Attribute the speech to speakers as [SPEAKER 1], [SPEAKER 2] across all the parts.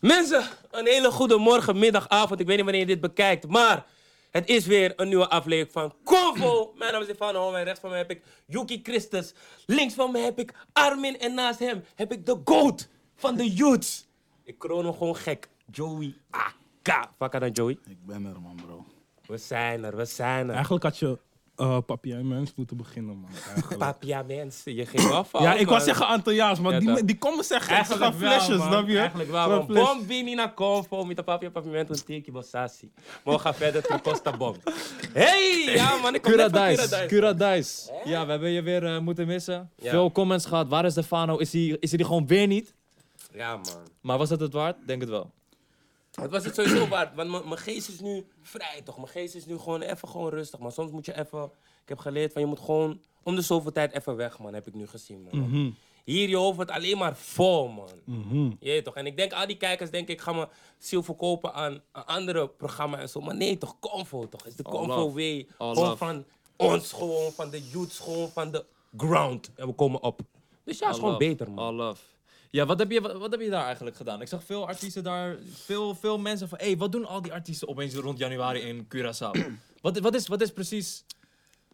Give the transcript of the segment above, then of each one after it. [SPEAKER 1] Mensen, een hele goede morgen, middag, avond. Ik weet niet wanneer je dit bekijkt, maar het is weer een nieuwe aflevering van Convo. Mijn naam is Stefan Holm en rechts van mij heb ik Yuki Christus. Links van mij heb ik Armin en naast hem heb ik de GOAT van de youths. Ik kroon hem gewoon gek. Joey AK. Vakker dan Joey.
[SPEAKER 2] Ik ben er, man, bro.
[SPEAKER 1] We zijn er, we zijn er.
[SPEAKER 3] Eigenlijk had je eh Papia en Mens moeten beginnen, man. eigenlijk.
[SPEAKER 1] Papia mensen, je ging afval.
[SPEAKER 3] ja, ik
[SPEAKER 1] Oh, man.
[SPEAKER 3] wou zeggen Antiljaans, maar
[SPEAKER 1] Ja,
[SPEAKER 3] die,
[SPEAKER 1] toch.
[SPEAKER 3] die komen zeggen
[SPEAKER 1] Eigenlijk
[SPEAKER 3] extra
[SPEAKER 1] wel,
[SPEAKER 3] flesjes,
[SPEAKER 1] man.
[SPEAKER 3] snap je?
[SPEAKER 1] Eigenlijk wel,
[SPEAKER 3] Extra
[SPEAKER 1] man.
[SPEAKER 3] flesjes.
[SPEAKER 1] Bom vini na convo, met de papia pavimento een tikje bossassi. Maar we gaan verder tot Costa Bom. Hey, ja man, ik kom net van Curadice.
[SPEAKER 4] Curadice, Curadice. Ja, we hebben je weer eh, moeten missen.
[SPEAKER 1] Ja.
[SPEAKER 4] Veel comments gehad. Waar is de Fano? Is hij is hij er gewoon weer niet?
[SPEAKER 1] Ja man.
[SPEAKER 4] Maar was dat het waard? Denk het wel.
[SPEAKER 1] Het was het sowieso waard, want mijn- mijn geest is nu vrij toch. Mijn geest is nu gewoon even gewoon rustig, man. Soms moet je even, ik heb geleerd van je moet gewoon om de zoveel tijd even weg man, heb ik nu gezien man. Hier je hoofd wordt alleen maar vol man. Jee toch, en ik denk al die kijkers denk ik ga mijn ziel verkopen aan, aan andere programma's en zo. Maar nee toch, Convo toch, is de
[SPEAKER 4] All
[SPEAKER 1] Convo
[SPEAKER 4] love.
[SPEAKER 1] way.
[SPEAKER 4] All
[SPEAKER 1] gewoon
[SPEAKER 4] love.
[SPEAKER 1] van ons gewoon, van de youths gewoon, van de ground. En we komen op. Dus ja, is
[SPEAKER 4] All
[SPEAKER 1] gewoon
[SPEAKER 4] love,
[SPEAKER 1] beter man.
[SPEAKER 4] All love. Ja, wat heb, je, wat, wat heb je daar eigenlijk gedaan? Ik zag veel artiesten daar, veel, veel mensen van... Hé, hey, wat doen al die artiesten opeens rond januari in Curaçao? wat, wat, is, wat is precies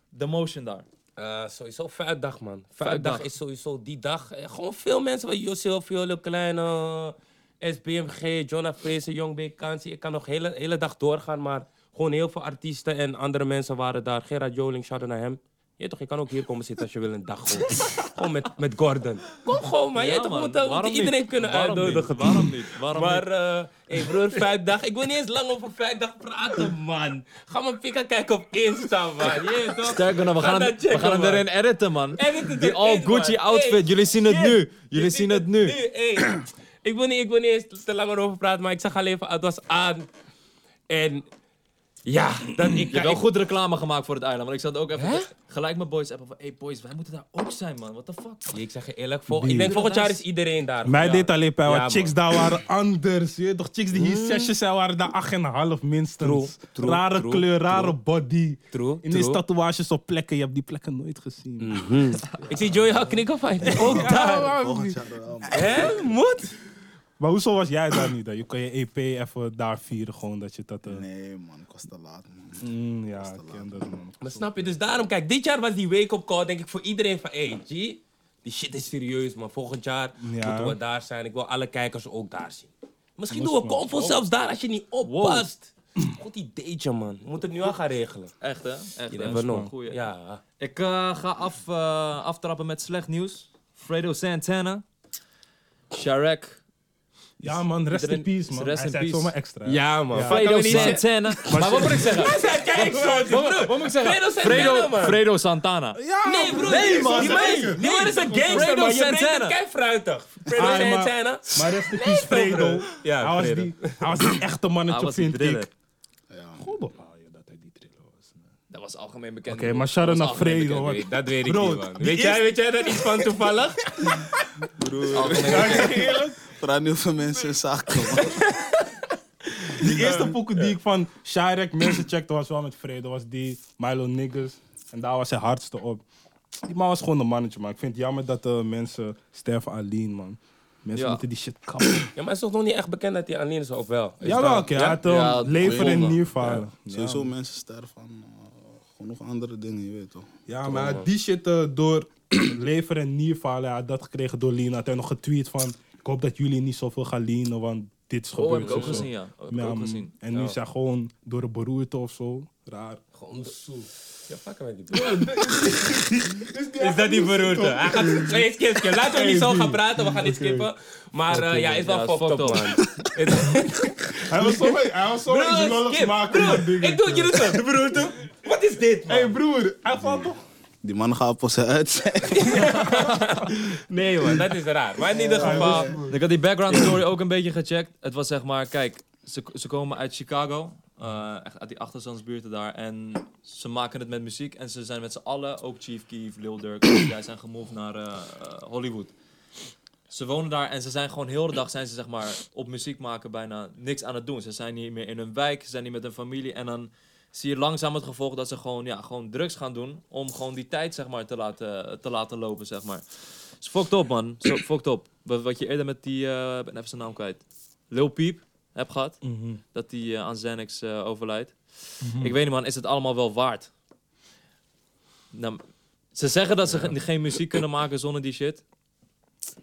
[SPEAKER 4] de motion daar?
[SPEAKER 1] Eh, sowieso vuitdag, man.
[SPEAKER 4] Vuitdag.
[SPEAKER 1] Vuitdag is sowieso die dag. eh, gewoon veel mensen, van Joseph, Jole Kleine, SBMG, Jonah Fraser, Young B. Kansi. Ik kan nog de hele, hele dag doorgaan, maar gewoon heel veel artiesten en andere mensen waren daar. Gerard Joling, shout-out naar hem. Je toch, je kan ook hier komen zitten als je wil een dag gewoon. gewoon met, met Gordon. Kom gewoon, man. je
[SPEAKER 4] Ja,
[SPEAKER 1] toch,
[SPEAKER 4] man.
[SPEAKER 1] we moeten- we
[SPEAKER 4] Waarom
[SPEAKER 1] moeten iedereen
[SPEAKER 4] niet?
[SPEAKER 1] kunnen
[SPEAKER 4] Waarom
[SPEAKER 1] uitnodigen.
[SPEAKER 4] niet? Waarom niet? Waarom
[SPEAKER 1] maar, eh hey broer, vrijdag. Ik wil niet eens lang over vrijdag praten, man. Ga maar pika kijken op Insta, man. Je toch?
[SPEAKER 4] Sterker nog, we
[SPEAKER 1] Ga
[SPEAKER 4] gaan, hem,
[SPEAKER 1] dat
[SPEAKER 4] we
[SPEAKER 1] checken,
[SPEAKER 4] gaan hem
[SPEAKER 1] man.
[SPEAKER 4] erin editen, man.
[SPEAKER 1] Edit het
[SPEAKER 4] Die
[SPEAKER 1] erin,
[SPEAKER 4] all
[SPEAKER 1] man.
[SPEAKER 4] Gucci
[SPEAKER 1] Hey,
[SPEAKER 4] outfit, jullie zien het
[SPEAKER 1] shit.
[SPEAKER 4] nu. Jullie
[SPEAKER 1] Je
[SPEAKER 4] zien
[SPEAKER 1] ziet
[SPEAKER 4] het nu.
[SPEAKER 1] hey. ik, wil niet, ik wil niet eens te langer over praten, maar ik zag alleen van het was aan. En ja, dat ik...
[SPEAKER 4] Je hebt
[SPEAKER 1] ik-
[SPEAKER 4] wel goed reclame gemaakt voor het eiland, want ik zat ook even gelijk met boys appen van, hey boys, wij moeten daar ook zijn man, what the fuck.
[SPEAKER 1] Ik zeg je eerlijk, vol, ik denk volgend jaar is iedereen daar.
[SPEAKER 3] Mij
[SPEAKER 1] Ja.
[SPEAKER 3] deed alleen pijn, want
[SPEAKER 1] Ja,
[SPEAKER 3] chicks
[SPEAKER 1] man. Hmm.
[SPEAKER 3] daar waren anders. Je weet toch, chicks die hier zesjes zijn, waren daar acht en een half minstens.
[SPEAKER 1] True, true,
[SPEAKER 3] rare
[SPEAKER 1] true,
[SPEAKER 3] kleur,
[SPEAKER 1] true.
[SPEAKER 3] rare body.
[SPEAKER 1] True,
[SPEAKER 3] Ineens
[SPEAKER 1] true. Hmm.
[SPEAKER 3] tatoeages op plekken, je hebt die plekken nooit gezien.
[SPEAKER 1] Ik zie Joey al knikken van, ik ben ook daar.
[SPEAKER 3] Ah,
[SPEAKER 2] Volgend jaar wel, man.
[SPEAKER 1] Hè, moet?
[SPEAKER 3] Maar hoezo was jij daar niet? Dan? Je kon je EP even daar vieren, gewoon dat je dat... eh,
[SPEAKER 2] Nee, man, ik was te laat, man.
[SPEAKER 3] Mm, ja, ik ken dat, man.
[SPEAKER 1] Maar snap je, dus daarom, kijk, dit jaar was die wake-up call, denk ik, voor iedereen van, hey, G, die shit is serieus, maar volgend jaar moeten we daar zijn. Ik wil alle kijkers ook daar zien. Misschien doen we Convo zelfs daar als je niet oppast. Goed ideetje, man. Moet het nu al gaan regelen.
[SPEAKER 4] Echt hè? Echt
[SPEAKER 1] Je
[SPEAKER 4] hè?
[SPEAKER 1] never know.
[SPEAKER 4] Goeie.
[SPEAKER 1] Ja.
[SPEAKER 4] Ik eh, ga af, eh, aftrappen met slecht nieuws. Fredo Santana, Sharek,
[SPEAKER 3] Ja, man, rest in
[SPEAKER 4] Iedereen-
[SPEAKER 3] peace, man.
[SPEAKER 4] rest
[SPEAKER 3] Hij
[SPEAKER 4] in
[SPEAKER 3] zei
[SPEAKER 4] peace.
[SPEAKER 3] zomaar extra. hè?
[SPEAKER 1] Ja, man.
[SPEAKER 4] Fredo Santana. Maar wat moet ik zeggen?
[SPEAKER 1] Kijk zo,
[SPEAKER 4] Wat, wat moet ik
[SPEAKER 1] Fredo
[SPEAKER 4] zeggen?
[SPEAKER 1] Santana, man.
[SPEAKER 4] Fredo Santana.
[SPEAKER 1] Nee, broer.
[SPEAKER 4] Nee, man.
[SPEAKER 1] Die man die man is een gangster,
[SPEAKER 4] Fredo
[SPEAKER 1] man. Je brengt
[SPEAKER 4] Santana.
[SPEAKER 1] het keifruitig. Fredo
[SPEAKER 3] Ah, maar-
[SPEAKER 1] Santana.
[SPEAKER 3] Maar rest in peace, Fredo.
[SPEAKER 1] Ja,
[SPEAKER 3] hij, was
[SPEAKER 1] Fredo.
[SPEAKER 3] die, hij was die echte
[SPEAKER 4] Hij
[SPEAKER 3] mannetje,
[SPEAKER 4] was die
[SPEAKER 3] vind
[SPEAKER 4] driller.
[SPEAKER 3] ik.
[SPEAKER 2] Ja, man.
[SPEAKER 3] Hoe bepaal je Oh, dat hij die driller was?
[SPEAKER 4] Dat was algemeen bekend.
[SPEAKER 3] Oké, maar shout-out
[SPEAKER 4] Dat
[SPEAKER 3] naar
[SPEAKER 4] was algemeen
[SPEAKER 3] Fredo.
[SPEAKER 4] bekend.
[SPEAKER 3] hoor.
[SPEAKER 1] Oh, Nee, Dat weet ik
[SPEAKER 3] Bro,
[SPEAKER 1] niet, man.
[SPEAKER 3] die
[SPEAKER 1] Weet jij, weet jij daar iets van toevallig?
[SPEAKER 2] Praat niet over mensen in zaken, man.
[SPEAKER 3] Die eerste pokoe die ik van Shirek mensen checkte was wel met Fredo. Was die Milo Niggas. En daar was hij hardste op. Die man was gewoon een mannetje, man. Ik vind het jammer dat eh, mensen sterven aan lean, man. Mensen
[SPEAKER 4] Ja.
[SPEAKER 3] moeten die shit kappen.
[SPEAKER 1] Ja, maar het is toch nog niet echt bekend dat hij alleen is, of wel? Is
[SPEAKER 3] Jawel,
[SPEAKER 1] dat-
[SPEAKER 3] oké. Hij had eh,
[SPEAKER 4] Ja,
[SPEAKER 3] lever en
[SPEAKER 4] gewonnen.
[SPEAKER 3] nierfalen. Ja,
[SPEAKER 2] Sowieso, mensen sterven van eh, genoeg andere dingen, je weet toch?
[SPEAKER 3] Ja, maar hij had die shit eh, door lever en nierfalen. Hij had dat gekregen door lean. Had hij nog getweet van... Ik hoop dat jullie niet zoveel gaan leanen, want dit is gebeurd.
[SPEAKER 4] Oh, heb ik ook
[SPEAKER 3] of zo.
[SPEAKER 4] gezien, ja. Heb ik
[SPEAKER 3] Ja,
[SPEAKER 1] Nou,
[SPEAKER 4] ook
[SPEAKER 3] man.
[SPEAKER 4] gezien.
[SPEAKER 3] En nu
[SPEAKER 4] Ja.
[SPEAKER 3] is hij gewoon door een beroerte of zo. Raar.
[SPEAKER 1] Gewoon zo. Ja, pakken met die Is dat die beroerte? Hij gaat... Nee, skip, skip. Laten we niet zo gaan praten, we gaan niet skippen. Maar eh, ja, is wel
[SPEAKER 4] Ja, is
[SPEAKER 1] fucked up,
[SPEAKER 4] fucked up.
[SPEAKER 1] man.
[SPEAKER 3] Hij was zo hij was zo
[SPEAKER 1] Broer, skip. Broer, ik doe het jullie zo. De beroerte. Wat is dit, man?
[SPEAKER 3] Hé broer, hij valt toch?
[SPEAKER 2] Die man gaat op zijn uit zijn.
[SPEAKER 1] Nee, man, dat is raar. Maar in ieder geval...
[SPEAKER 4] Ik had die background story ook een beetje gecheckt. Het was zeg maar, kijk, ze, ze komen uit Chicago. eh, echt uit die achterstandsbuurten daar. En ze maken het met muziek. En ze zijn met z'n allen, ook Chief Keef, Lil Durk, die daar zijn gemoved naar eh, eh, Hollywood. Ze wonen daar en ze zijn gewoon heel de dag zijn ze zeg maar op muziek maken bijna niks aan het doen. Ze zijn niet meer in hun wijk, ze zijn niet met hun familie. En dan zie je langzaam het gevolg dat ze gewoon, ja, gewoon drugs gaan doen. Om gewoon die tijd zeg maar te laten, te laten lopen zeg maar. Is fucked up, man. Zo, fucked up. Wat, wat je eerder met die... eh, ik ben even zijn naam kwijt. Lil Peep heb gehad. Dat die eh, aan Xanax eh, overlijdt. Ik weet niet man, is het allemaal wel waard? Nou, ze zeggen dat ze ge- geen muziek kunnen maken zonder die shit.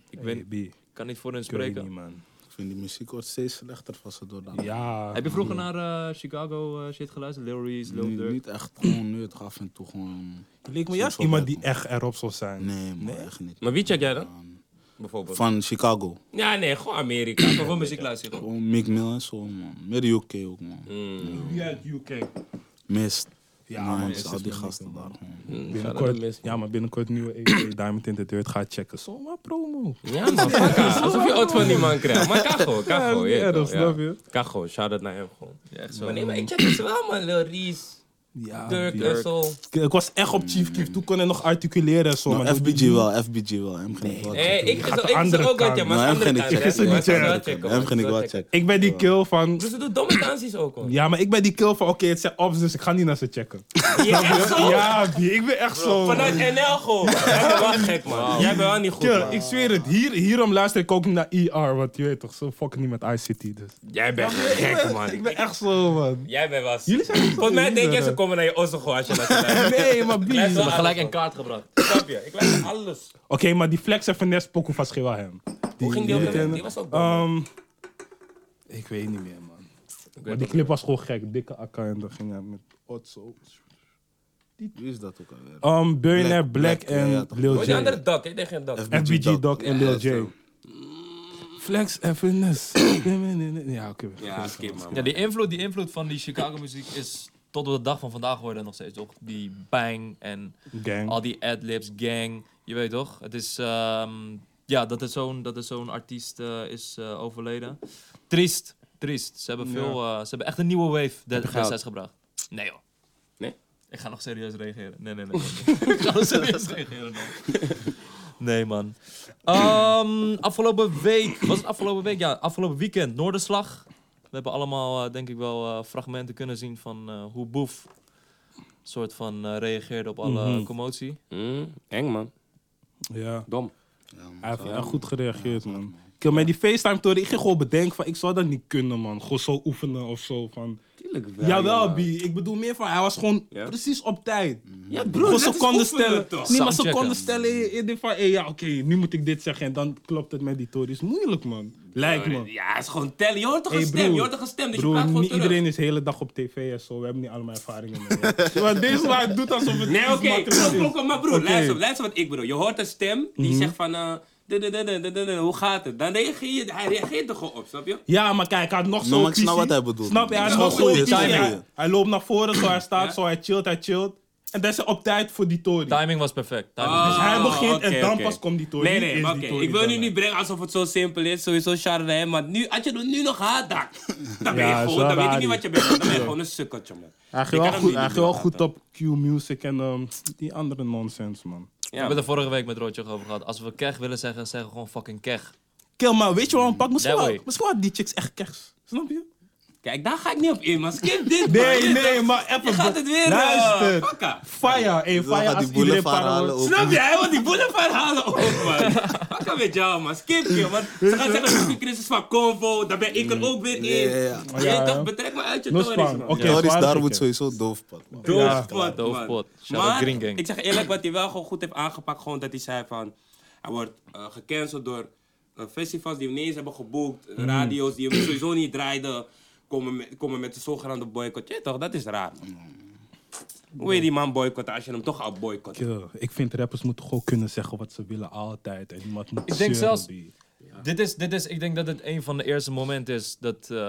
[SPEAKER 4] Ik weet,
[SPEAKER 3] AB, ik
[SPEAKER 4] kan niet voor hen
[SPEAKER 3] weet
[SPEAKER 4] spreken.
[SPEAKER 3] niet, man.
[SPEAKER 2] Ik vind die muziek wordt steeds slechter van ze door de
[SPEAKER 3] Ja.
[SPEAKER 4] Heb je vroeger naar eh, Chicago eh, shit geluisterd? Lil Reese, Lil
[SPEAKER 2] niet,
[SPEAKER 4] Durk?
[SPEAKER 2] niet echt gewoon nu, het af en toe gewoon...
[SPEAKER 3] Het leek me
[SPEAKER 2] Zo
[SPEAKER 3] juist
[SPEAKER 2] wel
[SPEAKER 3] iemand
[SPEAKER 2] leuk,
[SPEAKER 3] die
[SPEAKER 2] man.
[SPEAKER 3] echt erop zou zijn.
[SPEAKER 2] Nee, man, echt niet.
[SPEAKER 1] Maar wie check jij dan?
[SPEAKER 2] Man.
[SPEAKER 1] Bijvoorbeeld.
[SPEAKER 2] Van Chicago.
[SPEAKER 1] Ja, nee, gewoon Amerika. Of
[SPEAKER 4] Hoeveel
[SPEAKER 1] een
[SPEAKER 4] muziek luister je gewoon?
[SPEAKER 2] Gewoon Mick Mill en zo, man. Meer UK ook, man.
[SPEAKER 3] Ja, het UK.
[SPEAKER 2] Mist.
[SPEAKER 3] Mm. Ja,
[SPEAKER 2] Ja,
[SPEAKER 3] man,
[SPEAKER 2] man.
[SPEAKER 3] Mist is
[SPEAKER 2] al die
[SPEAKER 3] wel
[SPEAKER 2] gasten
[SPEAKER 3] leuk,
[SPEAKER 2] daar.
[SPEAKER 3] man.
[SPEAKER 2] gewoon.
[SPEAKER 1] Mm, shout-out
[SPEAKER 3] Binnenkort,
[SPEAKER 1] to
[SPEAKER 3] ja, maar binnenkort nieuwe EP Diamond in the Dirt. Ga checken. Zomaar promo.
[SPEAKER 1] Miss. Ja, man, fuck haar. Alsof je ooit van die man krijgt. Maar Kago,
[SPEAKER 3] Ja,
[SPEAKER 1] Kago.
[SPEAKER 3] niet
[SPEAKER 1] je weet
[SPEAKER 3] erg,
[SPEAKER 1] wel, ja.
[SPEAKER 3] snap je?
[SPEAKER 1] Kago, shout-out naar hem gewoon.
[SPEAKER 4] Ja, echt zo.
[SPEAKER 1] Maar nee, maar ik check het wel, man. Lil Reese,
[SPEAKER 3] Ja,
[SPEAKER 1] Dirk,
[SPEAKER 3] Ah, die-
[SPEAKER 1] Russell.
[SPEAKER 3] Ik- Ik was echt op Chief Keef. Toen kon hij nog articuleren en zo.
[SPEAKER 2] Nou,
[SPEAKER 3] maar toen
[SPEAKER 2] FBG
[SPEAKER 3] die-
[SPEAKER 2] wel, FBG wel. Hem ging ik wel
[SPEAKER 1] Nee,
[SPEAKER 2] checken.
[SPEAKER 1] Eh, ik
[SPEAKER 3] gaat de
[SPEAKER 1] zou ik zou
[SPEAKER 3] andere
[SPEAKER 1] ook wel
[SPEAKER 3] kant.
[SPEAKER 1] checken, maar
[SPEAKER 2] Nou,
[SPEAKER 1] het
[SPEAKER 2] hem
[SPEAKER 1] andere
[SPEAKER 2] ging ik
[SPEAKER 1] kant.
[SPEAKER 2] checken.
[SPEAKER 1] hè.
[SPEAKER 3] Gisteren
[SPEAKER 1] Maar
[SPEAKER 3] niet
[SPEAKER 1] ik zou
[SPEAKER 3] checken.
[SPEAKER 1] wel checken,
[SPEAKER 2] Hem
[SPEAKER 1] man.
[SPEAKER 2] ging ik wel
[SPEAKER 1] zou
[SPEAKER 2] checken.
[SPEAKER 3] Ik ben die kill van...
[SPEAKER 1] Dus ze doet domme dansies ook, hoor.
[SPEAKER 3] Ja, maar ik ben die kill van... Oké, het zijn offs, dus ik ga niet naar ze checken.
[SPEAKER 1] Ja, echt zo?
[SPEAKER 3] Ja, die, ik ben echt zo.
[SPEAKER 1] Vanuit NL gewoon. Jij bent wel gek, man. Jij bent wel niet goed,
[SPEAKER 3] Kill,
[SPEAKER 1] man.
[SPEAKER 3] ik zweer het. Hier, hierom luister ik ook niet naar ER. Want je weet toch, ze fucken niet met ICT. Dus.
[SPEAKER 1] Jij bent gek, man.
[SPEAKER 3] Ik ben echt zo, man.
[SPEAKER 1] Jij bent wel...
[SPEAKER 3] Jullie zijn niet zo
[SPEAKER 1] Volgens mij
[SPEAKER 3] lief,
[SPEAKER 1] denk jij
[SPEAKER 3] hè?
[SPEAKER 1] ze komen naar je ossel gewoon als je naar ze luistert.
[SPEAKER 3] Nee, maar
[SPEAKER 1] Ik
[SPEAKER 3] bies.
[SPEAKER 1] luister
[SPEAKER 3] Oké,
[SPEAKER 1] wel
[SPEAKER 4] Gelijk
[SPEAKER 1] alles,
[SPEAKER 4] in kaart gebracht.
[SPEAKER 1] man. Snap je? Ik luister alles.
[SPEAKER 3] maar die flex en finesse pokoe van Schreeuw hem.
[SPEAKER 1] Hoe ging die ook
[SPEAKER 3] jullie
[SPEAKER 1] weer?
[SPEAKER 3] kennen?
[SPEAKER 1] Die was ook dom.
[SPEAKER 3] Ehm, ik weet niet meer, man. Maar die clip was gewoon gek. Dikke akka en dan ging hij met Otso.
[SPEAKER 2] Wie is dat ook alweer?
[SPEAKER 3] Um, Billionaire
[SPEAKER 2] Black,
[SPEAKER 3] Black,
[SPEAKER 2] Black,
[SPEAKER 3] en
[SPEAKER 2] ja, toch.
[SPEAKER 3] Lil
[SPEAKER 1] Hoe die
[SPEAKER 3] J.
[SPEAKER 1] andere dak? Ik denk geen dak.
[SPEAKER 3] FBG Doc en Lil
[SPEAKER 2] Ja,
[SPEAKER 3] J.
[SPEAKER 2] zo.
[SPEAKER 3] Flex en finesse. ja, oké.
[SPEAKER 1] Ja, skip, man.
[SPEAKER 4] Ja, die invloed, die invloed van die Chicago muziek is tot op de dag van vandaag hoor je dat nog steeds toch? Die bang en
[SPEAKER 3] Gang.
[SPEAKER 4] al die adlibs, gang. Je weet toch? Het is ehm, ja dat er zo'n dat er zo'n artiest eh, is eh, overleden. Triest, triest. Ze hebben veel, eh, ze hebben echt een nieuwe wave
[SPEAKER 1] je
[SPEAKER 4] de
[SPEAKER 1] gehuild?
[SPEAKER 4] destijds gebracht. Nee joh.
[SPEAKER 1] Nee?
[SPEAKER 4] Ik ga nog serieus reageren. Nee, nee, nee. nee. ik ga nog serieus reageren. man. Nee, man. Ehm, afgelopen week, was het afgelopen week? Ja, afgelopen weekend, Noorderslag. We hebben allemaal, eh, denk ik wel, eh, fragmenten kunnen zien van eh, hoe Boef soort van eh, reageerde op alle
[SPEAKER 3] Mhm.
[SPEAKER 4] commotie.
[SPEAKER 1] Mm, Eng, man.
[SPEAKER 3] Ja.
[SPEAKER 1] Dom.
[SPEAKER 2] Ja, man.
[SPEAKER 3] Hij heeft echt goed gereageerd, man. Ik heb met die facetime toren, ik ging gewoon bedenken van, ik zou dat niet kunnen, man. Gewoon zo oefenen of zo. Van.
[SPEAKER 1] Tuurlijk wel.
[SPEAKER 3] Jawel,
[SPEAKER 1] man.
[SPEAKER 3] B. Ik bedoel meer van, hij was gewoon
[SPEAKER 1] Ja?
[SPEAKER 3] precies op tijd.
[SPEAKER 1] Ja,
[SPEAKER 3] Gewoon
[SPEAKER 1] broer, dat is
[SPEAKER 3] seconden
[SPEAKER 1] oefenen,
[SPEAKER 3] stellen.
[SPEAKER 1] toch?
[SPEAKER 3] Nee, maar
[SPEAKER 4] Soundchecken.
[SPEAKER 3] seconden stellen je eerder van, hé, ja, oké, nu moet ik dit zeggen. En dan klopt het met die toren. Is moeilijk, man. Lijkt me.
[SPEAKER 1] Ja, het is gewoon tellen. Je hoort toch
[SPEAKER 3] Hey,
[SPEAKER 1] een stem?
[SPEAKER 3] broer.
[SPEAKER 1] Je hoort toch een stem? Dus je praat
[SPEAKER 3] Bro,
[SPEAKER 1] gewoon
[SPEAKER 3] niet
[SPEAKER 1] terug.
[SPEAKER 3] iedereen is de hele dag op tv en zo. We hebben niet allemaal ervaringen mee. Maar deze waar doet alsof het
[SPEAKER 1] Nee,
[SPEAKER 3] iets
[SPEAKER 1] oké.
[SPEAKER 3] makkelijks
[SPEAKER 1] klok,
[SPEAKER 3] is.
[SPEAKER 1] klok, klok, Maar broer,
[SPEAKER 3] Oké. Mhm.
[SPEAKER 1] luister, luister wat ik bedoel. Je hoort een stem die zegt van... eh, du- du- du- du- du- du- du- Hoe gaat het? Dan reageer je... Hij reageert er gewoon op, snap je?
[SPEAKER 3] Ja, maar kijk, hij had nog
[SPEAKER 2] Nou,
[SPEAKER 3] zo'n
[SPEAKER 2] maar ik snap
[SPEAKER 3] visie.
[SPEAKER 2] wat hij bedoelt.
[SPEAKER 3] Snap je? Hij had
[SPEAKER 2] Ja,
[SPEAKER 3] nog
[SPEAKER 2] goeie,
[SPEAKER 3] zo'n visie.
[SPEAKER 2] timing.
[SPEAKER 3] Hij, hij loopt naar voren, zo hij staat,
[SPEAKER 1] Ja.
[SPEAKER 3] zo hij chillt, hij chillt. En dat is hij op tijd voor die tory.
[SPEAKER 4] Timing was perfect. Timing was
[SPEAKER 1] Ah.
[SPEAKER 3] Dus hij begint
[SPEAKER 1] oké,
[SPEAKER 3] en dan
[SPEAKER 1] oké.
[SPEAKER 3] pas komt die tory.
[SPEAKER 1] Nee,
[SPEAKER 3] Nu
[SPEAKER 1] nee,
[SPEAKER 3] is
[SPEAKER 1] maar
[SPEAKER 3] die
[SPEAKER 1] oké.
[SPEAKER 3] tory
[SPEAKER 1] Ik wil
[SPEAKER 3] dan
[SPEAKER 1] nu
[SPEAKER 3] er.
[SPEAKER 1] niet brengen alsof het zo simpel is. Sowieso shout naar hem. Maar nu, als je nu nog haat dakt, dan ben je
[SPEAKER 3] Ja, is
[SPEAKER 1] gewoon...
[SPEAKER 3] wel
[SPEAKER 1] Dan weet ik niet
[SPEAKER 3] raar, die.
[SPEAKER 1] wat je bent. Dan ben je gewoon een sukkeltje, man.
[SPEAKER 3] Hij
[SPEAKER 1] Ik
[SPEAKER 3] ging
[SPEAKER 1] kan
[SPEAKER 3] wel
[SPEAKER 1] hem
[SPEAKER 3] goed,
[SPEAKER 1] niet
[SPEAKER 3] hij
[SPEAKER 1] doen,
[SPEAKER 3] ging wel
[SPEAKER 1] ja.
[SPEAKER 3] goed op Q-music en ehm, die andere nonsense, man.
[SPEAKER 4] We hebben het er vorige week met Roger over gehad. Als we keg willen zeggen, zeggen we gewoon fucking keg.
[SPEAKER 3] Kill, maar weet je waarom pak? Misschien,
[SPEAKER 4] That
[SPEAKER 3] wel-
[SPEAKER 4] way.
[SPEAKER 3] misschien had die chicks echt kers. Snap je?
[SPEAKER 1] Kijk, daar ga ik niet op in, maar skip dit, man.
[SPEAKER 3] Nee,
[SPEAKER 1] Dit-
[SPEAKER 3] nee, maar even...
[SPEAKER 1] Je gaat het weer... eh,
[SPEAKER 3] Luister.
[SPEAKER 1] pakken.
[SPEAKER 3] Fire, eh,
[SPEAKER 2] Zo gaat
[SPEAKER 3] fire
[SPEAKER 2] die
[SPEAKER 3] als iedereen
[SPEAKER 2] boulevard
[SPEAKER 3] para
[SPEAKER 2] halen
[SPEAKER 3] wordt.
[SPEAKER 2] ook.
[SPEAKER 1] Snap je? Hij wil die boulevard halen ook, man. Wat kan met jou, man? Skip je, man. Ze gaan zeggen, dat ik crisis van Convo, daar ben ik er ook weer in.
[SPEAKER 2] Ja, ja, ja.
[SPEAKER 1] Je
[SPEAKER 3] Ja,
[SPEAKER 1] weet
[SPEAKER 3] ja.
[SPEAKER 1] toch, betrek me uit je
[SPEAKER 3] No
[SPEAKER 1] tories,
[SPEAKER 3] span,
[SPEAKER 1] man.
[SPEAKER 3] oké.
[SPEAKER 2] Joris
[SPEAKER 3] zwaar
[SPEAKER 2] daar
[SPEAKER 3] zeker.
[SPEAKER 2] moet sowieso doofpad, man.
[SPEAKER 1] Doofpot, man.
[SPEAKER 4] doofpot. Shout out
[SPEAKER 1] Maar,
[SPEAKER 4] Green Gang.
[SPEAKER 1] ik zeg eerlijk, wat hij wel gewoon goed heeft aangepakt, gewoon dat hij zei van... Hij wordt eh, gecanceld door eh, festivals die we niet eens hebben geboekt.
[SPEAKER 4] Mm.
[SPEAKER 1] eh, Radio's die hem sowieso niet draaiden. Komen met, komen met de zogenaamde boycott. Je weet toch, dat is raar. man.
[SPEAKER 4] Mm.
[SPEAKER 1] Hoe wil je die man boycotten als je hem toch al boycott?
[SPEAKER 3] Kill, ik vind rappers moeten gewoon kunnen zeggen wat ze willen altijd. En niemand moet
[SPEAKER 4] Ik
[SPEAKER 3] zeuren,
[SPEAKER 4] denk zelfs-
[SPEAKER 3] B.
[SPEAKER 4] Dit is, dit is, ik denk dat het een van de eerste momenten is dat, eh,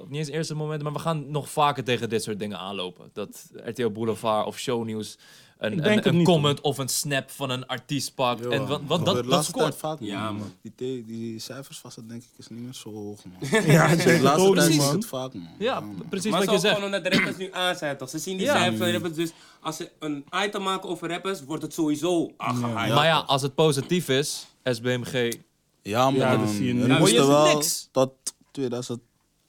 [SPEAKER 4] of niet eens eerste momenten, maar we gaan nog vaker tegen dit soort dingen aanlopen. Dat RTL Boulevard of shownieuws
[SPEAKER 3] denk
[SPEAKER 4] een,
[SPEAKER 3] het
[SPEAKER 4] een, een
[SPEAKER 3] niet,
[SPEAKER 4] comment of een snap van een artiest pakt. en wat, wat,
[SPEAKER 2] Gebeurt
[SPEAKER 4] dat,
[SPEAKER 2] de
[SPEAKER 4] dat
[SPEAKER 2] laatste tijd
[SPEAKER 4] scoort.
[SPEAKER 2] vaak,
[SPEAKER 1] Ja, man.
[SPEAKER 2] Die, te- die cijfers vast, dat denk ik, is niet meer zo hoog, man.
[SPEAKER 3] Ja, ik
[SPEAKER 2] De
[SPEAKER 3] denk het
[SPEAKER 2] laatste
[SPEAKER 3] ook
[SPEAKER 2] tijd
[SPEAKER 3] niet,
[SPEAKER 2] is het
[SPEAKER 3] man.
[SPEAKER 2] vaak, man.
[SPEAKER 4] Ja, precies
[SPEAKER 1] maar
[SPEAKER 4] wat je
[SPEAKER 1] zo
[SPEAKER 4] zegt.
[SPEAKER 1] gewoon omdat de rappers nu aan zijn, toch? Ze zien die
[SPEAKER 4] Ja.
[SPEAKER 1] cijfers van de rappers, dus als ze een item maken over rappers, wordt het sowieso aangehaald.
[SPEAKER 4] Maar ja, als het positief is, SBMG.
[SPEAKER 2] Ja, man.
[SPEAKER 3] Ja, dat zie je nu.
[SPEAKER 2] Er
[SPEAKER 3] Ja,
[SPEAKER 2] moesten
[SPEAKER 4] je ziet
[SPEAKER 2] wel
[SPEAKER 4] niks.
[SPEAKER 2] tot 2000,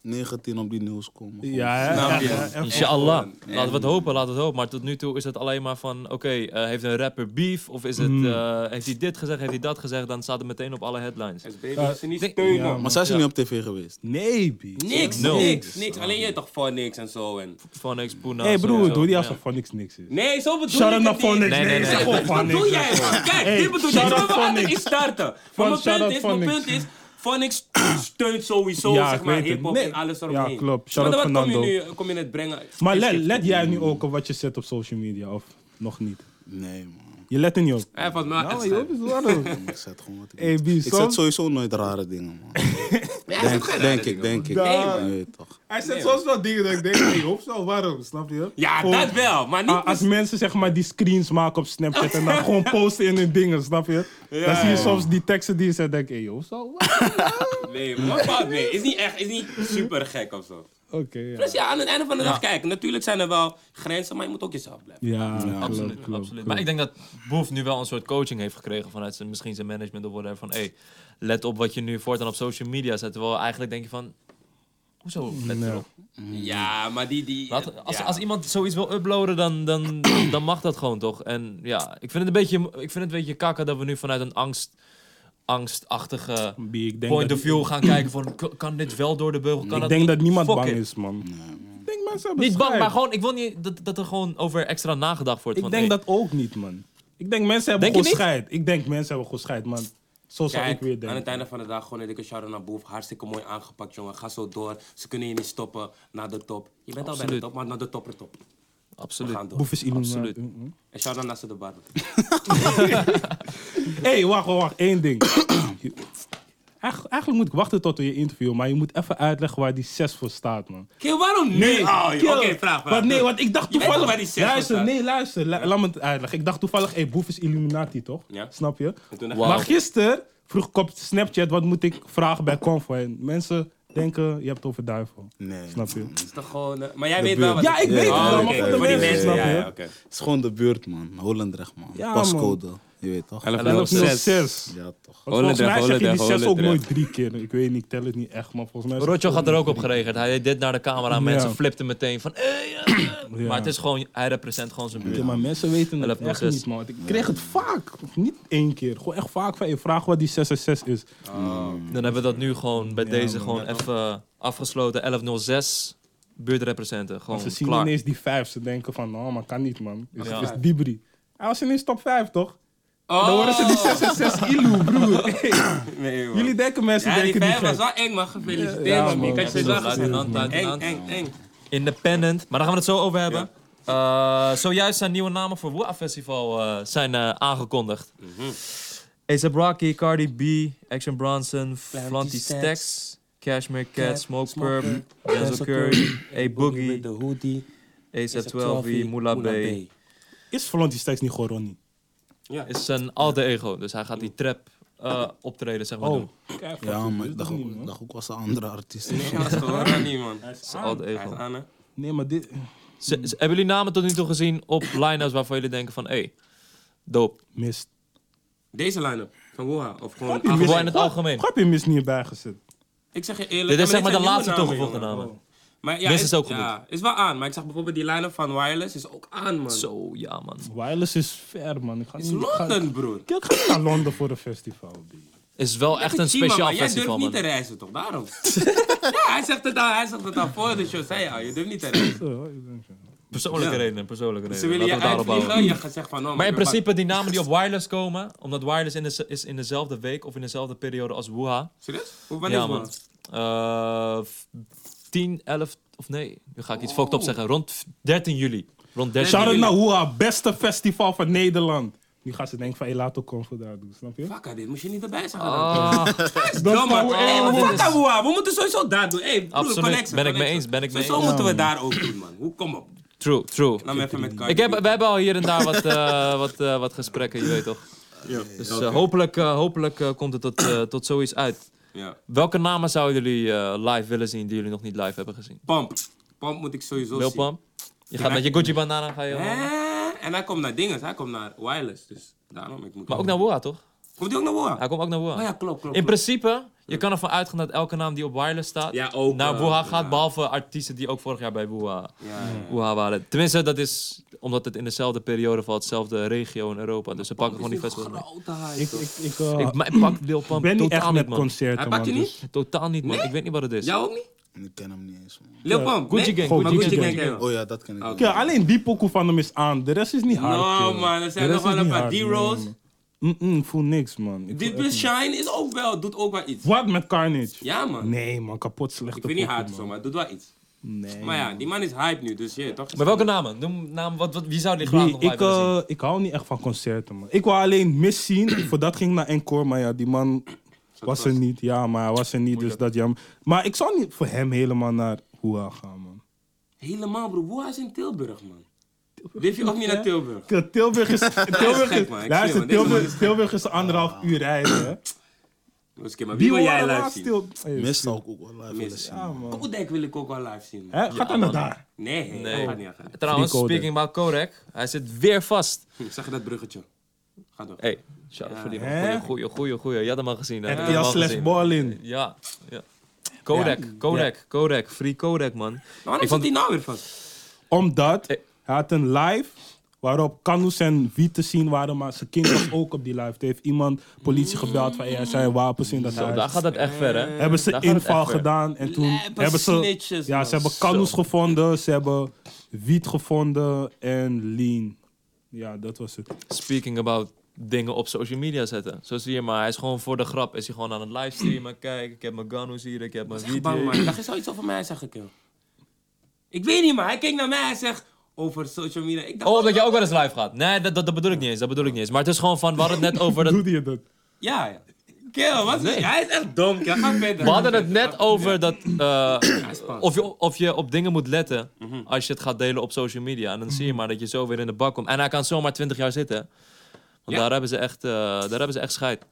[SPEAKER 2] 19 op die nieuws komen. gewoon.
[SPEAKER 3] Ja, hè?
[SPEAKER 2] Snap je?
[SPEAKER 3] Ja, ja, ja.
[SPEAKER 4] Inshallah.
[SPEAKER 1] gewoon.
[SPEAKER 4] Laten we het hopen, laten we het hopen. Maar tot nu toe is het alleen maar van, oké, eh, heeft een rapper beef? Of is het,
[SPEAKER 3] Mm.
[SPEAKER 4] eh, heeft hij dit gezegd, heeft hij dat gezegd? Dan staat het meteen op alle headlines.
[SPEAKER 1] SB
[SPEAKER 3] Ja.
[SPEAKER 1] wil ze niet
[SPEAKER 4] Nee.
[SPEAKER 1] steunen.
[SPEAKER 3] Ja,
[SPEAKER 2] Maar zijn ze
[SPEAKER 4] Ja.
[SPEAKER 2] niet op tv geweest?
[SPEAKER 3] Nee, B.
[SPEAKER 1] Niks,
[SPEAKER 4] Nul.
[SPEAKER 1] niks, niks. Alleen jij toch voor niks en zo. En...
[SPEAKER 4] Phonics, Poena.
[SPEAKER 3] hey, broer,
[SPEAKER 4] sowieso.
[SPEAKER 3] doe die alsof
[SPEAKER 4] Ja.
[SPEAKER 3] van niks niks is.
[SPEAKER 1] Nee, zo bedoel ik
[SPEAKER 3] Shout-out
[SPEAKER 1] het
[SPEAKER 3] naar
[SPEAKER 1] niet.
[SPEAKER 3] Phonics.
[SPEAKER 4] Nee, nee, nee.
[SPEAKER 1] Zeg, Wat
[SPEAKER 3] Gewoon Phonics,
[SPEAKER 1] doe jij,
[SPEAKER 3] man.
[SPEAKER 1] man? Kijk,
[SPEAKER 3] Hey,
[SPEAKER 1] dit bedoel ik. Ik wil
[SPEAKER 3] shout-out
[SPEAKER 1] wel altijd
[SPEAKER 3] Phonics.
[SPEAKER 1] iets starten.
[SPEAKER 3] Van
[SPEAKER 1] Maar mijn
[SPEAKER 3] shout-out
[SPEAKER 1] punt is, mijn
[SPEAKER 3] Phonics.
[SPEAKER 1] punt is... Phonics steunt sowieso,
[SPEAKER 3] Ja, ik
[SPEAKER 1] zeg maar,
[SPEAKER 3] weet het.
[SPEAKER 1] hiphop
[SPEAKER 3] Nee.
[SPEAKER 1] en alles
[SPEAKER 3] Ja,
[SPEAKER 1] eromheen.
[SPEAKER 3] klopt.
[SPEAKER 1] Maar
[SPEAKER 3] Shout-out
[SPEAKER 1] dan wat kom je
[SPEAKER 3] Fernando.
[SPEAKER 1] nu, kom je net brengen?
[SPEAKER 3] Maar let, let jij nu ook op wat je zet op social media, of nog niet?
[SPEAKER 2] Nee, man.
[SPEAKER 3] Je let er niet op.
[SPEAKER 1] Hij valt me wel echt
[SPEAKER 3] Nou, joh,
[SPEAKER 1] sterk.
[SPEAKER 3] dat is waar.
[SPEAKER 2] Ik zet gewoon wat ik
[SPEAKER 3] Hey,
[SPEAKER 2] doe.
[SPEAKER 3] B,
[SPEAKER 2] Ik
[SPEAKER 3] soms-
[SPEAKER 2] zet sowieso nooit rare dingen, man.
[SPEAKER 1] Nee, hij zegt
[SPEAKER 2] Denk,
[SPEAKER 1] geen
[SPEAKER 2] denk
[SPEAKER 1] rare
[SPEAKER 2] ik,
[SPEAKER 1] dingen,
[SPEAKER 2] denk ik.
[SPEAKER 1] man. Nee,
[SPEAKER 2] Je
[SPEAKER 1] man.
[SPEAKER 2] weet toch.
[SPEAKER 5] Hij zegt soms wel dingen dat ik denk, hey, hoofdstel, waarom? Snap je?
[SPEAKER 1] Ja,
[SPEAKER 3] Gewoon-
[SPEAKER 1] dat wel, maar
[SPEAKER 3] Ah, als
[SPEAKER 1] niet...
[SPEAKER 3] mensen zeg maar die screens maken op Snapchat en dan gewoon posten in hun dingen, snap je? dan zie je soms die teksten die je zegt, denk ik, hey, joh, zo? Oké,
[SPEAKER 1] Nee, maar fout mee. Is niet echt, is niet super gek of zo.
[SPEAKER 3] ja.
[SPEAKER 1] Dus ja, aan het einde van de dag, kijk, natuurlijk zijn er wel grenzen, maar je moet ook jezelf blijven.
[SPEAKER 3] Ja, klopt,
[SPEAKER 4] Absoluut,
[SPEAKER 3] klopt,
[SPEAKER 4] absoluut.
[SPEAKER 3] klopt.
[SPEAKER 4] Maar ik denk dat Boef nu wel een soort coaching heeft gekregen vanuit zijn, misschien zijn management of whatever. Van, hey, let op wat je nu voortaan op social media zet. Terwijl eigenlijk denk je van, hoezo let
[SPEAKER 3] Nee.
[SPEAKER 4] erop?
[SPEAKER 3] Mm.
[SPEAKER 1] Ja, maar die... die
[SPEAKER 4] Laat, als,
[SPEAKER 1] ja.
[SPEAKER 4] als iemand zoiets wil uploaden, dan, dan, dan mag dat gewoon toch? En ja, ik vind het een beetje, ik vind het een beetje kakken dat we nu vanuit een angst, angstachtige
[SPEAKER 3] B, ik denk
[SPEAKER 4] point
[SPEAKER 3] dat-
[SPEAKER 4] of view gaan kijken van, k- kan dit wel door de beugel? Kan
[SPEAKER 3] Ik
[SPEAKER 4] dat
[SPEAKER 3] denk
[SPEAKER 4] niet?
[SPEAKER 3] dat niemand
[SPEAKER 4] Fuck
[SPEAKER 3] bang
[SPEAKER 4] it.
[SPEAKER 3] is, man. Ik denk mensen hebben
[SPEAKER 4] Niet bang,
[SPEAKER 3] schijt.
[SPEAKER 4] maar gewoon, ik wil niet dat, dat er gewoon over extra nagedacht wordt.
[SPEAKER 3] Ik
[SPEAKER 4] van,
[SPEAKER 3] denk
[SPEAKER 4] hey,
[SPEAKER 3] dat ook niet, man. Ik denk mensen hebben
[SPEAKER 4] Denk je
[SPEAKER 3] gewoon
[SPEAKER 4] niet?
[SPEAKER 3] scheid. Ik denk mensen hebben gewoon scheid, man. Zo zou ik
[SPEAKER 1] Kijk,
[SPEAKER 3] weer
[SPEAKER 1] aan het
[SPEAKER 3] denken.
[SPEAKER 1] einde van de dag gewoon een dikke shout-out naar Boef. Hartstikke mooi aangepakt, jongen. Ga zo door. Ze kunnen je niet stoppen naar de top. Je bent al bij
[SPEAKER 4] Absoluut.
[SPEAKER 1] de top, maar naar de topper top. We
[SPEAKER 4] Absoluut.
[SPEAKER 1] gaan door.
[SPEAKER 3] Boef is Illuminati.
[SPEAKER 4] Absoluut.
[SPEAKER 3] Mhm.
[SPEAKER 1] En shout-out naar ze de bar.
[SPEAKER 3] Hé, hey, wacht, wacht, wacht. Eén ding. Eigen- eigenlijk moet ik wachten tot we je interview, maar je moet even uitleggen waar die 6 voor staat, man.
[SPEAKER 1] Kill, waarom nu al? Oh, joh?
[SPEAKER 3] kill.
[SPEAKER 1] Oké, vraag, vraag.
[SPEAKER 3] Want nee,
[SPEAKER 1] Doe.
[SPEAKER 3] want ik dacht
[SPEAKER 1] Je weet
[SPEAKER 3] toevallig...
[SPEAKER 1] toch waar die zes voor
[SPEAKER 3] luister,
[SPEAKER 1] staat?
[SPEAKER 3] nee, luister. la- laat me het uitleggen. Ik dacht toevallig, hey, Boef is Illuminati, toch?
[SPEAKER 1] Ja.
[SPEAKER 3] Snap je?
[SPEAKER 1] En toen dacht
[SPEAKER 4] Wauw.
[SPEAKER 3] Maar gisteren vroeg ik op Snapchat, wat moet ik vragen bij Convoy? En mensen denken, je hebt het over duivel.
[SPEAKER 2] Nee.
[SPEAKER 3] Snap je?
[SPEAKER 1] Het is toch gewoon... eh, maar jij weet
[SPEAKER 2] buurt.
[SPEAKER 1] wel wat...
[SPEAKER 3] Ja, ik weet het
[SPEAKER 1] Oh,
[SPEAKER 3] wel, maar
[SPEAKER 1] oké,
[SPEAKER 3] voor de mensen, snap
[SPEAKER 1] ja,
[SPEAKER 3] je?
[SPEAKER 1] ja, oké.
[SPEAKER 2] Het is gewoon de buurt, man. Holendrecht, man.
[SPEAKER 3] Ja,
[SPEAKER 2] Pascode. Je weet toch?
[SPEAKER 1] Elf
[SPEAKER 4] Elf
[SPEAKER 1] nul zes.
[SPEAKER 3] 06.
[SPEAKER 2] Ja, toch.
[SPEAKER 3] Want volgens mij zeg je die
[SPEAKER 1] Holendrecht,
[SPEAKER 3] 6 ook
[SPEAKER 1] Holendrecht.
[SPEAKER 3] nooit drie keer. Ik weet niet, ik tel het niet echt, maar volgens mij... is het
[SPEAKER 4] Rotjo
[SPEAKER 3] ook
[SPEAKER 4] had er ook
[SPEAKER 3] nooit
[SPEAKER 4] op gereageerd. Hij deed dit naar de camera. Mensen
[SPEAKER 3] Ja.
[SPEAKER 4] flipten meteen van. "Eh, ja, ja."
[SPEAKER 3] Ja.
[SPEAKER 4] Maar het is gewoon, hij represent gewoon zijn
[SPEAKER 3] drie
[SPEAKER 4] buurt.
[SPEAKER 3] keer. maar mensen weten het
[SPEAKER 4] 11
[SPEAKER 3] echt
[SPEAKER 4] 06.
[SPEAKER 3] niet, man. Want Ik kreeg het vaak. Niet één keer. Gewoon echt vaak van je vraag wat die 666 is.
[SPEAKER 4] Dan hebben we dat nu gewoon bij deze gewoon even eh, afgesloten. 1106 buurtrepresenten.
[SPEAKER 3] Want
[SPEAKER 4] Gewoon
[SPEAKER 3] ze zien
[SPEAKER 4] klaar.
[SPEAKER 3] ineens die 5. Ze denken van, nou, maar kan niet, man. Is,
[SPEAKER 4] Ja.
[SPEAKER 3] is Dibri. Hij was ineens top 5, toch?
[SPEAKER 1] Oh.
[SPEAKER 3] Dan worden ze die 666 Ilu, broer. Hey,
[SPEAKER 1] Nee, man.
[SPEAKER 3] Jullie denken mensen
[SPEAKER 1] Ja, die
[SPEAKER 3] denken die
[SPEAKER 1] vijf was
[SPEAKER 3] gek.
[SPEAKER 1] wel eng, man. Gefeliciteerd,
[SPEAKER 3] Ja,
[SPEAKER 1] man.
[SPEAKER 3] man.
[SPEAKER 1] Ik had je wel gezien.
[SPEAKER 4] Luitenant,
[SPEAKER 1] Eng,
[SPEAKER 4] luitenant.
[SPEAKER 1] eng, eng.
[SPEAKER 4] Independent. Maar daar gaan we het zo over hebben. Eh, zojuist zijn nieuwe namen voor Woa Festival eh, zijn eh, aangekondigd.
[SPEAKER 3] Mhm.
[SPEAKER 4] A$AP Rocky, Cardi B, Action Bronson, Flanty Stacks, Cashmere Cat,
[SPEAKER 1] Cat,
[SPEAKER 4] Smoke
[SPEAKER 1] Smoke
[SPEAKER 4] Purp,
[SPEAKER 1] Purp,
[SPEAKER 4] Denzel
[SPEAKER 1] Denzel
[SPEAKER 4] Curry, A Boogie,
[SPEAKER 1] De hoodie.
[SPEAKER 4] A$AP 12 Moula B.
[SPEAKER 3] Is Volantie steeds niet gewoon Ronnie?
[SPEAKER 1] Ja.
[SPEAKER 4] Is zijn alter ego, dus hij gaat die trap eh, optreden, zeg maar.
[SPEAKER 3] Oh.
[SPEAKER 4] Doen.
[SPEAKER 3] Kijk,
[SPEAKER 2] Ja,
[SPEAKER 3] fuck, dit
[SPEAKER 2] maar ik
[SPEAKER 3] is
[SPEAKER 2] dacht
[SPEAKER 3] toch
[SPEAKER 2] ook-
[SPEAKER 3] niet, man.
[SPEAKER 2] dacht ook was een andere artiest.
[SPEAKER 1] Nee, dat is toch wel niet, man.
[SPEAKER 4] Zijn alter
[SPEAKER 1] Hij is
[SPEAKER 4] ego.
[SPEAKER 1] aan, hè?
[SPEAKER 3] Nee, maar dit...
[SPEAKER 4] Z- z- hebben jullie namen tot nu toe gezien op line-ups waarvan jullie denken van, hé, hey, dope.
[SPEAKER 3] Mist.
[SPEAKER 1] Deze line-up van Woha. Of gewoon...
[SPEAKER 3] Grapje, mist.
[SPEAKER 4] in het algemeen.
[SPEAKER 3] Grapje, mist niet bijgezet.
[SPEAKER 1] Ik zeg je eerlijk...
[SPEAKER 4] Dit is
[SPEAKER 1] ja,
[SPEAKER 4] zeg maar de
[SPEAKER 1] zijn nieuwe
[SPEAKER 4] laatste
[SPEAKER 1] namen,
[SPEAKER 4] toegevoegde
[SPEAKER 1] jongen.
[SPEAKER 4] namen.
[SPEAKER 1] Maar ja,
[SPEAKER 4] Deze is ook
[SPEAKER 1] Ja, is wel aan. Maar ik zag bijvoorbeeld die line-up van Wireless is ook aan, man. Zo.
[SPEAKER 4] Zo, ja man.
[SPEAKER 3] Wireless is ver, man. Ik ga
[SPEAKER 1] Is
[SPEAKER 3] niet, ik ga-
[SPEAKER 1] Londen, broer.
[SPEAKER 3] Ik ga niet naar Londen voor een festival. B.
[SPEAKER 4] Is wel echt een
[SPEAKER 1] Chima,
[SPEAKER 4] speciaal
[SPEAKER 1] maar jij
[SPEAKER 4] festival,
[SPEAKER 1] durft niet
[SPEAKER 4] man.
[SPEAKER 1] te reizen, toch? Daarom. ja, hij zegt het al, hij zegt het al voor de show. Zei je al, je durft niet te reizen.
[SPEAKER 3] Zo, ik denk zo.
[SPEAKER 4] Persoonlijke
[SPEAKER 1] Ja.
[SPEAKER 4] redenen, persoonlijke
[SPEAKER 1] Ze
[SPEAKER 4] redenen.
[SPEAKER 1] willen je
[SPEAKER 4] Laten we daarop
[SPEAKER 1] uitvliegen,
[SPEAKER 4] houden.
[SPEAKER 1] je gaat zeggen van... Oh,
[SPEAKER 4] Maar in
[SPEAKER 1] ik ben bang.
[SPEAKER 4] principe, die namen die op wireless komen, omdat wireless in de, is in dezelfde week of in dezelfde periode als Wuha.
[SPEAKER 1] Serieus? Hoe wanneer
[SPEAKER 4] Ja,
[SPEAKER 1] is
[SPEAKER 4] man.
[SPEAKER 1] het?
[SPEAKER 4] Eh, f- 10, 11, of nee, nu ga ik iets
[SPEAKER 1] Oh.
[SPEAKER 4] fucked op zeggen. Rond f- 13 juli. Rond 13
[SPEAKER 3] Shout out
[SPEAKER 4] juli.
[SPEAKER 3] naar Hoa, beste festival van Nederland. Nu gaan ze denken van, hey, laat ook Convo daar doen, snap je?
[SPEAKER 1] Fuck, dit moest je niet erbij zeggen. dan.
[SPEAKER 4] Ah,
[SPEAKER 3] Dat
[SPEAKER 1] Ja,
[SPEAKER 3] is
[SPEAKER 1] maar
[SPEAKER 3] nou-
[SPEAKER 1] hey,
[SPEAKER 4] oh,
[SPEAKER 1] we
[SPEAKER 4] dit
[SPEAKER 1] moeten
[SPEAKER 4] is-
[SPEAKER 1] Taboa, ah, we moeten sowieso daar doen. Hey, broer,
[SPEAKER 4] Absoluut,
[SPEAKER 1] connecten,
[SPEAKER 4] ben ik mee
[SPEAKER 1] connecten.
[SPEAKER 4] eens, ben ik mee
[SPEAKER 1] Sowieso
[SPEAKER 4] eens.
[SPEAKER 1] moeten we daar ook doen, man. Hoe, kom op.
[SPEAKER 4] true, true.
[SPEAKER 1] Laat me even met Cardi
[SPEAKER 4] Ik heb,
[SPEAKER 1] B.
[SPEAKER 4] we hebben al hier en daar wat, eh, wat, eh, wat gesprekken, je weet toch. Dus eh, hopelijk, eh, hopelijk eh, komt het tot, eh, tot zoiets uit.
[SPEAKER 1] Ja.
[SPEAKER 4] Welke namen zouden jullie eh, live willen zien die jullie nog niet live hebben gezien?
[SPEAKER 1] Pump. Pump moet ik sowieso
[SPEAKER 4] Wil
[SPEAKER 1] zien.
[SPEAKER 4] Pam? Je gaat met je Gucci Banana ga je horen.
[SPEAKER 1] Eh, En hij komt naar dingen, hij komt naar wireless. Dus daarom, ik moet...
[SPEAKER 4] Maar ook naar Woa, toch?
[SPEAKER 1] Komt hij ook naar Woa?
[SPEAKER 4] Hij komt ook naar Woa.
[SPEAKER 1] Oh ja, klopt, klopt.
[SPEAKER 4] In
[SPEAKER 1] klopt.
[SPEAKER 4] principe Je kan ervan uitgaan dat elke naam die op wireless staat
[SPEAKER 1] Ja, ook,
[SPEAKER 4] naar
[SPEAKER 1] eh,
[SPEAKER 4] Wuha gaat.
[SPEAKER 1] ja.
[SPEAKER 4] Behalve artiesten die ook vorig jaar bij Wuha,
[SPEAKER 1] Ja, ja.
[SPEAKER 4] Wuha waren. Tenminste, dat is omdat het in dezelfde periode valt, dezelfde regio in Europa. Dus ze pakken gewoon die festivals mee.
[SPEAKER 1] Grote hype,
[SPEAKER 3] Ik,
[SPEAKER 1] toch?
[SPEAKER 3] ik, ik, eh,
[SPEAKER 4] Ik ma- ik pak Lil Pump
[SPEAKER 3] ben niet echt
[SPEAKER 4] totaal niet,
[SPEAKER 3] met
[SPEAKER 4] man.
[SPEAKER 3] concerten,
[SPEAKER 1] Hij
[SPEAKER 3] man.
[SPEAKER 1] pakt je
[SPEAKER 3] dus-
[SPEAKER 1] niet?
[SPEAKER 4] Totaal niet, man.
[SPEAKER 1] Nee?
[SPEAKER 4] Ik weet niet wat het is.
[SPEAKER 1] Jou ook niet?
[SPEAKER 2] En ik ken hem niet eens, man.
[SPEAKER 1] Lil
[SPEAKER 3] Ja,
[SPEAKER 1] Pump?
[SPEAKER 4] Gucci
[SPEAKER 1] nee?
[SPEAKER 4] Gang,
[SPEAKER 1] Maar
[SPEAKER 4] Gucci
[SPEAKER 1] Gucci
[SPEAKER 4] Gang.
[SPEAKER 1] Gang ken je wel.
[SPEAKER 2] Oh ja, dat ken ik
[SPEAKER 1] Oké.
[SPEAKER 2] wel.
[SPEAKER 3] Ja, Ah, alleen die pokoe van hem is aan. De rest is niet hard.
[SPEAKER 1] Nou
[SPEAKER 3] kerel.
[SPEAKER 1] man, er zijn
[SPEAKER 3] De
[SPEAKER 1] nog
[SPEAKER 3] rest
[SPEAKER 1] wel
[SPEAKER 3] is
[SPEAKER 1] een
[SPEAKER 3] niet
[SPEAKER 1] paar
[SPEAKER 3] hard,
[SPEAKER 1] D-rolls.
[SPEAKER 3] man. Mm-mm, ik voel niks, man. Ik
[SPEAKER 1] Dit
[SPEAKER 3] voel echt
[SPEAKER 1] plus Shine is ook wel, doet ook wel iets.
[SPEAKER 3] niks. Wat met Carnage?
[SPEAKER 1] Ja man.
[SPEAKER 3] Nee, man, kapot slechte
[SPEAKER 1] Ik vind niet
[SPEAKER 3] pokoe,
[SPEAKER 1] hard zo,
[SPEAKER 3] man.
[SPEAKER 1] maar het doet wel iets.
[SPEAKER 3] Nee.
[SPEAKER 1] Maar ja, die man is hype nu, dus je toch?
[SPEAKER 4] Maar welke namen? Noem naam, wat, wat, wie zou die graag
[SPEAKER 3] Wie,
[SPEAKER 4] nog live
[SPEAKER 3] ik,
[SPEAKER 4] willen zien?
[SPEAKER 3] eh, ik hou niet echt van concerten, man. Ik wou alleen Miss zien. Voor dat ging ik naar Encore, maar ja, die man was er niet. Ja, maar hij was er niet, dus dat jammer. Maar ik zou niet voor hem helemaal naar Hoa gaan, man.
[SPEAKER 1] Helemaal bro, hoe is in Tilburg man? Leef je ook niet naar Tilburg?
[SPEAKER 3] Kijk, Tilburg is... Tilburg
[SPEAKER 1] gek,
[SPEAKER 3] is,
[SPEAKER 1] man. Ik zweer,
[SPEAKER 3] luister,
[SPEAKER 1] man, deze man is
[SPEAKER 3] Tilburg,
[SPEAKER 1] gek.
[SPEAKER 3] Tilburg is anderhalf uur rijden, hè.
[SPEAKER 1] Oké, maar wie wil jij live
[SPEAKER 3] waren nou laatst
[SPEAKER 1] zien?
[SPEAKER 3] Til- Hey,
[SPEAKER 2] Mist zou ik ook wel live willen
[SPEAKER 1] Mist,
[SPEAKER 2] zien.
[SPEAKER 3] Ja, man.
[SPEAKER 1] Koudijk wil ik ook wel live zien man.
[SPEAKER 3] Hè, gaat dan naar daar.
[SPEAKER 1] Nee, nee,
[SPEAKER 4] Nee.
[SPEAKER 1] dat gaat niet. dat gaat niet.
[SPEAKER 4] Trouwens,
[SPEAKER 3] eh, Die code.
[SPEAKER 4] speaking about Korek, hij zit weer vast.
[SPEAKER 1] Hm, Zag je dat bruggetje? Ga door.
[SPEAKER 4] Hey, shout out voor die
[SPEAKER 3] Hè?
[SPEAKER 4] goeie, goeie, goeie, goeie. Je had hem al gezien. hè? Je had hem
[SPEAKER 3] Ja,
[SPEAKER 4] al
[SPEAKER 3] slash
[SPEAKER 4] gezien.
[SPEAKER 3] Ballin.
[SPEAKER 4] Ja, ja. Kodak, Kodak, Kodak, free Kodak, man.
[SPEAKER 1] Maar waarom zit
[SPEAKER 4] Ik vond-
[SPEAKER 1] die nou weer vast?
[SPEAKER 3] Omdat
[SPEAKER 4] Hey.
[SPEAKER 3] hij had een live waarop Kanus en Wiet te zien waren, maar zijn kind was ook op die live. Er heeft iemand politie gebeld van, "Hey, er zijn wapens in dat
[SPEAKER 4] Zo, daar
[SPEAKER 3] huis.
[SPEAKER 4] gaat dat echt ver, hè?
[SPEAKER 3] Hebben ze
[SPEAKER 4] daar gaat het
[SPEAKER 3] inval
[SPEAKER 4] echt ver.
[SPEAKER 3] gedaan en toen
[SPEAKER 1] Lijpe
[SPEAKER 3] hebben ze,
[SPEAKER 1] snitches,
[SPEAKER 3] ja,
[SPEAKER 1] man.
[SPEAKER 3] ze hebben Kanus gevonden, ze hebben Wiet gevonden en Lean. Ja, dat was het.
[SPEAKER 4] Speaking about dingen op social media zetten. Zo zie je maar, hij is gewoon voor de grap, is hij gewoon aan het livestreamen. Kijk, ik heb mijn Ganus hier, ik heb mijn
[SPEAKER 1] Ik ben
[SPEAKER 4] video.
[SPEAKER 1] bang man, dat is zoiets over mij zeggen, kill. Ik weet niet man, hij keek naar mij en zegt over social media. Ik dacht,
[SPEAKER 4] Oh, omdat je ook wel eens live gaat. Nee, dat, dat, dat bedoel ik niet eens, dat bedoel ik niet eens. Maar het is gewoon van, we hadden het net over dat...
[SPEAKER 3] Doe je dat?
[SPEAKER 1] Ja, ja. Kill, wat is Hij is echt dom, kill. Ga verder.
[SPEAKER 4] We hadden het net over dat. eh,
[SPEAKER 1] spannend.
[SPEAKER 4] of, je, of je op dingen moet letten.
[SPEAKER 1] Mhm.
[SPEAKER 4] als je het gaat delen op social media. En dan zie je maar dat je zo weer in de bak komt. En hij kan zomaar 20 jaar zitten.
[SPEAKER 1] Ja.
[SPEAKER 4] Want daar, hebben ze echt, eh, daar hebben ze echt scheid.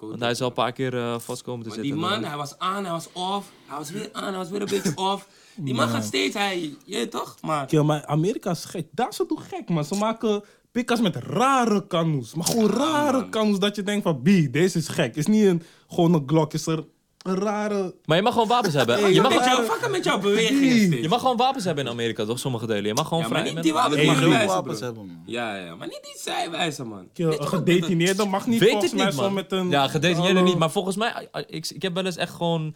[SPEAKER 4] Want hij is al een paar keer eh, vast komen te
[SPEAKER 1] Maar die
[SPEAKER 4] zitten.
[SPEAKER 1] man, hij was aan, hij was off. Hij was weer aan, hij was weer een beetje off. Die man gaat steeds, hij, je weet toch? Maar
[SPEAKER 3] Kerel, maar Amerika is gek. Daar is het toch gek, man. Ze maken pikkas met rare kanoes. Maar gewoon rare kanoes dat je denkt van... B, deze is gek. Is niet een, gewoon een Glock. Is er een rare...
[SPEAKER 4] Maar je mag gewoon wapens hebben.
[SPEAKER 1] je
[SPEAKER 4] Je
[SPEAKER 1] mag
[SPEAKER 4] mag,
[SPEAKER 1] met jou, fucken met jouw bewegingen steeds.
[SPEAKER 4] je mag gewoon wapens hebben in Amerika, toch? Sommige delen. Je mag gewoon
[SPEAKER 1] ja, maar
[SPEAKER 4] vrij.
[SPEAKER 1] niet
[SPEAKER 4] met-
[SPEAKER 1] die wapens
[SPEAKER 2] Ik
[SPEAKER 1] mag
[SPEAKER 2] mag
[SPEAKER 1] wijzen,
[SPEAKER 2] geen
[SPEAKER 1] bro.
[SPEAKER 2] wapens hebben, man.
[SPEAKER 1] Ja, ja, maar niet die zijwijzen, man.
[SPEAKER 3] Kerel, een gedetineerde mag niet
[SPEAKER 4] Weet
[SPEAKER 3] volgens
[SPEAKER 4] het
[SPEAKER 3] mij
[SPEAKER 4] niet,
[SPEAKER 3] zo
[SPEAKER 4] man.
[SPEAKER 3] met een...
[SPEAKER 4] Ja, gedetineerden
[SPEAKER 3] Hallo.
[SPEAKER 4] niet. Maar volgens mij, eh, ik, ik heb wel eens echt gewoon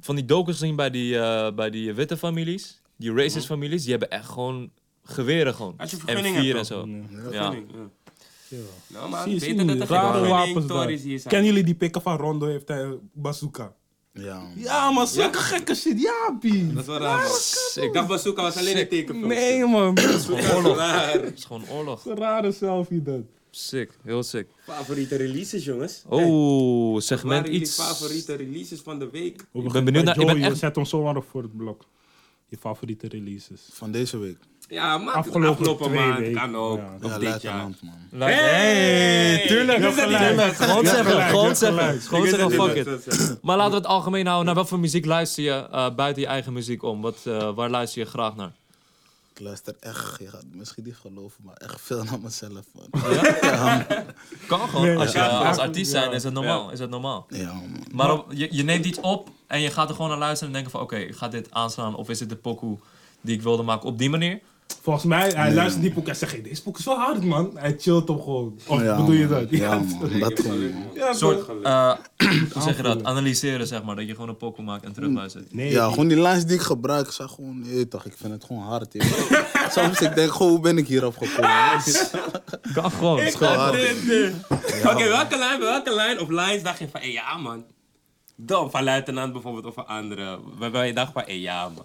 [SPEAKER 4] van die dokers gezien bij die, eh, bij die witte families. Die
[SPEAKER 3] Mhm.
[SPEAKER 4] racist families, die hebben echt gewoon geweren gewoon.
[SPEAKER 1] Als je
[SPEAKER 4] en
[SPEAKER 1] vergunning
[SPEAKER 4] vier en
[SPEAKER 1] hebt,
[SPEAKER 4] zo.
[SPEAKER 1] Ja.
[SPEAKER 4] Ja.
[SPEAKER 1] Nou, maar
[SPEAKER 3] Zie je,
[SPEAKER 1] beter
[SPEAKER 3] zie je,
[SPEAKER 1] dat er geen
[SPEAKER 3] rare
[SPEAKER 1] vergunning
[SPEAKER 3] wapens daar.
[SPEAKER 1] torens hier zijn.
[SPEAKER 3] Kennen jullie die pikken van Rondo heeft hij bazooka?
[SPEAKER 2] Ja, man.
[SPEAKER 3] Ja, man. Zulke gekke shit. Ja, B.
[SPEAKER 1] Dat is wel raar. man. Ik dacht, Bazooka was alleen een tekenfilm.
[SPEAKER 3] Nee, man.
[SPEAKER 4] Het is gewoon oorlog.
[SPEAKER 3] Een rare selfie, dat.
[SPEAKER 4] Sick, heel sick.
[SPEAKER 1] Favoriete releases, jongens.
[SPEAKER 4] Oh,
[SPEAKER 1] Wat
[SPEAKER 4] segment
[SPEAKER 1] waren jullie
[SPEAKER 4] iets.
[SPEAKER 1] favoriete releases van de week?
[SPEAKER 3] Ik
[SPEAKER 4] ben benieuwd naar- ik ben echt-
[SPEAKER 3] Eh, Zet hem zomaar op voor het blok. Je favoriete releases.
[SPEAKER 2] Van deze week.
[SPEAKER 1] Ja, maar
[SPEAKER 3] Afgelopen
[SPEAKER 1] afgelopen
[SPEAKER 3] twee
[SPEAKER 1] maand
[SPEAKER 3] weken.
[SPEAKER 1] kan ook.
[SPEAKER 3] Ja.
[SPEAKER 1] Of
[SPEAKER 2] Ja,
[SPEAKER 1] dit jaar.
[SPEAKER 2] Luitenant, man.
[SPEAKER 3] Mm.
[SPEAKER 4] Like-
[SPEAKER 1] Hey,
[SPEAKER 3] tuurlijk,
[SPEAKER 1] Wie zit
[SPEAKER 3] heel
[SPEAKER 1] die
[SPEAKER 3] gelijk.
[SPEAKER 1] dan?
[SPEAKER 4] Gewoon
[SPEAKER 3] Ja,
[SPEAKER 4] zeggen,
[SPEAKER 3] gelijk, ja,
[SPEAKER 4] gewoon zeggen.
[SPEAKER 3] gelijk.
[SPEAKER 4] Gewoon
[SPEAKER 1] Wie zit
[SPEAKER 4] zeggen,
[SPEAKER 1] die
[SPEAKER 4] fuck
[SPEAKER 1] dan?
[SPEAKER 4] it. Maar laten we het algemeen houden. Naar wat voor muziek luister je eh, buiten je eigen muziek om? Wat, eh, waar luister je graag naar?
[SPEAKER 2] Ik luister echt, je gaat misschien niet geloven, maar echt veel naar mezelf, man.
[SPEAKER 4] Kan gewoon. als je
[SPEAKER 3] ja.
[SPEAKER 4] eh, als artiest zijn, is dat normaal. Is dat normaal.
[SPEAKER 2] Ja, man.
[SPEAKER 4] Maar op- je, je neemt iets op en je gaat er gewoon naar luisteren en denken van... Oké, ik ga dit aanslaan of is dit de pokoe die ik wilde maken op die manier?
[SPEAKER 3] Volgens mij, hij luistert die boek en zegt, hey, deze boek is wel hard, man. Hij chillt hem gewoon. Of
[SPEAKER 2] Ja,
[SPEAKER 3] bedoel je
[SPEAKER 2] man.
[SPEAKER 3] dat?
[SPEAKER 2] Ja, man. Dat gewoon, man.
[SPEAKER 3] Ja,
[SPEAKER 4] Een soort,
[SPEAKER 3] toch?
[SPEAKER 4] eh, hoe zeg je dat? Analyseren, zeg maar. Dat je gewoon een pokoe maakt en terugluistert.
[SPEAKER 3] Nee,
[SPEAKER 2] Ja,
[SPEAKER 3] die-
[SPEAKER 2] gewoon die lines die ik gebruik, ik zeg gewoon, je weet toch, ik vind het gewoon hard. je weet toch. Soms ik denk gewoon, hoe ben ik hierop gekomen?
[SPEAKER 4] Kan gewoon.
[SPEAKER 3] Ik had dit, dit.
[SPEAKER 1] Oké, welke lijn, bij welke lijn of lines dacht je van, hé ja man. Dan, van luitenant bijvoorbeeld of van anderen. Waarbij je dacht van, hé ja man.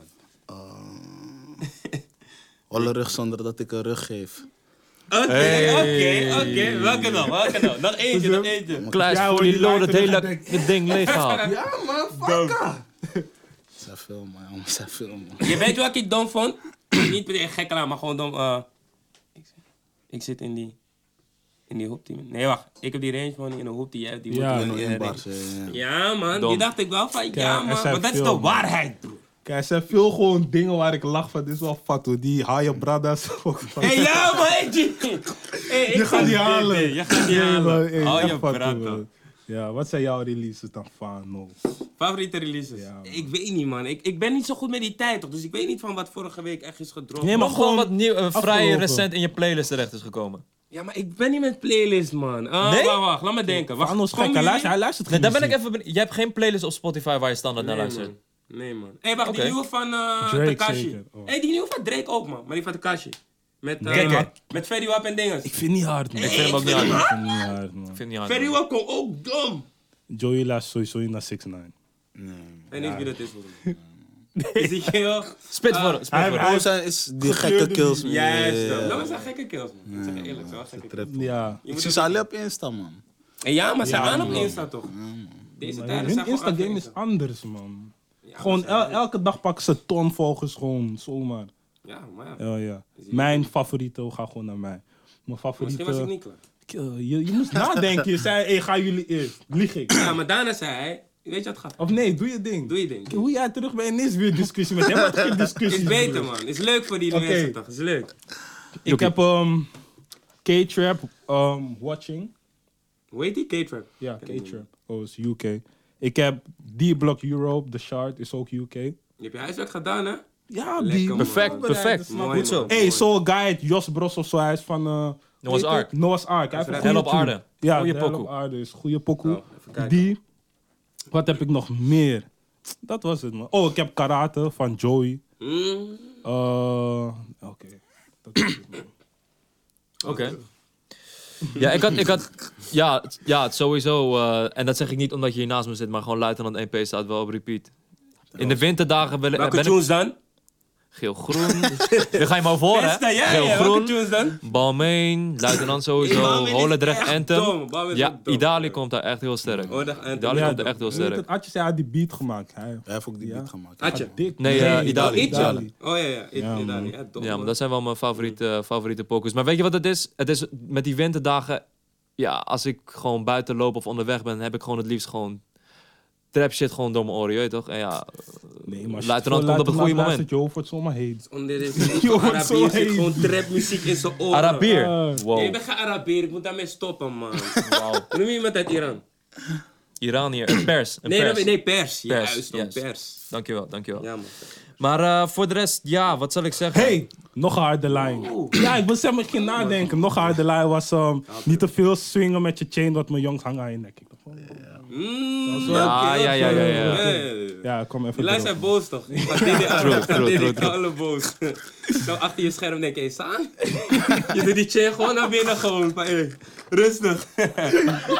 [SPEAKER 2] Alle rug zonder dat ik een rug geef.
[SPEAKER 1] Oké, oké, oké. Welke dan, welke dan? Nog eentje, nog eentje.
[SPEAKER 4] Klaas,
[SPEAKER 3] Ja,
[SPEAKER 4] voor
[SPEAKER 3] hoor,
[SPEAKER 4] die
[SPEAKER 3] die
[SPEAKER 4] lood het
[SPEAKER 3] lijkt er
[SPEAKER 4] hele
[SPEAKER 3] net
[SPEAKER 4] het ding leeghaalt.
[SPEAKER 3] Ja, man, fucker.
[SPEAKER 2] Het zijn veel, man. jongen, Het zijn veel, man.
[SPEAKER 1] Je weet wat ik dom vond? Niet per se gek aan, maar gewoon dom. eh, ik zit- Ik zit in die... In die hoop die... Nee, wacht. Ik heb die range van die in de hoop die jij hebt. Die
[SPEAKER 3] Ja,
[SPEAKER 1] hoop
[SPEAKER 2] In
[SPEAKER 1] die-
[SPEAKER 2] één bar, ja, ja.
[SPEAKER 1] Ja man,
[SPEAKER 4] Dom.
[SPEAKER 1] die dacht ik wel van,
[SPEAKER 3] Ja,
[SPEAKER 1] ja
[SPEAKER 3] er
[SPEAKER 1] man.
[SPEAKER 3] zijn
[SPEAKER 1] Maar dat is
[SPEAKER 3] veel,
[SPEAKER 1] de
[SPEAKER 3] man.
[SPEAKER 1] waarheid, broer.
[SPEAKER 3] Kijk, er zijn veel gewoon dingen waar ik lach van. Dit is wel fat, hoor. Die haaien bradas. ook van-
[SPEAKER 1] Hé, ja, man, hey, G. Hey, ik
[SPEAKER 3] Je gaat
[SPEAKER 1] kan
[SPEAKER 3] die
[SPEAKER 1] dit,
[SPEAKER 3] halen.
[SPEAKER 1] hey, Je gaat die
[SPEAKER 3] Nee,
[SPEAKER 1] halen.
[SPEAKER 3] man, hey,
[SPEAKER 1] Hou
[SPEAKER 3] echt
[SPEAKER 1] je
[SPEAKER 3] fat, hoor,
[SPEAKER 1] praat,
[SPEAKER 3] man.
[SPEAKER 1] man.
[SPEAKER 3] Ja, wat zijn jouw releases dan van? No.
[SPEAKER 1] Favoriete releases?
[SPEAKER 3] Ja, man.
[SPEAKER 1] ik weet niet, man. Ik, ik ben niet zo goed met die tijd, toch? Dus ik weet niet van wat vorige week echt is gedropt.
[SPEAKER 3] Nee, maar
[SPEAKER 4] Maar gewoon
[SPEAKER 3] gewoon
[SPEAKER 4] wat nieuw, eh, vrij
[SPEAKER 3] afgelopen.
[SPEAKER 4] recent in je playlist terecht is gekomen.
[SPEAKER 1] Ja, maar ik ben niet met playlist, man. Ah,
[SPEAKER 4] Nee?
[SPEAKER 1] Wacht, wacht. Laat me denken. Wacht,
[SPEAKER 3] Van ons
[SPEAKER 1] komen
[SPEAKER 3] gek, hij
[SPEAKER 1] jullie-
[SPEAKER 3] luistert, hij luistert
[SPEAKER 4] Nee,
[SPEAKER 3] geen
[SPEAKER 4] daar ben ik
[SPEAKER 3] muziek.
[SPEAKER 4] even benieuwd. Je hebt geen playlist op Spotify waar je standaard naar
[SPEAKER 1] Nee,
[SPEAKER 4] luistert.
[SPEAKER 1] man. Nee, man. Hé, wacht.
[SPEAKER 4] Oké.
[SPEAKER 1] Die nieuwe van eh
[SPEAKER 3] Drake
[SPEAKER 1] Takashi.
[SPEAKER 3] zeker. Oh.
[SPEAKER 1] Hé, die nieuwe van Drake ook, man. Maar die van Takashi. Met, eh,
[SPEAKER 4] Nee, man.
[SPEAKER 1] met Fetty Wap en dinges.
[SPEAKER 3] Ik vind het niet hard, man.
[SPEAKER 4] Ik vind hem ook niet
[SPEAKER 3] Ik
[SPEAKER 4] hard.
[SPEAKER 3] vind het niet hard, man.
[SPEAKER 4] Ik vind het niet hard.
[SPEAKER 1] Fetty
[SPEAKER 4] man.
[SPEAKER 1] Wap kon ook dom.
[SPEAKER 3] Joey luistert sowieso naar 6 9
[SPEAKER 1] Ik weet niet wie dat is, volgens mij. Is die geel?
[SPEAKER 4] Spit voor, spit
[SPEAKER 3] Eh, hij-
[SPEAKER 4] voor.
[SPEAKER 3] hij-
[SPEAKER 2] Bro, zijn is die gekke
[SPEAKER 3] Gekleurde
[SPEAKER 2] kills. man.
[SPEAKER 1] Juist.
[SPEAKER 2] Ja,
[SPEAKER 1] dat.
[SPEAKER 2] ja,
[SPEAKER 1] Dat
[SPEAKER 2] ja.
[SPEAKER 1] was een gekke kills, man. Ik zeg je eerlijk, zo gekke kills.
[SPEAKER 2] Trap.
[SPEAKER 3] Ja.
[SPEAKER 1] Je
[SPEAKER 2] Ik
[SPEAKER 1] moet
[SPEAKER 2] zie
[SPEAKER 1] het-
[SPEAKER 2] ze alleen op Insta, man.
[SPEAKER 1] En Ja, maar ze aan op Insta, toch? Deze
[SPEAKER 3] Maar
[SPEAKER 1] tijden
[SPEAKER 3] hun
[SPEAKER 1] zijn gewoon
[SPEAKER 3] Instagram
[SPEAKER 1] af-
[SPEAKER 3] is anders, man.
[SPEAKER 1] Ja,
[SPEAKER 3] Gewoon
[SPEAKER 1] maar
[SPEAKER 3] el- elke dag pakken ze ton volgers gewoon, zomaar.
[SPEAKER 1] ze- Ja, maar ja.
[SPEAKER 3] Oh, Ja, ja. Mijn favoriete gaat gewoon naar mij. Mijn favoriete...
[SPEAKER 1] Misschien was ik niet klaar.
[SPEAKER 3] Ik, eh, je, je moest nadenken. Je zei, hey, gaan jullie eerst. Lieg ik.
[SPEAKER 1] Ja, maar daarna zei hij, weet je wat gaat?
[SPEAKER 3] Of nee, doe je ding.
[SPEAKER 1] Doe je ding.
[SPEAKER 3] Hoe jij terug bent, is weer discussie met hem. Wat geen discussie.
[SPEAKER 1] Is beter, man. Is leuk voor die
[SPEAKER 3] Oké.
[SPEAKER 1] mensen, toch? Is leuk.
[SPEAKER 3] Ik heb ehm, K-Trap ehm, Watching.
[SPEAKER 1] Hoe heet die? K-Trap.
[SPEAKER 3] Ja, K-Trap. Oh, is UK. Ik heb D-Block Europe. The Shard is ook UK.
[SPEAKER 1] Je hebt je huiswerk gedaan, hè?
[SPEAKER 3] Ja,
[SPEAKER 1] Lekker,
[SPEAKER 3] die...
[SPEAKER 1] man.
[SPEAKER 4] Perfect, perfect.
[SPEAKER 1] Mooi,
[SPEAKER 4] Goed zo.
[SPEAKER 1] man.
[SPEAKER 3] Hey, zo'n guy, heet Jos Bros of zo, hij is van... eh, hoe heet het?
[SPEAKER 4] Ark.
[SPEAKER 3] Noah's Ark. Hij heeft
[SPEAKER 1] Hel
[SPEAKER 3] een
[SPEAKER 4] Hel
[SPEAKER 3] goede tune.
[SPEAKER 4] op aarde.
[SPEAKER 3] Ja,
[SPEAKER 4] Goeie
[SPEAKER 3] de Hel
[SPEAKER 4] pokoe.
[SPEAKER 3] op aarde is goede pokoe.
[SPEAKER 1] Oh, even kijken.
[SPEAKER 3] die. Wat heb ik nog meer? Dat was het, man. Oh, ik heb Karate van Joey.
[SPEAKER 1] Mm.
[SPEAKER 3] Eh, Oké. Dat is het, man.
[SPEAKER 4] Oké. Ja, ik had, ik had, ja, het- ja, het sowieso. eh, en dat zeg ik niet omdat je hier naast me zit, maar gewoon Luitenant 1P E staat wel op repeat. In de winterdagen ben,
[SPEAKER 1] Welke
[SPEAKER 4] ben ik...
[SPEAKER 1] tunes dan?
[SPEAKER 4] Geel-groen. Dan ga je maar voor, hè?
[SPEAKER 1] Beste, ja, ja. Welke
[SPEAKER 4] Geel-groen.
[SPEAKER 1] tunes dan?
[SPEAKER 4] Balmain, Luitenant
[SPEAKER 1] Hey,
[SPEAKER 4] sowieso.
[SPEAKER 1] Balmain is
[SPEAKER 4] Holendrecht,
[SPEAKER 1] echt
[SPEAKER 4] Anthem.
[SPEAKER 1] dom. Balmain is
[SPEAKER 4] Ja,
[SPEAKER 1] ook dom.
[SPEAKER 4] Idali komt daar echt heel sterk.
[SPEAKER 1] Oh, dat- Anthem.
[SPEAKER 4] Idali
[SPEAKER 1] Ja,
[SPEAKER 4] komt daar echt heel
[SPEAKER 3] Weet je,
[SPEAKER 4] sterk.
[SPEAKER 3] Atjes, hij had die beat gemaakt. Hij
[SPEAKER 2] Hij heeft ook die
[SPEAKER 3] Ja.
[SPEAKER 2] beat gemaakt.
[SPEAKER 1] Had je?
[SPEAKER 3] dik.
[SPEAKER 4] Nee, eh, Idali.
[SPEAKER 3] Idali.
[SPEAKER 1] Idali. Oh, ja, ja. I-
[SPEAKER 3] Ja,
[SPEAKER 1] Idali.
[SPEAKER 3] man.
[SPEAKER 1] Ja, dom,
[SPEAKER 4] Ja, maar
[SPEAKER 1] man.
[SPEAKER 4] dat zijn wel mijn favoriete, eh, favoriete pokus. Maar weet je wat het is? Het is met die winterdagen... Ja, als ik gewoon buiten loop of onderweg ben... heb ik gewoon het liefst gewoon... trap shit gewoon door mijn oren, je weet toch? En ja,
[SPEAKER 3] Nee, maar
[SPEAKER 4] Luitenant komt op het goede moment.
[SPEAKER 3] Je wordt zomaar heet.
[SPEAKER 1] Onder is
[SPEAKER 3] Yo, wat zo
[SPEAKER 1] Arabier zit
[SPEAKER 3] heet.
[SPEAKER 1] gewoon trapmuziek in zijn oren.
[SPEAKER 4] Arabier.
[SPEAKER 3] Ah.
[SPEAKER 1] Nee, ik
[SPEAKER 4] Wow.
[SPEAKER 1] ben geen Arabier. Ik moet daarmee stoppen, man.
[SPEAKER 4] Wauw.
[SPEAKER 1] Noem je iemand uit Iran?
[SPEAKER 4] Iranier. Een pers. Een
[SPEAKER 1] Nee,
[SPEAKER 4] pers.
[SPEAKER 1] nee, nee, pers.
[SPEAKER 4] Pers,
[SPEAKER 1] Juist, dan
[SPEAKER 4] yes.
[SPEAKER 1] pers.
[SPEAKER 4] Dankjewel, dankjewel.
[SPEAKER 1] Ja, man.
[SPEAKER 4] Maar eh, voor de rest, ja, wat zal ik zeggen?
[SPEAKER 3] Hey, nog een harde lijn.
[SPEAKER 1] Oeh.
[SPEAKER 3] Ja, ik wil zelf maar geen nadenken. Nog een harde lijn was ehm, niet te veel swingen met je chain, want mijn jongens hangen aan je nek. Ik dacht, oh,
[SPEAKER 1] Mm,
[SPEAKER 4] Ja,
[SPEAKER 1] oké,
[SPEAKER 4] ja, ja, ja, ja.
[SPEAKER 1] oké. Hey.
[SPEAKER 3] Ja, kom even
[SPEAKER 1] Die lui
[SPEAKER 3] erop.
[SPEAKER 1] zijn boos toch? Van DDR,
[SPEAKER 4] True,
[SPEAKER 1] van
[SPEAKER 4] true,
[SPEAKER 1] DDR,
[SPEAKER 4] true, true.
[SPEAKER 1] alle boos. Zo achter je scherm denk je, hey, Saan? Je doet die chair gewoon naar binnen gewoon. Van, hey, rustig.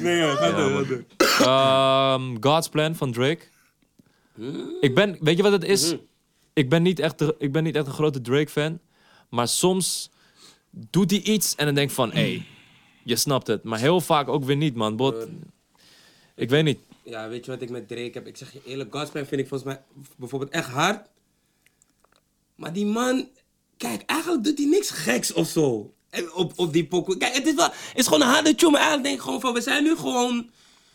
[SPEAKER 1] Nee hoor, ga door, ga door.
[SPEAKER 4] Ehm, God's Plan van Drake. Ik ben, weet je wat het
[SPEAKER 1] Mhm.
[SPEAKER 4] is? Ik ben niet echt, de- ik ben niet echt een grote Drake-fan. Maar soms doet hij iets en dan denk ik van, hé, hey, je snapt het. Maar heel vaak ook weer niet, man. Bot, ik weet niet.
[SPEAKER 1] Ja, weet je wat ik met Drake heb? Ik zeg je eerlijk, Godsplan vind ik volgens mij bijvoorbeeld echt hard. Maar die man, kijk, eigenlijk doet hij niks geks of zo. En Op, op die pokoe. Kijk, het is, wel, het is gewoon een harde tune, maar eigenlijk denk ik gewoon van, we zijn nu gewoon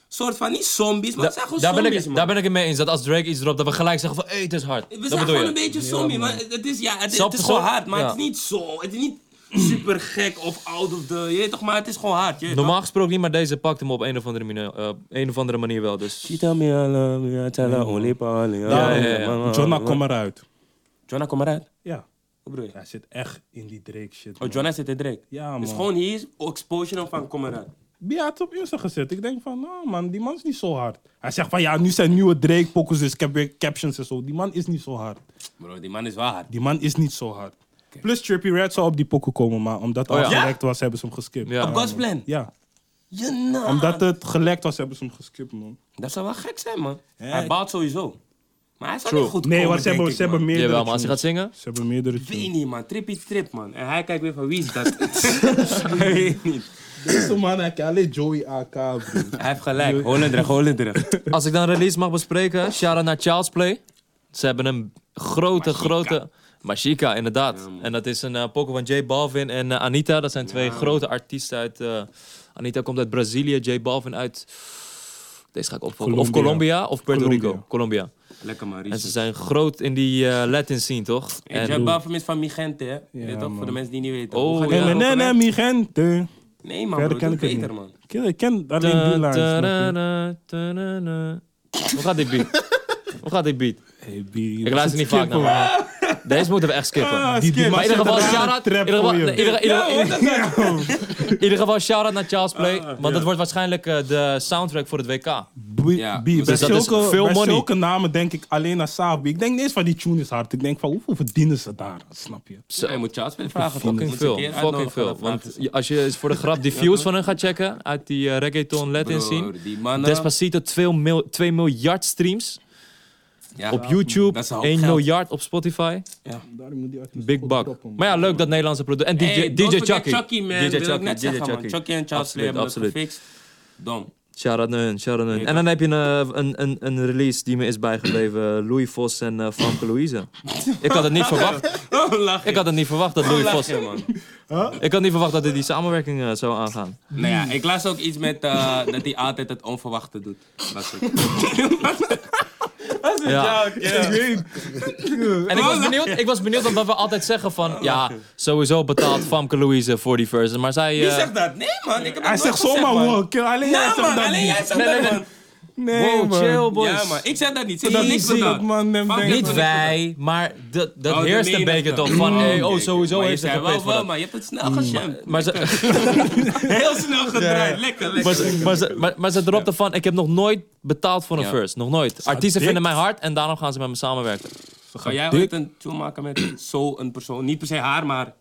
[SPEAKER 1] soort van, niet zombies, maar
[SPEAKER 4] Da-
[SPEAKER 1] we zijn gewoon
[SPEAKER 4] daar, ben
[SPEAKER 1] zombies,
[SPEAKER 4] ik,
[SPEAKER 1] man.
[SPEAKER 4] daar ben ik het mee eens. Dat als Drake iets dropt, dat we gelijk zeggen van, hé, hey, het is hard.
[SPEAKER 1] we
[SPEAKER 4] dat
[SPEAKER 1] zijn
[SPEAKER 4] bedoel
[SPEAKER 1] gewoon
[SPEAKER 4] je.
[SPEAKER 1] een beetje zombie, maar het is, ja, het,
[SPEAKER 4] Snap
[SPEAKER 1] het is
[SPEAKER 4] je
[SPEAKER 1] gewoon
[SPEAKER 4] gewoon?
[SPEAKER 1] hard, maar het
[SPEAKER 4] Ja.
[SPEAKER 1] is niet zo, het is niet super gek of out of the, je weet toch, maar het is gewoon hard. Je weet
[SPEAKER 4] Normaal gesproken niet, maar deze pakt hem op een of andere, mine- eh, een of andere manier wel. Dus.
[SPEAKER 3] Ja,
[SPEAKER 4] ja, ja, ja.
[SPEAKER 3] Jonna, kom eruit.
[SPEAKER 1] Jonna, kom maar uit.
[SPEAKER 3] Oh, Ja,
[SPEAKER 1] Wat bedoel je?
[SPEAKER 3] hij zit echt in die Drake shit.
[SPEAKER 1] Oh,
[SPEAKER 3] man.
[SPEAKER 1] Jonna zit in Drake.
[SPEAKER 3] Ja, man.
[SPEAKER 1] Dus gewoon hier, exposure hem van kom eraan.
[SPEAKER 3] Die had op Insta gezet. Ik denk van, nou man, die man is niet zo hard. Hij zegt van, ja, nu zijn nieuwe Drake-pokus, dus ik heb weer captions en zo. Die man is niet zo hard.
[SPEAKER 1] Bro, die man is wel hard.
[SPEAKER 3] Die man is niet zo hard. Plus Trippy Red zou op die pokken komen, maar omdat
[SPEAKER 4] Oh, ja.
[SPEAKER 3] het gelekt was, hebben ze hem geskipt.
[SPEAKER 4] Ja.
[SPEAKER 1] Op God's plan.
[SPEAKER 3] Ja.
[SPEAKER 1] Je naam.
[SPEAKER 3] Omdat het gelekt was, hebben ze hem geskipt, man.
[SPEAKER 1] Dat zou wel gek zijn, man.
[SPEAKER 3] Hè?
[SPEAKER 1] Hij baalt sowieso. Maar hij zou
[SPEAKER 4] True.
[SPEAKER 1] niet goed
[SPEAKER 3] Nee,
[SPEAKER 1] komen,
[SPEAKER 3] want ze hebben,
[SPEAKER 1] denk
[SPEAKER 3] ze
[SPEAKER 1] ik,
[SPEAKER 3] hebben
[SPEAKER 1] man.
[SPEAKER 3] meerdere
[SPEAKER 4] Jawel, maar als hij gaat
[SPEAKER 3] tunes.
[SPEAKER 4] zingen...
[SPEAKER 3] Ze hebben meerdere
[SPEAKER 1] Weet
[SPEAKER 3] tunes.
[SPEAKER 1] niet, man. Trippy trip, man. En hij kijkt weer van wie is dat? Weet niet.
[SPEAKER 3] Deze man, hij kan alleen Joey AK, bro.
[SPEAKER 1] Hij heeft gelijk. Holendrecht, Holendrecht.
[SPEAKER 4] Als ik dan release mag bespreken, shout-out naar Child's Play. Ze hebben een grote, grote... Mashika, inderdaad. en dat is een eh poker van J Balvin en eh, Anita. Dat zijn twee grote artiesten uit... eh, Anita komt uit Brazilië, J Balvin uit... Deze ga ik opvolgen. Of
[SPEAKER 3] Colombia.
[SPEAKER 4] Colombia of Puerto
[SPEAKER 3] Colombia.
[SPEAKER 4] Rico. Colombia.
[SPEAKER 1] Lekker, man.
[SPEAKER 4] En ze
[SPEAKER 1] Richie.
[SPEAKER 4] zijn groot in die eh, Latin scene, toch?
[SPEAKER 1] Hey,
[SPEAKER 4] En,
[SPEAKER 1] Jabba van is van Migente, hè? Weet je toch?
[SPEAKER 3] man.
[SPEAKER 1] Voor de mensen die niet weten.
[SPEAKER 4] Oh,
[SPEAKER 1] Hoe gaat
[SPEAKER 4] ja.
[SPEAKER 1] die
[SPEAKER 3] Nee, nee,
[SPEAKER 1] ook
[SPEAKER 3] nee,
[SPEAKER 1] alweer?
[SPEAKER 3] mi gente.
[SPEAKER 1] Nee man,
[SPEAKER 3] Verder
[SPEAKER 1] bro,
[SPEAKER 3] ken
[SPEAKER 1] doe
[SPEAKER 3] ik het
[SPEAKER 1] beter
[SPEAKER 3] niet.
[SPEAKER 1] man.
[SPEAKER 3] Ik ken- Ik ken alleen die lijn. snap je?
[SPEAKER 4] Ta-da-da, ta-da-da. Hoe gaat dit beat? Hoe gaat dit beat?
[SPEAKER 3] Hey, B, je
[SPEAKER 4] Ik
[SPEAKER 3] was
[SPEAKER 4] luister niet
[SPEAKER 3] een
[SPEAKER 4] vaak
[SPEAKER 3] kipper,
[SPEAKER 4] naar Deze moeten we echt skippen.
[SPEAKER 3] man. Die-
[SPEAKER 5] skip.
[SPEAKER 3] die man
[SPEAKER 4] Maar in ieder
[SPEAKER 3] zet
[SPEAKER 4] geval,
[SPEAKER 3] een
[SPEAKER 4] shout-out. In
[SPEAKER 3] trap
[SPEAKER 4] ieder geval,
[SPEAKER 3] voor je.
[SPEAKER 4] in ieder- in ieder- in in ieder geval, shout-out naar Charles Play. Want dat wordt waarschijnlijk eh, de soundtrack voor het
[SPEAKER 3] B-
[SPEAKER 4] WK.
[SPEAKER 1] Ja,
[SPEAKER 3] B,
[SPEAKER 1] dus
[SPEAKER 3] bij
[SPEAKER 4] dat is
[SPEAKER 3] zulke,
[SPEAKER 4] veel
[SPEAKER 3] bij
[SPEAKER 4] money.
[SPEAKER 3] zulke namen denk ik alleen naar Sabi. Ik denk niet eens van die tune is hard. Ik denk van hoeveel verdienen ze daar, snap je?
[SPEAKER 1] Zo, je moet Charles weer vragen. toch?
[SPEAKER 4] Fucking
[SPEAKER 1] Moet ze een
[SPEAKER 4] veel.
[SPEAKER 1] keer
[SPEAKER 4] Fucking
[SPEAKER 1] uitnodigen,
[SPEAKER 4] veel.
[SPEAKER 1] dan vragen
[SPEAKER 4] Want
[SPEAKER 1] ze.
[SPEAKER 4] je- als je eens voor de grap die views van hun gaat checken. Uit die eh, reggaeton Latin
[SPEAKER 1] Broer,
[SPEAKER 4] scene.
[SPEAKER 1] Die mannen.
[SPEAKER 4] Despacito 2, mil, 2 miljard streams.
[SPEAKER 1] Ja,
[SPEAKER 4] Op
[SPEAKER 1] dat
[SPEAKER 4] YouTube.
[SPEAKER 1] is een hoop
[SPEAKER 4] 1
[SPEAKER 1] geld.
[SPEAKER 4] miljard op Spotify.
[SPEAKER 3] Daarom moet die artiest
[SPEAKER 4] Big
[SPEAKER 3] ook
[SPEAKER 4] buck.
[SPEAKER 3] droppen, man.
[SPEAKER 4] Maar ja, leuk dat Nederlandse product. En DJ,
[SPEAKER 1] Hey, don't
[SPEAKER 4] DJ
[SPEAKER 1] forget
[SPEAKER 4] Chucky.
[SPEAKER 1] Chucky, man.
[SPEAKER 4] DJ
[SPEAKER 1] Wil ik
[SPEAKER 4] Chucky,
[SPEAKER 1] net
[SPEAKER 4] DJ
[SPEAKER 1] zeggen, man.
[SPEAKER 4] Chucky.
[SPEAKER 1] Chucky en Charles Lee hebben
[SPEAKER 4] Absoluut,
[SPEAKER 1] dat
[SPEAKER 4] absoluut.
[SPEAKER 1] gefixt. Dom.
[SPEAKER 4] Shout-out naar hun, shout-out naar hun.
[SPEAKER 1] Ja.
[SPEAKER 4] En dan heb je een, eh, een, een, een release die me is bijgebleven. Louis Vos en eh, Franke Louise. Ik had het niet verwacht.
[SPEAKER 1] Oh, lach je.
[SPEAKER 4] Ik had het niet verwacht dat Louis
[SPEAKER 1] Lach
[SPEAKER 4] Vos...
[SPEAKER 1] je, man.
[SPEAKER 4] Ik had niet verwacht dat hij die samenwerking eh, zou aangaan.
[SPEAKER 1] Nou ja, ik las ook iets met eh, dat hij altijd het onverwachte doet. Dat is het.
[SPEAKER 4] Ja.
[SPEAKER 5] Ik weet het.
[SPEAKER 4] En ik was benieuwd, ik was benieuwd omdat we altijd zeggen van... Ja, sowieso betaalt Famke Louise voor die verses. Maar zij... eh,
[SPEAKER 1] Wie zegt dat? Nee, man. Ik heb
[SPEAKER 3] Hij
[SPEAKER 1] dat
[SPEAKER 3] zegt
[SPEAKER 1] nooit gezegd,
[SPEAKER 3] zomaar
[SPEAKER 1] man.
[SPEAKER 3] wow, kill. Alleen hij
[SPEAKER 1] Ja,
[SPEAKER 3] zegt
[SPEAKER 1] man.
[SPEAKER 3] dat
[SPEAKER 1] Alleen
[SPEAKER 3] niet.
[SPEAKER 1] jij zegt
[SPEAKER 4] Nee, nee,
[SPEAKER 1] dat,
[SPEAKER 4] nee.
[SPEAKER 1] man.
[SPEAKER 3] Nee,
[SPEAKER 4] Wow,
[SPEAKER 3] man.
[SPEAKER 4] chill boys.
[SPEAKER 1] Ja, man. Ik zeg dat niet. Ze
[SPEAKER 3] Dat
[SPEAKER 1] hebben niks
[SPEAKER 3] is dat
[SPEAKER 1] gedaan.
[SPEAKER 3] man hem
[SPEAKER 1] Fuck
[SPEAKER 3] denkt.
[SPEAKER 1] it,
[SPEAKER 4] Niet
[SPEAKER 1] man.
[SPEAKER 4] wij, maar dat, dat
[SPEAKER 1] Oh, de
[SPEAKER 4] heerst een
[SPEAKER 1] menigte.
[SPEAKER 4] beetje toch van...
[SPEAKER 1] Mm.
[SPEAKER 4] hey, oh,
[SPEAKER 1] Kijk,
[SPEAKER 4] sowieso
[SPEAKER 1] maar je
[SPEAKER 4] heeft ze
[SPEAKER 1] zei wel,
[SPEAKER 4] gepeest voor
[SPEAKER 1] wel,
[SPEAKER 4] dat.
[SPEAKER 1] maar je hebt het snel geshamd.
[SPEAKER 4] Maar ze...
[SPEAKER 1] Heel snel gedraaid. Lekker,
[SPEAKER 4] Maar
[SPEAKER 1] lekker.
[SPEAKER 4] ze, maar, ze, maar, maar ze dropte van, ik heb nog nooit betaald voor een
[SPEAKER 1] Ja.
[SPEAKER 4] verse. Nog nooit. Artiesten
[SPEAKER 3] dik.
[SPEAKER 4] vinden mij hard en daarom gaan ze met me samenwerken.
[SPEAKER 1] Ga jij ooit een tune maken met zo'n persoon? Niet per se haar, maar...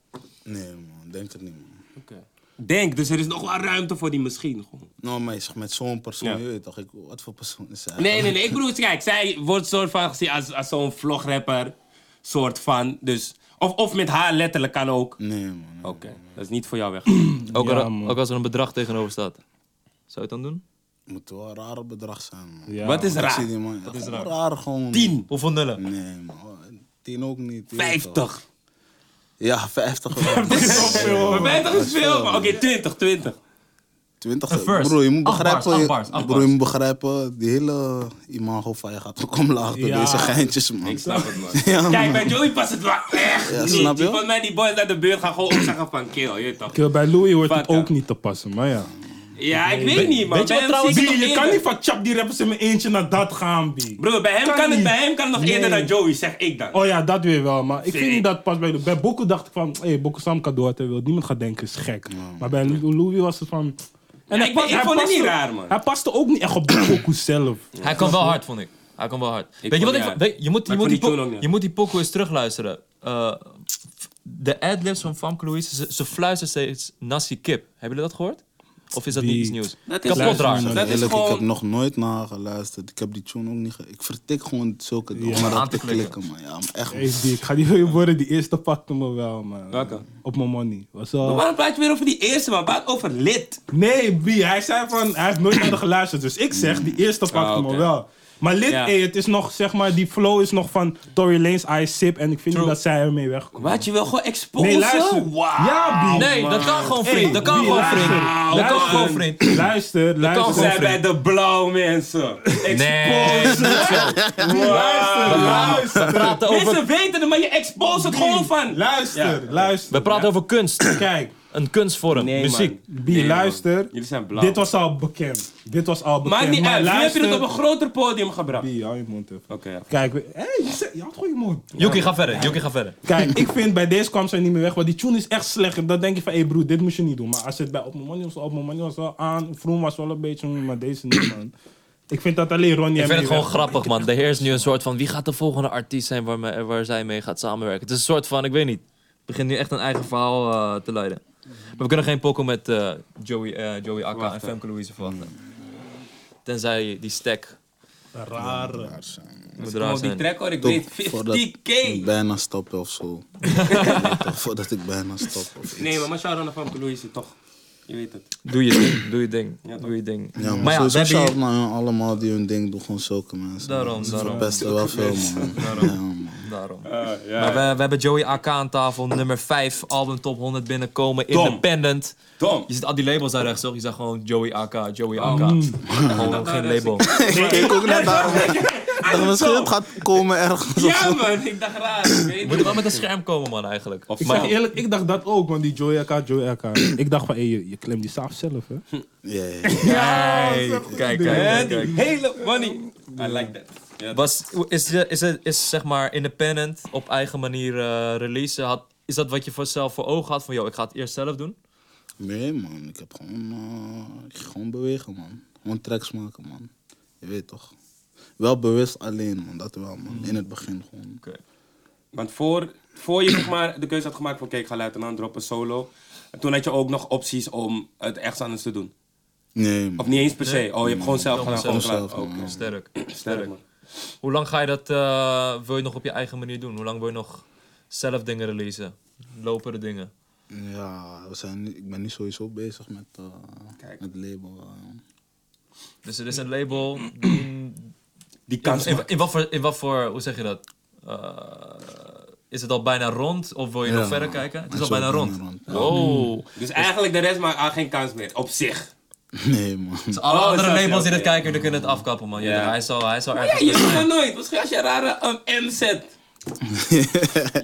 [SPEAKER 2] Nee, man, denk het niet, man.
[SPEAKER 1] Denk, dus er is nog wel ruimte voor die misschien. Gewoon.
[SPEAKER 2] Nou, maar je zegt met zo'n persoon,
[SPEAKER 1] Ja.
[SPEAKER 2] je weet toch, ik, wat voor persoon is hij?
[SPEAKER 1] Nee, nee, nee. Ik bedoel, kijk, zij wordt soort van gezien als, als zo'n vlograpper. Soort van. Dus, of, of met haar letterlijk kan ook. Oké,
[SPEAKER 2] Nee, man.
[SPEAKER 1] dat is niet voor jou weg.
[SPEAKER 4] Ook,
[SPEAKER 3] Ja,
[SPEAKER 4] al-
[SPEAKER 3] man.
[SPEAKER 4] ook als er een bedrag tegenover staat. Zou je het dan doen?
[SPEAKER 2] Het moet wel een rare bedrag zijn, man.
[SPEAKER 3] Ja,
[SPEAKER 1] Wat is
[SPEAKER 2] Ik
[SPEAKER 1] raar?
[SPEAKER 2] zie die man. Dat is raar. raar gewoon.
[SPEAKER 1] 10,
[SPEAKER 4] Hoeveel nullen?
[SPEAKER 2] Nee, man. Tien ook niet. je weet toch.
[SPEAKER 1] 50.
[SPEAKER 2] Ja, 50. wel.
[SPEAKER 1] Maar 50 is veel, maar oké, 20, 20.
[SPEAKER 2] 20
[SPEAKER 4] Een verse.
[SPEAKER 2] Bro, je moet
[SPEAKER 4] Acht
[SPEAKER 2] begrijpen.
[SPEAKER 4] bars, acht bars, acht
[SPEAKER 2] bro, je moet begrijpen. Die hele imago van je gaat ook omlaag door
[SPEAKER 3] Ja.
[SPEAKER 2] deze geintjes, man.
[SPEAKER 1] Ik snap het, man.
[SPEAKER 2] Ja, man.
[SPEAKER 1] Kijk, bij Joey past het wel echt
[SPEAKER 2] Ja,
[SPEAKER 1] niet.
[SPEAKER 2] snap je?
[SPEAKER 1] Die- Volgens mij die boys naar de buurt gaan gewoon ook zeggen van kill, je weet toch?
[SPEAKER 3] Kill, Bij Louis hoort het
[SPEAKER 1] Fuck, ja.
[SPEAKER 3] ook niet te passen, maar ja.
[SPEAKER 1] Ja, ik weet niet, man.
[SPEAKER 4] weet
[SPEAKER 1] Bij
[SPEAKER 4] je wat
[SPEAKER 1] hem
[SPEAKER 4] trouwens-
[SPEAKER 1] zie ik
[SPEAKER 3] B,
[SPEAKER 1] het nog
[SPEAKER 3] je kan
[SPEAKER 1] eerder.
[SPEAKER 3] niet van chap die rappers in mijn eentje naar dat gaan, B.
[SPEAKER 1] Bro, bij hem
[SPEAKER 3] Kan
[SPEAKER 1] kan, het,
[SPEAKER 3] niet.
[SPEAKER 1] bij hem kan het nog eerder
[SPEAKER 3] Nee.
[SPEAKER 1] dan Joey, zeg ik dan.
[SPEAKER 3] Oh ja, dat weer wel. Maar ik vind
[SPEAKER 1] Nee.
[SPEAKER 3] niet dat het pas bij... Bij Boko dacht ik van... Hé, hey, Boko Sam kan door wat hij wil. Niemand gaat denken, is gek. Maar bij Louis was het van... En
[SPEAKER 1] Ja, ik ben- ik vond het niet raar, man.
[SPEAKER 3] Hij paste ook niet echt op de Boko zelf.
[SPEAKER 4] Hij kan wel hard, vond ik. Hij kan wel hard. weet
[SPEAKER 1] vond-
[SPEAKER 4] je wat ik
[SPEAKER 1] ja.
[SPEAKER 4] vond- weet- je moet- je
[SPEAKER 1] Maar ik vond
[SPEAKER 4] moet die
[SPEAKER 1] die
[SPEAKER 4] po-
[SPEAKER 1] toen ook niet.
[SPEAKER 4] Je moet die pokoe eens terugluisteren. Eh, f- de adlibs van Famke Louise, ze, ze fluistert steeds Nassi Kip. Hebben jullie dat gehoord? Of is dat
[SPEAKER 3] Die-
[SPEAKER 4] niet iets nieuws?
[SPEAKER 1] Dat is
[SPEAKER 4] Kapot raar.
[SPEAKER 2] Ik
[SPEAKER 1] Dat
[SPEAKER 2] ben
[SPEAKER 1] is
[SPEAKER 2] eerlijk,
[SPEAKER 1] gewoon-
[SPEAKER 2] ik heb nog nooit nageluisterd. Ik heb die tune ook niet ge... Ik vertik gewoon zulke dingen.
[SPEAKER 3] Ja.
[SPEAKER 2] Maar
[SPEAKER 4] Aan
[SPEAKER 2] dat
[SPEAKER 4] te
[SPEAKER 2] te
[SPEAKER 4] klikken.
[SPEAKER 2] klikken, man. Ja, maar echt.
[SPEAKER 3] Hey, B, ik ga die worden. Die eerste pakte me wel, man.
[SPEAKER 1] Welke?
[SPEAKER 3] Op mijn money. Was wel...
[SPEAKER 1] Waarom praat je weer over die eerste, man? Praat over lid.
[SPEAKER 3] Nee, B, hij zei van, hij heeft nooit naar de geluisterd. Dus ik zeg, die eerste pakte
[SPEAKER 1] Ah,
[SPEAKER 3] me
[SPEAKER 1] oké.
[SPEAKER 3] wel. Maar lid,
[SPEAKER 1] Ja.
[SPEAKER 3] eh, het is nog, zeg maar, die flow is nog van Tory Lanez, I Sip. En ik vind niet dat zij ermee wegkomt.
[SPEAKER 1] Wat, je wil gewoon exposen?
[SPEAKER 3] Nee, luister.
[SPEAKER 1] Oh, Wauw.
[SPEAKER 3] Ja, B.
[SPEAKER 4] Nee, dat kan gewoon vriend. dat kan
[SPEAKER 3] Wie,
[SPEAKER 4] gewoon
[SPEAKER 3] luister.
[SPEAKER 4] vriend. Dat kan
[SPEAKER 3] Luister.
[SPEAKER 4] gewoon vriend.
[SPEAKER 3] Luister, luister.
[SPEAKER 4] kan
[SPEAKER 1] We
[SPEAKER 3] gewoon,
[SPEAKER 1] zijn
[SPEAKER 3] vriend.
[SPEAKER 1] bij de blauw mensen.
[SPEAKER 4] Nee,
[SPEAKER 1] Expose.
[SPEAKER 3] Luister,
[SPEAKER 4] we
[SPEAKER 3] luister.
[SPEAKER 4] praten over,
[SPEAKER 1] Mensen weten het, maar je expose het gewoon van.
[SPEAKER 3] Luister, luister.
[SPEAKER 4] we praten over kunst.
[SPEAKER 3] Kijk,
[SPEAKER 4] Een kunstvorm, Dus muziek.
[SPEAKER 1] man.
[SPEAKER 3] B,
[SPEAKER 1] Nee, man.
[SPEAKER 3] luister.
[SPEAKER 1] Jullie zijn blauw.
[SPEAKER 3] Dit was al bekend. Dit was al bekend.
[SPEAKER 1] Maakt niet
[SPEAKER 3] maar
[SPEAKER 1] uit, nu heb je
[SPEAKER 3] luister-
[SPEAKER 1] het op een groter podium gebracht.
[SPEAKER 3] B, hou je mond even.
[SPEAKER 1] Oké, ja.
[SPEAKER 3] Kijk, we- hé, je zei- je had gewoon je mond.
[SPEAKER 4] Yuki, ga verder. Yuki, ga verder.
[SPEAKER 3] Kijk, ik vind bij deze kwam ze niet meer weg, want die tune is echt slecht. En Dan denk je van, hé hey broer, dit moest je niet doen. Maar als je het bij Op Mijn Money was, Op Mijn Money was wel aan. Vroom was wel een beetje, mm, maar deze niet, man. Ik vind dat alleen Ronnie
[SPEAKER 4] Ik
[SPEAKER 3] hem
[SPEAKER 4] vind het
[SPEAKER 3] niet
[SPEAKER 4] gewoon grappig, man. De heer is nu een soort van... Wie gaat de volgende artiest zijn waar, me- waar zij mee gaat samenwerken? Het is een soort van... Ik weet niet. Het begint nu echt een eigen verhaal eh, te leiden. Maar we kunnen geen poko met eh, Joey, eh, Joey Akka en Femke Louise verwachten. Tenzij die stack
[SPEAKER 3] weg. Rare.
[SPEAKER 4] moet raar
[SPEAKER 1] Gewoon die
[SPEAKER 4] zijn.
[SPEAKER 1] track hoor, ik
[SPEAKER 2] Toch,
[SPEAKER 1] weet
[SPEAKER 2] voordat
[SPEAKER 1] 50k.
[SPEAKER 2] ik bijna stop of zo. Ja, toch, voordat ik bijna stop. Of iets.
[SPEAKER 1] Nee, maar shout-out naar Famke Louise, toch. Je weet het.
[SPEAKER 4] Doe je ding, doe je ding, doe je ding.
[SPEAKER 2] Ja, maar,
[SPEAKER 4] Maar ja, we
[SPEAKER 2] sowieso
[SPEAKER 4] hebben
[SPEAKER 2] shout
[SPEAKER 4] hier...
[SPEAKER 2] naar hun allemaal die hun ding doen. Gewoon zulke mensen.
[SPEAKER 4] Daarom,
[SPEAKER 2] man. Ze
[SPEAKER 4] daarom.
[SPEAKER 2] verpesten wel veel, man. Ja, man.
[SPEAKER 4] Daarom. Maar we, we hebben Joey Akka aan tafel. Nummer 5, album top 100 binnenkomen. Independent.
[SPEAKER 1] Tom.
[SPEAKER 4] Je ziet al die labels daar rechts, toch? Je zegt Oh. gewoon Joey Akka, Joey Akka. Gewoon geen label.
[SPEAKER 2] Ik keek ook naar daarom. dacht, misschien het gaat komen ergens. of zo.
[SPEAKER 1] Ja, man, ik dacht raar. Ik weet
[SPEAKER 4] Moet
[SPEAKER 1] niet.
[SPEAKER 4] wel met een scherm komen, man, eigenlijk.
[SPEAKER 3] Ik zeg je eerlijk, ik dacht dat ook, want die Joey AK, Joey AK. ik dacht van, hé, je, je klemt die saaf zelf, hè?
[SPEAKER 2] Ja, ja, ja.
[SPEAKER 4] Kijk, kijk, kijk.
[SPEAKER 1] Die
[SPEAKER 4] kijk.
[SPEAKER 1] hele money. I like that. Ja,
[SPEAKER 4] Was, is, is, is, is zeg maar independent op eigen manier eh, releasen? Had, is dat wat je voor zelf voor ogen had? Van joh, ik ga het eerst zelf doen?
[SPEAKER 2] Nee, man. Ik heb gewoon, eh, ik ga gewoon bewegen, man. Gewoon tracks maken, man. Je weet toch. Wel bewust alleen, man. Dat wel, man. In het begin gewoon.
[SPEAKER 1] Want voor, voor je zeg maar, de keuze had gemaakt van oké, ik ga luitenant droppen solo. En toen had je ook nog opties om het echt anders te doen.
[SPEAKER 2] Nee,
[SPEAKER 1] Of
[SPEAKER 2] man.
[SPEAKER 1] niet eens per se. Oh, je hebt gewoon zelf
[SPEAKER 4] Gewoon
[SPEAKER 1] gedaan. Gewoon
[SPEAKER 4] zelf.
[SPEAKER 1] gedaan.
[SPEAKER 2] Zelf,
[SPEAKER 1] Oké.
[SPEAKER 2] man.
[SPEAKER 4] Sterk.
[SPEAKER 1] Sterk man.
[SPEAKER 4] Hoe lang ga je dat, eh, wil je nog op je eigen manier doen? Hoe lang wil je nog zelf dingen releasen? Lopende dingen.
[SPEAKER 2] Ja, we zijn, niet- ik ben niet sowieso bezig met eh,
[SPEAKER 1] Kijk.
[SPEAKER 2] het label. eh.
[SPEAKER 4] Dus er is een label. die in-
[SPEAKER 1] Die
[SPEAKER 4] in,
[SPEAKER 1] kans
[SPEAKER 4] in,
[SPEAKER 1] maakt.
[SPEAKER 4] in wat voor, in wat voor, hoe zeg je dat? Eh, is het al bijna rond of wil je
[SPEAKER 2] Ja,
[SPEAKER 4] nog verder kijken? Het is al
[SPEAKER 2] zo
[SPEAKER 4] bijna rond. Oh.
[SPEAKER 2] rond, ja.
[SPEAKER 4] Wow.
[SPEAKER 1] Dus eigenlijk de rest maakt aan geen kans meer. Op zich.
[SPEAKER 2] Nee, man.
[SPEAKER 4] Dus alle
[SPEAKER 1] Oh,
[SPEAKER 4] andere
[SPEAKER 1] zo, zo,
[SPEAKER 4] labels die dit
[SPEAKER 1] oké.
[SPEAKER 4] kijken, die kunnen het afkappen, man. Ja,
[SPEAKER 1] Ja.
[SPEAKER 4] Hij zal, hij zal
[SPEAKER 1] Ja,
[SPEAKER 4] ergens...
[SPEAKER 1] je weet maar nooit. Misschien als je een rare um, M zet.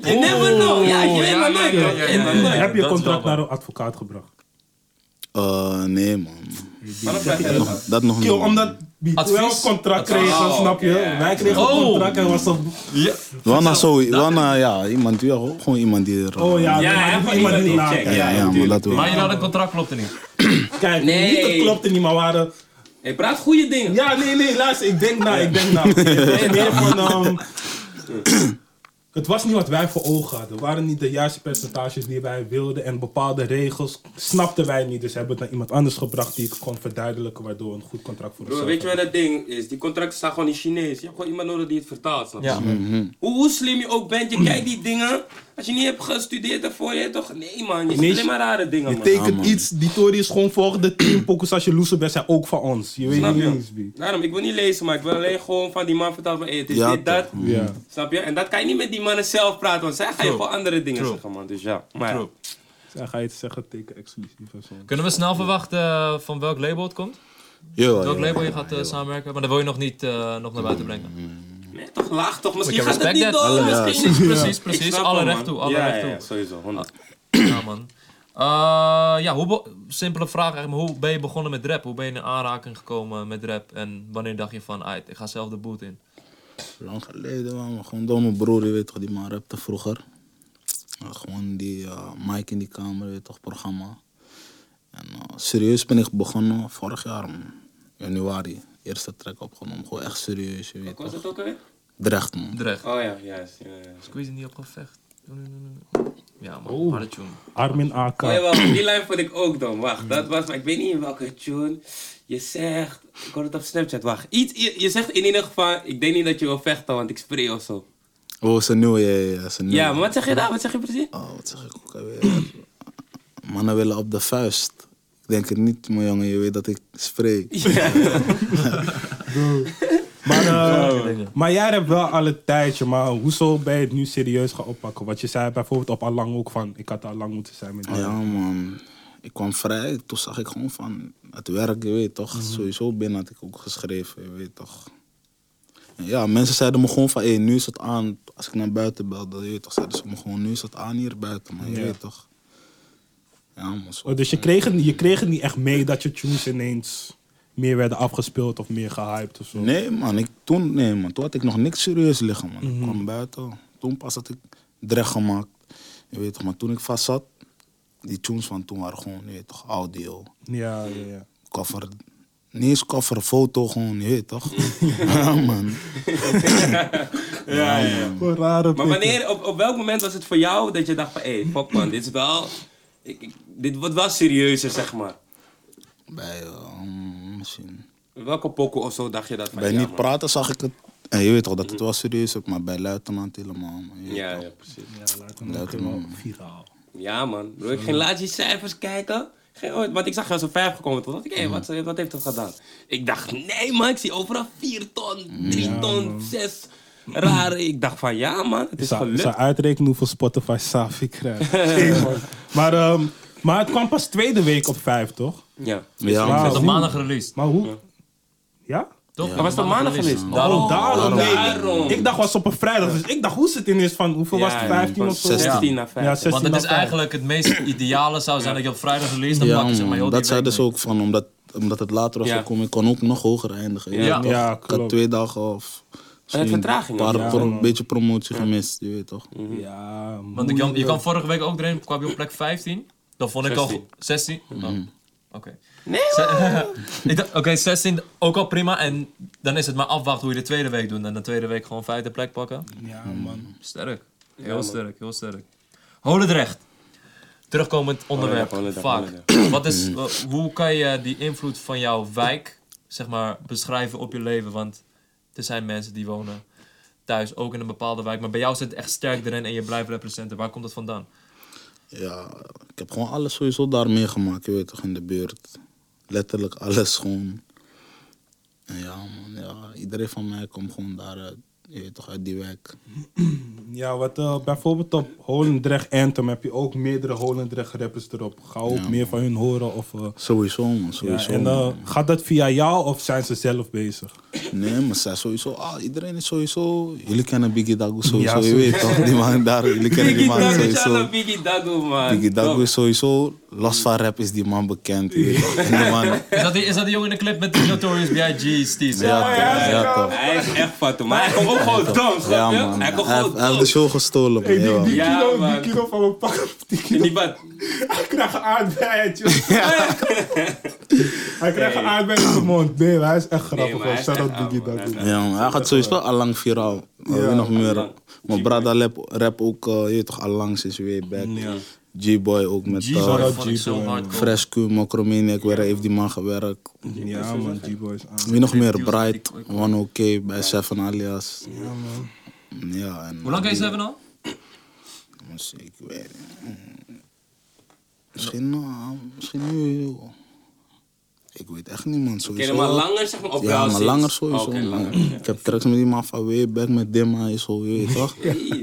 [SPEAKER 1] You never know. Ja, je weet
[SPEAKER 4] ja,
[SPEAKER 1] maar
[SPEAKER 4] ja,
[SPEAKER 1] nooit.
[SPEAKER 4] ja,
[SPEAKER 1] man.
[SPEAKER 4] ja,
[SPEAKER 1] Je weet
[SPEAKER 4] ja,
[SPEAKER 1] maar
[SPEAKER 4] ja.
[SPEAKER 1] nooit.
[SPEAKER 3] Heb je
[SPEAKER 4] dat is
[SPEAKER 3] contract
[SPEAKER 4] wel waar.
[SPEAKER 3] naar een advocaat gebracht?
[SPEAKER 2] Eh, nee, man.
[SPEAKER 1] Maar dat blijft wel.
[SPEAKER 2] Nog, dat nog niet.
[SPEAKER 3] Kill,
[SPEAKER 2] man.
[SPEAKER 3] omdat die
[SPEAKER 4] Advies?
[SPEAKER 3] wel een contract
[SPEAKER 4] Advies.
[SPEAKER 3] kregen,
[SPEAKER 1] Oh,
[SPEAKER 3] snap je?
[SPEAKER 1] oké, ja.
[SPEAKER 3] Wij kregen
[SPEAKER 4] Oh.
[SPEAKER 3] een contract en was dan...
[SPEAKER 2] Wel naar zo, wel naar, ja, iemand, ja, gewoon iemand die er...
[SPEAKER 3] Oh ja,
[SPEAKER 1] Ja,
[SPEAKER 3] maar
[SPEAKER 1] hij
[SPEAKER 3] die
[SPEAKER 1] heeft
[SPEAKER 3] iemand
[SPEAKER 1] iemand
[SPEAKER 3] niet
[SPEAKER 1] niet
[SPEAKER 3] laat.
[SPEAKER 1] checken.
[SPEAKER 2] Ja, ja, maar dat wel.
[SPEAKER 4] Maar jullie hadden een contract, klopte niet.
[SPEAKER 3] Kijk,
[SPEAKER 1] Nee.
[SPEAKER 3] niet dat klopte niet, maar we hadden...
[SPEAKER 1] Je praat goede dingen.
[SPEAKER 3] Ja, nee, nee, luister, ik denk na, ik denk nou. na. Het was meer van... ehm, het was niet wat wij voor ogen hadden. Het waren niet de juiste percentages die wij wilden. En bepaalde regels snapten wij niet. Dus hebben we het naar iemand anders gebracht die het kon verduidelijken. Waardoor we een goed contract voor
[SPEAKER 1] Bro,
[SPEAKER 3] onszelf
[SPEAKER 1] weet je wat
[SPEAKER 3] hadden.
[SPEAKER 1] dat ding is? Die contracten staan gewoon in Chinees. Je hebt gewoon iemand nodig die het vertaalt. Snap je?
[SPEAKER 4] Ja. Mhm.
[SPEAKER 1] Hoe, hoe slim je ook bent, je kijkt die dingen. Als je niet hebt gestudeerd daarvoor, je toch... Nee man, je ziet
[SPEAKER 3] Nee,
[SPEAKER 1] alleen maar rare dingen
[SPEAKER 3] Je
[SPEAKER 1] man.
[SPEAKER 3] tekent iets, die Tory is gewoon volgende team. Pokus als je loser bent, zijn ook van ons. Je weet
[SPEAKER 1] Snap
[SPEAKER 3] niet
[SPEAKER 1] je?
[SPEAKER 3] eens wie.
[SPEAKER 1] Daarom, ik wil niet lezen, maar ik wil alleen gewoon van die man vertellen van... Hey, het is
[SPEAKER 2] Ja,
[SPEAKER 1] dit, dat.
[SPEAKER 3] Ja.
[SPEAKER 1] Snap je? En dat kan je niet met die mannen zelf praten, want zij gaan je
[SPEAKER 4] True.
[SPEAKER 1] gewoon andere dingen
[SPEAKER 4] True.
[SPEAKER 1] zeggen man. Dus ja. Maar ja.
[SPEAKER 4] True.
[SPEAKER 3] Dan ga je het zeggen, teken exclusief en zo.
[SPEAKER 4] Kunnen we snel verwachten eh, van welk label het komt?
[SPEAKER 2] Jawel,
[SPEAKER 4] Welk
[SPEAKER 2] jawel.
[SPEAKER 4] label je gaat eh, samenwerken? Maar dat wil je nog niet eh, nog naar buiten brengen.
[SPEAKER 1] Nee, toch laag toch? Misschien
[SPEAKER 4] Ik
[SPEAKER 1] gaat het
[SPEAKER 4] respect
[SPEAKER 1] niet
[SPEAKER 4] that.
[SPEAKER 1] door.
[SPEAKER 4] Alle-
[SPEAKER 1] misschien
[SPEAKER 4] Precies, precies,
[SPEAKER 1] Ik
[SPEAKER 4] precies.
[SPEAKER 1] snap
[SPEAKER 4] Alle
[SPEAKER 1] hem,
[SPEAKER 4] recht
[SPEAKER 1] man.
[SPEAKER 4] toe, alle
[SPEAKER 1] ja,
[SPEAKER 4] recht
[SPEAKER 1] ja,
[SPEAKER 4] toe.
[SPEAKER 1] ja, sowieso. 100.
[SPEAKER 4] Ja, man. Eh, ja, hoe be- simpele vraag eigenlijk. maar Hoe ben je begonnen met rap? Hoe ben je in aanraking gekomen met rap? En wanneer dacht je van, "Aight, ik ga zelf de boot in?
[SPEAKER 2] Lang geleden, man. maar Gewoon door mijn broer, je weet toch, die man rapte vroeger. Ja, gewoon die eh Mike in die kamer, je weet toch, programma. En eh, serieus ben ik begonnen vorig jaar, man. Januari. Eerste track opgenomen. Gewoon echt serieus, je weet
[SPEAKER 1] Wat was
[SPEAKER 2] toch.
[SPEAKER 1] dat ook alweer?
[SPEAKER 2] Drecht, man.
[SPEAKER 4] Drecht.
[SPEAKER 1] Oh ja, juist. Ja, ja.
[SPEAKER 4] Squeeze niet op gevecht. Ja, man. Harde tune.
[SPEAKER 3] Armin AK.
[SPEAKER 1] Oh, jawel, die lijn vond ik ook dan. Wacht, dat was, maar ik weet niet in welke tune. Je zegt, ik hoorde het op Snapchat, wacht. Iets, je, je zegt in ieder geval, ik denk niet dat je wil vechten, want ik spreeuw of zo.
[SPEAKER 2] Oh, zijn nieuwe, ja, ja, ja, zijn nieuwe.
[SPEAKER 1] Ja, maar wat zeg je daar? Wat zeg je precies?
[SPEAKER 2] Oh, wat zeg ik ook alweer. Mannen willen op de vuist. Ik denk het niet, mijn jongen. Je weet dat ik spray.
[SPEAKER 3] Maar, eh, maar jij hebt wel al een tijdje, maar hoezo ben je het nu serieus gaan oppakken? Want je zei bijvoorbeeld op Allang ook van, ik had Allang moeten zijn met die.
[SPEAKER 2] Ja, man. Ik kwam vrij. Toen zag ik gewoon van het werk, je weet toch. Sowieso binnen had ik ook geschreven, je weet toch. En ja, mensen zeiden me gewoon van, hé, nu is het aan. Als ik naar buiten belde, je weet toch, zeiden ze me gewoon, nu is het aan hier buiten, man. Je
[SPEAKER 3] Ja.
[SPEAKER 2] weet toch. Ja, man. Zo.
[SPEAKER 3] Oh, dus je kreeg, het, niet- je kreeg het niet echt mee dat je tunes ineens meer werden afgespeeld of meer gehyped of zo?
[SPEAKER 2] Nee, man. Ik, toen, nee, man. Toen had ik nog niks serieus liggen, man. Ik kwam buiten. Toen pas had ik drecht gemaakt. Je weet toch, maar toen ik vast zat, die tunes van toen waren gewoon, je weet toch, audio.
[SPEAKER 3] Ja, ja, ja.
[SPEAKER 2] Koffer. Niet eens koffer, foto gewoon, je weet toch? ja, man.
[SPEAKER 1] Ja, ja.
[SPEAKER 3] Wat rare
[SPEAKER 1] Maar wanneer, op, op welk moment was het voor jou dat je dacht van, hé, hey, fuck man, dit is wel, ik, ik- dit wordt wel serieuzer, zeg maar.
[SPEAKER 2] Bij, ehm, misschien.
[SPEAKER 1] Welke pokoe of zo dacht je dat van?
[SPEAKER 2] bij
[SPEAKER 1] ja,
[SPEAKER 2] niet
[SPEAKER 1] man.
[SPEAKER 2] praten zag ik het. En je weet toch dat het wel serieus is, maar bij luitenant helemaal. Man. Je weet
[SPEAKER 1] Ja,
[SPEAKER 2] toch.
[SPEAKER 1] ja, precies.
[SPEAKER 2] Luitenant.
[SPEAKER 3] Viraal.
[SPEAKER 1] Ja, man. Bro, ik ging laatst die cijfers kijken. Geen ooit, want ik zag jou zo'n 5 gekomen. Toen dacht ik, hé,
[SPEAKER 2] Mm.
[SPEAKER 1] wat, wat heeft dat gedaan? Ik dacht, nee, man, ik zie overal 4 ton, 3 ton, 6. Raar. Ik dacht van, ja, man, het is
[SPEAKER 3] Zou,
[SPEAKER 1] gelukt.
[SPEAKER 3] zou uitrekenen hoeveel Spotify Safi krijgt. Hey, man. maar, ehm, maar het kwam pas tweede week op vijf, toch?
[SPEAKER 1] Ja.
[SPEAKER 2] Ja,
[SPEAKER 4] Het
[SPEAKER 2] man.
[SPEAKER 4] is op maandag released.
[SPEAKER 3] Maar hoe... Ja?
[SPEAKER 4] Toch?
[SPEAKER 1] Dat was toch maandag geweest?
[SPEAKER 4] Daarom.
[SPEAKER 3] Oh, daarom. Nee,
[SPEAKER 1] Daarom.
[SPEAKER 3] Ik dacht was op een vrijdag, dus ik dacht hoe zit het in is van hoeveel
[SPEAKER 4] Ja,
[SPEAKER 3] was het? 15 of zo?
[SPEAKER 1] 16
[SPEAKER 3] Ja.
[SPEAKER 1] naar
[SPEAKER 3] Ja,
[SPEAKER 1] 15.
[SPEAKER 3] 16
[SPEAKER 4] Want het
[SPEAKER 3] naar
[SPEAKER 4] is
[SPEAKER 3] 15.
[SPEAKER 4] eigenlijk het meest ideale zou zijn dat je op vrijdag release, dan
[SPEAKER 2] Ja,
[SPEAKER 4] pak je zeg maar
[SPEAKER 2] man,
[SPEAKER 4] heel
[SPEAKER 2] dat
[SPEAKER 4] die
[SPEAKER 2] zei
[SPEAKER 4] week
[SPEAKER 2] dus
[SPEAKER 4] mee.
[SPEAKER 2] ook van, omdat, omdat het later was
[SPEAKER 1] Ja.
[SPEAKER 2] gekomen, ik kon ook nog hoger eindigen. je
[SPEAKER 1] Ja.
[SPEAKER 2] weet toch?
[SPEAKER 3] Ja,
[SPEAKER 2] ik had
[SPEAKER 3] klopt.
[SPEAKER 2] twee dagen of... misschien
[SPEAKER 1] vertraging
[SPEAKER 2] Een
[SPEAKER 1] ook,
[SPEAKER 2] paar,
[SPEAKER 1] ja,
[SPEAKER 2] voor een
[SPEAKER 3] man.
[SPEAKER 2] beetje promotie gemist, je weet toch.
[SPEAKER 3] Ja,
[SPEAKER 4] Want ik, je kan vorige week ook erin, kwam je op plek 15. Dan vond ik al...
[SPEAKER 1] 16.
[SPEAKER 4] 16? Oh,
[SPEAKER 2] Mhm.
[SPEAKER 4] Oké. Nee Oké, 16 ook al prima. En dan is het maar afwachten hoe je de tweede week doet. En de tweede week gewoon vijfde plek pakken. Hmm.
[SPEAKER 3] Ja, man.
[SPEAKER 4] Sterk. Heel
[SPEAKER 1] man.
[SPEAKER 4] sterk, heel sterk. Holendrecht. Terugkomend onderwerp.
[SPEAKER 1] Holendrecht,
[SPEAKER 4] Vaak.
[SPEAKER 1] Holendrecht,
[SPEAKER 4] Wat is, wa- hoe kan je die invloed van jouw wijk zeg maar, beschrijven op je leven? Want er zijn mensen die wonen thuis ook in een bepaalde wijk. Maar bij jou zit het echt sterk erin en je blijft representen. Waar komt dat vandaan?
[SPEAKER 2] Ja, ik heb gewoon alles sowieso daar meegemaakt, je weet toch, in de buurt. Letterlijk alles gewoon. En ja, man, ja, iedereen van mij komt gewoon daaruit, je weet toch, uit die wijk.
[SPEAKER 3] Ja, wat eh, bijvoorbeeld op Holendrecht Anthem heb je ook meerdere Holendrecht rappers erop. Ga ook meer van hun horen of... eh,
[SPEAKER 2] Sowieso, man,
[SPEAKER 3] ja,
[SPEAKER 2] sowieso.
[SPEAKER 3] en eh,
[SPEAKER 2] man.
[SPEAKER 3] gaat dat via jou of zijn ze zelf bezig?
[SPEAKER 2] Nee, maar zij sowieso, ah, iedereen is sowieso. Jullie kennen Biggie Dago sowieso,
[SPEAKER 3] Ja,
[SPEAKER 2] je weet toch? Die man daar, jullie kennen die
[SPEAKER 1] Biggie
[SPEAKER 2] man
[SPEAKER 1] Dago,
[SPEAKER 2] sowieso.
[SPEAKER 1] shout-out Biggie Dago, man.
[SPEAKER 2] Biggie Dago
[SPEAKER 1] Top.
[SPEAKER 2] is sowieso, los van rap is die man bekend. je weet toch? En die man,
[SPEAKER 4] Is dat die, is dat die jongen in de clip met die Notorious B.I.G. Steez?
[SPEAKER 2] ja, toch, ja, toch.
[SPEAKER 1] Hij is echt fat, maar hij kon ook gewoon dom,
[SPEAKER 2] Ja,
[SPEAKER 1] snap je?
[SPEAKER 2] man,
[SPEAKER 1] Hij
[SPEAKER 2] hij
[SPEAKER 1] kon gewoon
[SPEAKER 2] heeft- hij heeft de
[SPEAKER 1] dom.
[SPEAKER 2] show gestolen, man. jawel.
[SPEAKER 1] die- Ja,
[SPEAKER 5] kilo,
[SPEAKER 1] man.
[SPEAKER 5] die kilo van mijn pak. Die
[SPEAKER 2] dus
[SPEAKER 1] In
[SPEAKER 5] kilo.
[SPEAKER 1] die bad.
[SPEAKER 5] Hij krijgt een aardbeidje. Hij krijgt een aardbei in zijn mond. Nee, maar hij is echt
[SPEAKER 1] Nee,
[SPEAKER 5] grappig.
[SPEAKER 1] maar hij
[SPEAKER 5] hoor.
[SPEAKER 1] is
[SPEAKER 5] Shout out
[SPEAKER 1] echt ouwe,
[SPEAKER 5] Biggie
[SPEAKER 1] man. Hij is
[SPEAKER 5] Dagoe.
[SPEAKER 1] echt-
[SPEAKER 2] Ja, man, hij gaat sowieso al lang viraal. Ja. Wie nog meer? Maar Brada rap, rap ook, eh, je weet toch, al lang sinds way back. G-Boy ook met eh,
[SPEAKER 3] Shout-out
[SPEAKER 4] Vond ik zo
[SPEAKER 3] G-Boy,
[SPEAKER 4] hardcore.
[SPEAKER 2] Fresh Q, Mokromaniac, waar hij heeft die man gewerkt.
[SPEAKER 3] Ja, man, G-Boys aan.
[SPEAKER 2] Wie nog meer? Bright, 1OK bij Seven Alias. Ja, man. Ja, en
[SPEAKER 4] Hoe lang kan je ze hebben al?
[SPEAKER 2] Moest Ik weet het niet. Misschien, nou, misschien nu. joh. Ik weet echt niet, man.
[SPEAKER 1] Ken je
[SPEAKER 2] Sowieso.
[SPEAKER 1] hem al langer, zeg maar? Of
[SPEAKER 2] Ja, maar langer
[SPEAKER 4] Oh,
[SPEAKER 2] sowieso.
[SPEAKER 1] Oké,
[SPEAKER 2] man.
[SPEAKER 1] langer.
[SPEAKER 2] Ik heb tracks met die man van way back met Dimma en zo, je weet toch?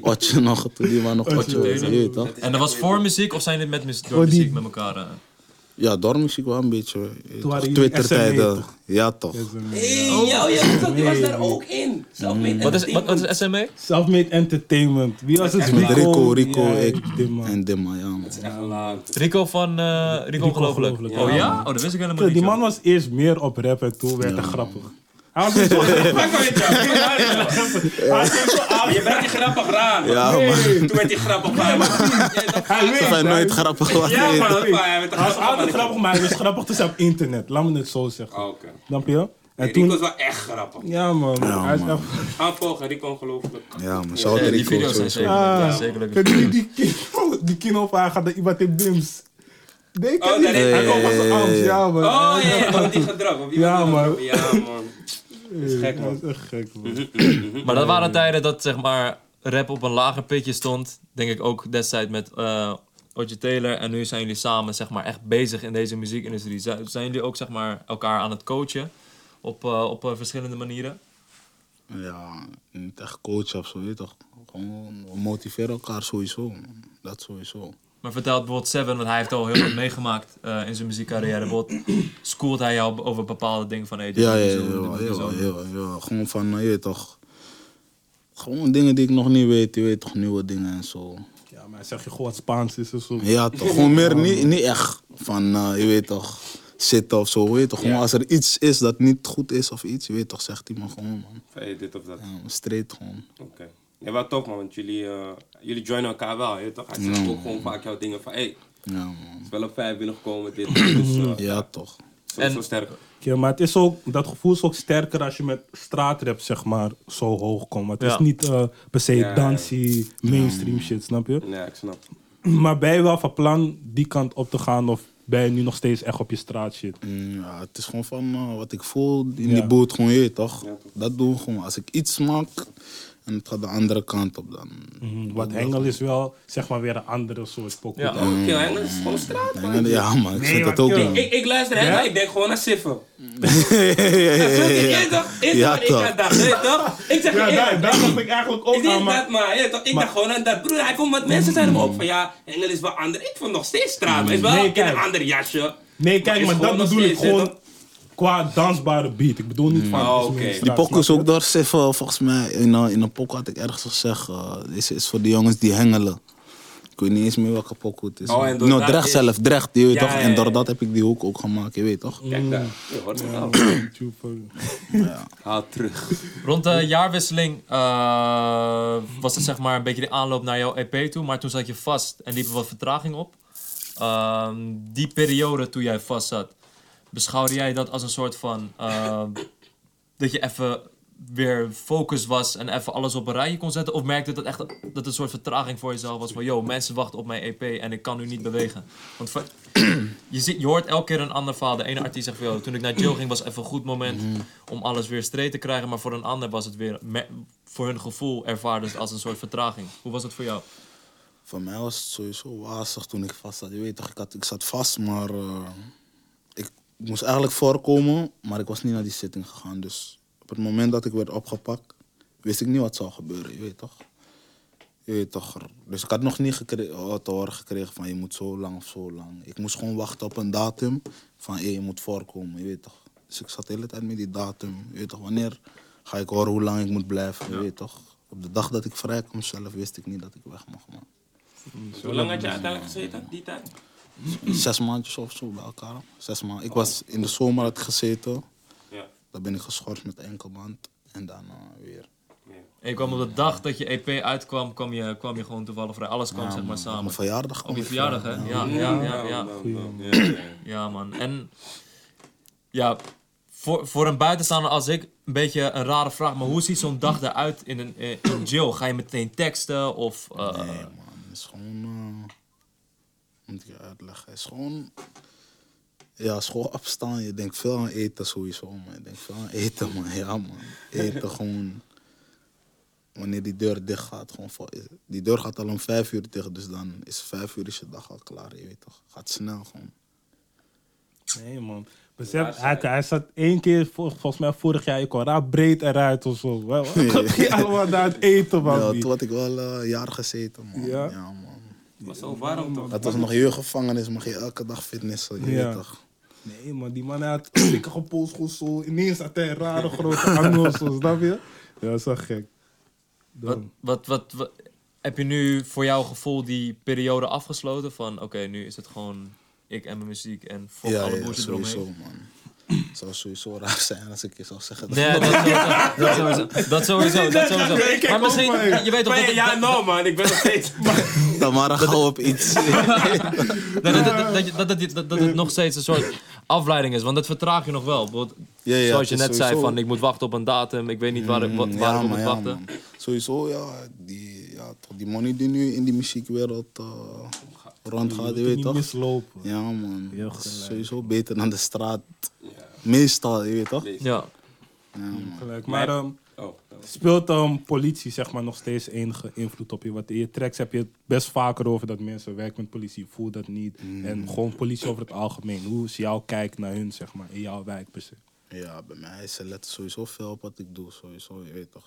[SPEAKER 2] Otje nog, toen die man nog Otje was, je weet toch?
[SPEAKER 4] En dat was voor muziek of zijn dit met muziek,
[SPEAKER 3] Oh,
[SPEAKER 4] door muziek met elkaar? eh?
[SPEAKER 2] Ja, daarom is ik wel een beetje. je weet toch,
[SPEAKER 3] jullie SME,
[SPEAKER 2] Twitter-tijden. Ja, toch?
[SPEAKER 1] Hey, yo, yo, die was daar ook in. Self-made
[SPEAKER 4] Wat is, wat,
[SPEAKER 1] entertainment.
[SPEAKER 4] wat is SME?
[SPEAKER 3] Selfmade Entertainment. Wie was het?
[SPEAKER 2] Met Rico, Rico,
[SPEAKER 3] Ja,
[SPEAKER 2] ik
[SPEAKER 3] dit man.
[SPEAKER 2] en Dimma, ja, man.
[SPEAKER 1] Echt lang.
[SPEAKER 4] Rico van eh, Rico, Ongelooflijk.
[SPEAKER 3] Ongelooflijk,
[SPEAKER 4] Oh
[SPEAKER 3] ja.
[SPEAKER 4] ja? Oh, dat wist ik helemaal
[SPEAKER 3] Die
[SPEAKER 4] niet.
[SPEAKER 3] man
[SPEAKER 4] joh.
[SPEAKER 3] was eerst meer op rap en toen werd hij grappig. Hij was niet zo
[SPEAKER 1] Ah, Je bent die grappig raar. man.
[SPEAKER 2] Ja, man.
[SPEAKER 1] Toen werd hij grappig raar. man. Ja, dat-
[SPEAKER 2] Alsof hij nooit grappig was.
[SPEAKER 1] Ja,
[SPEAKER 2] je weet
[SPEAKER 1] man.
[SPEAKER 2] toch?
[SPEAKER 1] dat- Hij werd
[SPEAKER 3] Hij was altijd
[SPEAKER 1] grappig.
[SPEAKER 3] grappig, maar hij was grappig tussen op internet. Laat me het zo zeggen.
[SPEAKER 1] Oké.
[SPEAKER 3] Snap je? En
[SPEAKER 1] Rico
[SPEAKER 3] toen...
[SPEAKER 1] is wel echt grappig.
[SPEAKER 3] Ja man, hij is
[SPEAKER 2] man.
[SPEAKER 3] echt...
[SPEAKER 1] Gaan volgen, Rico ongelooflijk.
[SPEAKER 2] Ja, man. Shout out
[SPEAKER 4] Ja, die
[SPEAKER 2] Rico.
[SPEAKER 4] video's zijn
[SPEAKER 2] sowieso.
[SPEAKER 4] zeker,
[SPEAKER 3] Ah,
[SPEAKER 4] ja, zeker leuk.
[SPEAKER 5] Ken je die kino? Die kino van hij gaat naar iemand in Bims. Nee, ken
[SPEAKER 1] Oh,
[SPEAKER 5] je
[SPEAKER 1] dat
[SPEAKER 5] die?
[SPEAKER 1] is-
[SPEAKER 5] Hij komt van zijn angst, ja man.
[SPEAKER 1] Oh, ja, ja, want die gaat erop. Of die
[SPEAKER 5] Ja,
[SPEAKER 1] gaat erop.
[SPEAKER 5] man.
[SPEAKER 1] Ja, man. Dat is gek,
[SPEAKER 5] Hij is
[SPEAKER 1] man.
[SPEAKER 5] echt gek man.
[SPEAKER 4] Maar dat waren tijden dat zeg maar rap op een lager pitje stond. Denk ik ook destijds met eh Otje Taylor. En nu zijn jullie samen zeg maar echt bezig in deze muziekindustrie. Zijn zijn jullie ook zeg maar elkaar aan het coachen op, eh, op eh, verschillende manieren?
[SPEAKER 2] Ja, niet echt coach of zo, weet je toch? Gewoon, we motiveren elkaar sowieso. man. Dat sowieso.
[SPEAKER 4] Maar vertel bijvoorbeeld Seven, want hij heeft al heel wat meegemaakt eh, in zijn muziekcarrière. Bijvoorbeeld schoolt hij jou over bepaalde dingen van hey, dit
[SPEAKER 2] Ja,
[SPEAKER 4] moet
[SPEAKER 2] ja,
[SPEAKER 4] je
[SPEAKER 2] ja,
[SPEAKER 4] zo doen, dit
[SPEAKER 2] ja,
[SPEAKER 4] moet je zo
[SPEAKER 2] ja,
[SPEAKER 4] doen.
[SPEAKER 2] ja, ja. Gewoon van, eh, je weet toch. Gewoon dingen die ik nog niet weet, je weet toch, nieuwe dingen en zo.
[SPEAKER 3] Ja, maar zeg je gewoon wat Spaans is of zo.
[SPEAKER 2] Ja, toch. Gewoon meer niet, niet echt van, eh, je weet toch, zitten of zo, weet je toch. Gewoon als er iets is dat niet goed is of iets, je weet toch, zegt hij me gewoon, man.
[SPEAKER 1] Hey, dit of dat.
[SPEAKER 2] Ja, man, straight gewoon.
[SPEAKER 1] Oké. Ja, wel tof, man. Want jullie, eh, jullie joinen elkaar wel, je weet toch? Hij zegt ook gewoon vaak jouw dingen van, hey, het
[SPEAKER 2] Ja, man.
[SPEAKER 1] is wel op vijf binnengekomen, dit. Dus, eh,
[SPEAKER 2] Ja, toch.
[SPEAKER 1] sowieso
[SPEAKER 4] En-
[SPEAKER 1] sterk.
[SPEAKER 3] Ja, maar het is ook, dat gevoel is ook sterker als je met straatrap zeg maar zo hoog komt. Het is
[SPEAKER 4] Ja.
[SPEAKER 3] niet eh, per se
[SPEAKER 1] Ja. Mm.
[SPEAKER 3] dansie, mainstream shit, snap je?
[SPEAKER 1] Ja, ik snap.
[SPEAKER 3] Maar ben je wel van plan die kant op te gaan of ben je nu nog steeds echt op je straat shit?
[SPEAKER 2] Mm, Ja, het is gewoon van eh, wat ik voel in
[SPEAKER 3] Ja.
[SPEAKER 2] die boot, gewoon je weet toch?
[SPEAKER 1] Ja, toch.
[SPEAKER 2] Dat doen we gewoon. Als ik iets maak en het gaat de andere kant op, dan.
[SPEAKER 3] Mm, Wat Engel is wel zeg maar weer een andere soort pokoe.
[SPEAKER 4] Ja.
[SPEAKER 1] Oké, en dat is gewoon straat,
[SPEAKER 2] Dan-
[SPEAKER 1] man.
[SPEAKER 2] ja, man, ik vind het ook.
[SPEAKER 1] Ik,
[SPEAKER 2] man.
[SPEAKER 1] ik, ik luister hè, maar ik denk gewoon naar Siffen. Je weet toch? Is
[SPEAKER 2] Eh, Ja,
[SPEAKER 1] wat ik
[SPEAKER 2] toch.
[SPEAKER 1] aan dacht, je weet toch? Ik zeg,
[SPEAKER 5] Ja,
[SPEAKER 1] hey,
[SPEAKER 5] daar, daar dacht ik eigenlijk
[SPEAKER 1] is
[SPEAKER 5] ook
[SPEAKER 1] dit
[SPEAKER 5] aan, maar...
[SPEAKER 1] dat maar, je weet toch? Ik dacht gewoon aan dat. Broer, hij komt met mensen zijn hem op van ja, Engel is wel ander. Ik vond nog steeds straat, maar is wel
[SPEAKER 3] Nee,
[SPEAKER 1] in
[SPEAKER 3] kijk.
[SPEAKER 1] een ander jasje.
[SPEAKER 3] Nee, kijk,
[SPEAKER 1] is
[SPEAKER 3] maar,
[SPEAKER 1] gewoon
[SPEAKER 3] dat
[SPEAKER 1] nog
[SPEAKER 3] bedoel ik
[SPEAKER 1] steeds, hè,
[SPEAKER 3] gewoon. qua dansbare beat. Ik bedoel niet van...
[SPEAKER 4] Oh,
[SPEAKER 3] het is
[SPEAKER 4] oké.
[SPEAKER 3] mainstream,
[SPEAKER 2] Die pokoe is
[SPEAKER 3] snap
[SPEAKER 2] ook door Sif, eh, volgens mij. In, eh, in een pokoe had ik ergens gezegd, eh, deze is voor de jongens die hengelen. Ik weet niet eens meer welke pokoe het is.
[SPEAKER 1] Oh, en door
[SPEAKER 2] no,
[SPEAKER 1] dat
[SPEAKER 2] Drecht
[SPEAKER 1] is-
[SPEAKER 2] zelf, Drecht, je weet
[SPEAKER 1] Ja,
[SPEAKER 2] toch?
[SPEAKER 1] ja,
[SPEAKER 2] En door
[SPEAKER 1] ja. Mm.
[SPEAKER 2] dat heb ik die hoek ook gemaakt, je weet toch?
[SPEAKER 1] Kijk daar. Je hoort het al.
[SPEAKER 3] je? YouTube, eh.
[SPEAKER 1] Haal terug.
[SPEAKER 4] Rond de jaarwisseling eh, was het zeg maar een beetje de aanloop naar jouw EP toe, maar toen zat je vast en liep er wat vertraging op. Ehm, die periode toen jij vast zat, beschouwde jij dat als een soort van eh, dat je even weer focus was en even alles op een rijje kon zetten? Of merkte dat echt dat het een soort vertraging voor jezelf was van yo, mensen wachten op mijn EP en ik kan nu niet bewegen? Want va- je, ziet, je hoort elke keer een ander verhaal. De ene artiest zegt van yo, toen ik naar Jill ging was even een goed moment
[SPEAKER 2] Mhm.
[SPEAKER 4] om alles weer streed te krijgen, maar voor een ander was het weer me- voor hun gevoel ervaarden ze het als een soort vertraging. Hoe was het voor jou?
[SPEAKER 2] Voor mij was het sowieso wazig toen ik vast zat. Je weet toch, ik, had, ik zat vast, maar eh, ik moest eigenlijk voorkomen, maar ik was niet naar die zitting gegaan. Dus op het moment dat ik werd opgepakt, wist ik niet wat zou gebeuren, je weet toch? Je weet toch. er- Dus ik had nog niet gekre- eh, te horen gekregen van je moet zo lang of zo lang. Ik moest gewoon wachten op een datum van hé, je moet voorkomen, je weet toch? Dus ik zat de hele tijd met die datum, je weet toch? Wanneer ga ik horen hoe lang ik moet blijven, je weet toch? Op de dag dat ik vrij kwam zelf, wist ik niet dat ik weg mocht, man.
[SPEAKER 1] Hoe lang had je uiteindelijk gezeten, die tijd?
[SPEAKER 2] zes maandjes of zo bij elkaar. Zes maanden. Ik was in de zomer had ik gezeten.
[SPEAKER 1] Ja.
[SPEAKER 2] Dan ben ik geschorst met enkelband. En dan eh, weer.
[SPEAKER 4] En je kwam op de dag dat je EP uitkwam, kwam je, kwam je gewoon toevallig vrij. Alles kwam
[SPEAKER 2] Ja,
[SPEAKER 4] zeg maar
[SPEAKER 2] man. Op
[SPEAKER 4] samen.
[SPEAKER 2] mijn verjaardag. kwam
[SPEAKER 4] Op je
[SPEAKER 2] ik
[SPEAKER 4] verjaardag, hè?
[SPEAKER 2] vrij,
[SPEAKER 4] Ja, ja, ja, ja. Ja, man. En ja, voor, voor een buitenstaander als ik, een beetje een rare vraag, maar hoe ziet zo'n dag eruit in een eh, in jail? Ga je meteen teksten of... eh,
[SPEAKER 2] Nee, man. Het is gewoon. eh, moet ik je uitleggen? Het is gewoon. Ja, het is gewoon opstaan. Je denkt veel aan eten sowieso, man. Je denkt veel aan eten, man. Ja, man. Eten gewoon. Wanneer die deur dicht gaat, gewoon voor, die deur gaat al om vijf uur dicht, dus dan is vijf uur is je dag al klaar, je weet toch? Gaat snel gewoon.
[SPEAKER 3] Nee, man. Besef, hij, hij zat één keer, vol- volgens mij vorig jaar, ik kwam raar breed eruit of zo. Wel, gaat hij allemaal daar het eten van?
[SPEAKER 2] Ja,
[SPEAKER 3] die?
[SPEAKER 2] toen had ik wel eh, een jaar gezeten, man.
[SPEAKER 3] Ja?
[SPEAKER 2] Ja, man.
[SPEAKER 1] Was zo warm toch?
[SPEAKER 2] Het was nog jeugdgevangenis, mag je elke dag fitnessen, je
[SPEAKER 3] Ja.
[SPEAKER 2] weet toch.
[SPEAKER 3] Nee, man, die man hij had dikke polsgoed zo. Ineens had hij een rare grote angels, zo, snap je? Ja, dat is wel gek.
[SPEAKER 4] Wat,
[SPEAKER 3] Dan.
[SPEAKER 4] wat, wat, wat- heb je nu voor jouw gevoel die periode afgesloten? Van oké, nu is het gewoon ik en mijn muziek en voor
[SPEAKER 2] ja,
[SPEAKER 4] alle
[SPEAKER 2] ja,
[SPEAKER 4] bullshit
[SPEAKER 2] sowieso,
[SPEAKER 4] eromheen.
[SPEAKER 2] man. Het zou sowieso raar zijn als ik je zou zeggen dat
[SPEAKER 4] Nee, dat sowieso. Dat sowieso.
[SPEAKER 1] Nou,
[SPEAKER 4] Dat sowieso. Dat sowieso. Maar misschien, je weet toch
[SPEAKER 1] Maar
[SPEAKER 4] dat
[SPEAKER 1] ja,
[SPEAKER 4] het-
[SPEAKER 1] ja, nou man, ik ben nog steeds.
[SPEAKER 2] Tamara gauw op iets.
[SPEAKER 4] dat- dat- dat- dat je- dat- dat- dat- dat het nog steeds een soort afleiding is. Want dat vertraag je nog wel. Bijvoorbeeld,
[SPEAKER 2] Ja, ja,
[SPEAKER 4] Zoals je
[SPEAKER 2] het is
[SPEAKER 4] net zei,
[SPEAKER 2] sowieso-
[SPEAKER 4] van ik moet wachten op een datum. Ik weet niet waar ik, wat,
[SPEAKER 2] Mm,
[SPEAKER 4] waar ik op
[SPEAKER 2] maar
[SPEAKER 4] moet wachten.
[SPEAKER 2] man. Sowieso, ja. Die, ja, toch die money die nu in die muziekwereld eh, rondgaat, je
[SPEAKER 3] Moet
[SPEAKER 2] weet
[SPEAKER 3] niet
[SPEAKER 2] toch?
[SPEAKER 3] mislopen.
[SPEAKER 2] Ja, man.
[SPEAKER 3] Heel
[SPEAKER 2] Dat
[SPEAKER 3] gelijk.
[SPEAKER 2] is sowieso beter dan de straat. Meestal, je weet toch?
[SPEAKER 4] ja.
[SPEAKER 3] Gelijk. Maar ehm,
[SPEAKER 1] Oh,
[SPEAKER 3] speelt ehm, politie zeg maar, nog steeds enige invloed op je? Want in je tracks heb je het best vaker over dat mensen werken met politie. Ik voel dat niet.
[SPEAKER 2] Mm.
[SPEAKER 3] En gewoon politie over het algemeen. Hoe is jouw kijk naar hun, zeg maar, in jouw wijk per se?
[SPEAKER 2] Ja, bij mij ze letten sowieso veel op wat ik doe, sowieso, je weet toch.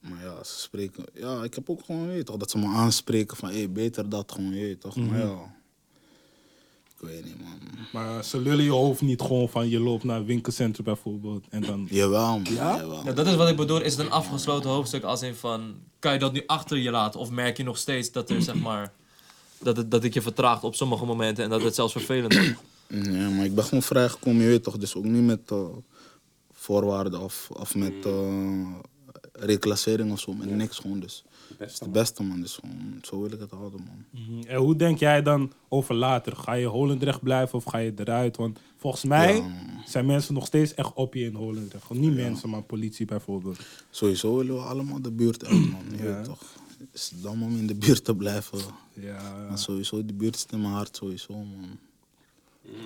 [SPEAKER 2] Maar ja, ze spreken. Ja, ik heb ook gewoon, je weet toch, dat ze me aanspreken van, hé, beter dat gewoon, je weet toch. Maar ja, ik weet niet, man.
[SPEAKER 3] Maar ze lullen je hoofd niet gewoon van je loopt naar een winkelcentrum bijvoorbeeld. En dan...
[SPEAKER 1] Mhm.
[SPEAKER 2] Jawel, man. Jawel.
[SPEAKER 4] Ja, Nou, dat is wat ik bedoel. Is het een afgesloten hoofdstuk als in van... Kan je dat nu achter je laten? Of merk je nog steeds dat er, zeg maar... Dat het, dat het je vertraagt op sommige momenten en dat het zelfs vervelend is?
[SPEAKER 2] Nee, maar ik ben gewoon vrijgekomen, je weet toch. Dus ook niet met eh, voorwaarden of, of met eh, reclassering of zo, met niks gewoon. Dus het is de beste, man. Dus gewoon, zo wil ik het houden, man.
[SPEAKER 3] Mhm. En hoe denk jij dan over later? Ga je Holendrecht blijven of ga je eruit? Want volgens mij zijn mensen nog steeds echt op je in Holendrecht. Gewoon niet mensen, maar politie bijvoorbeeld.
[SPEAKER 2] Sowieso willen we allemaal de buurt uit, man. Je weet toch. Het is dom om in de buurt te blijven.
[SPEAKER 3] Ja,
[SPEAKER 2] Maar sowieso, die buurt is in mijn hart, sowieso, man.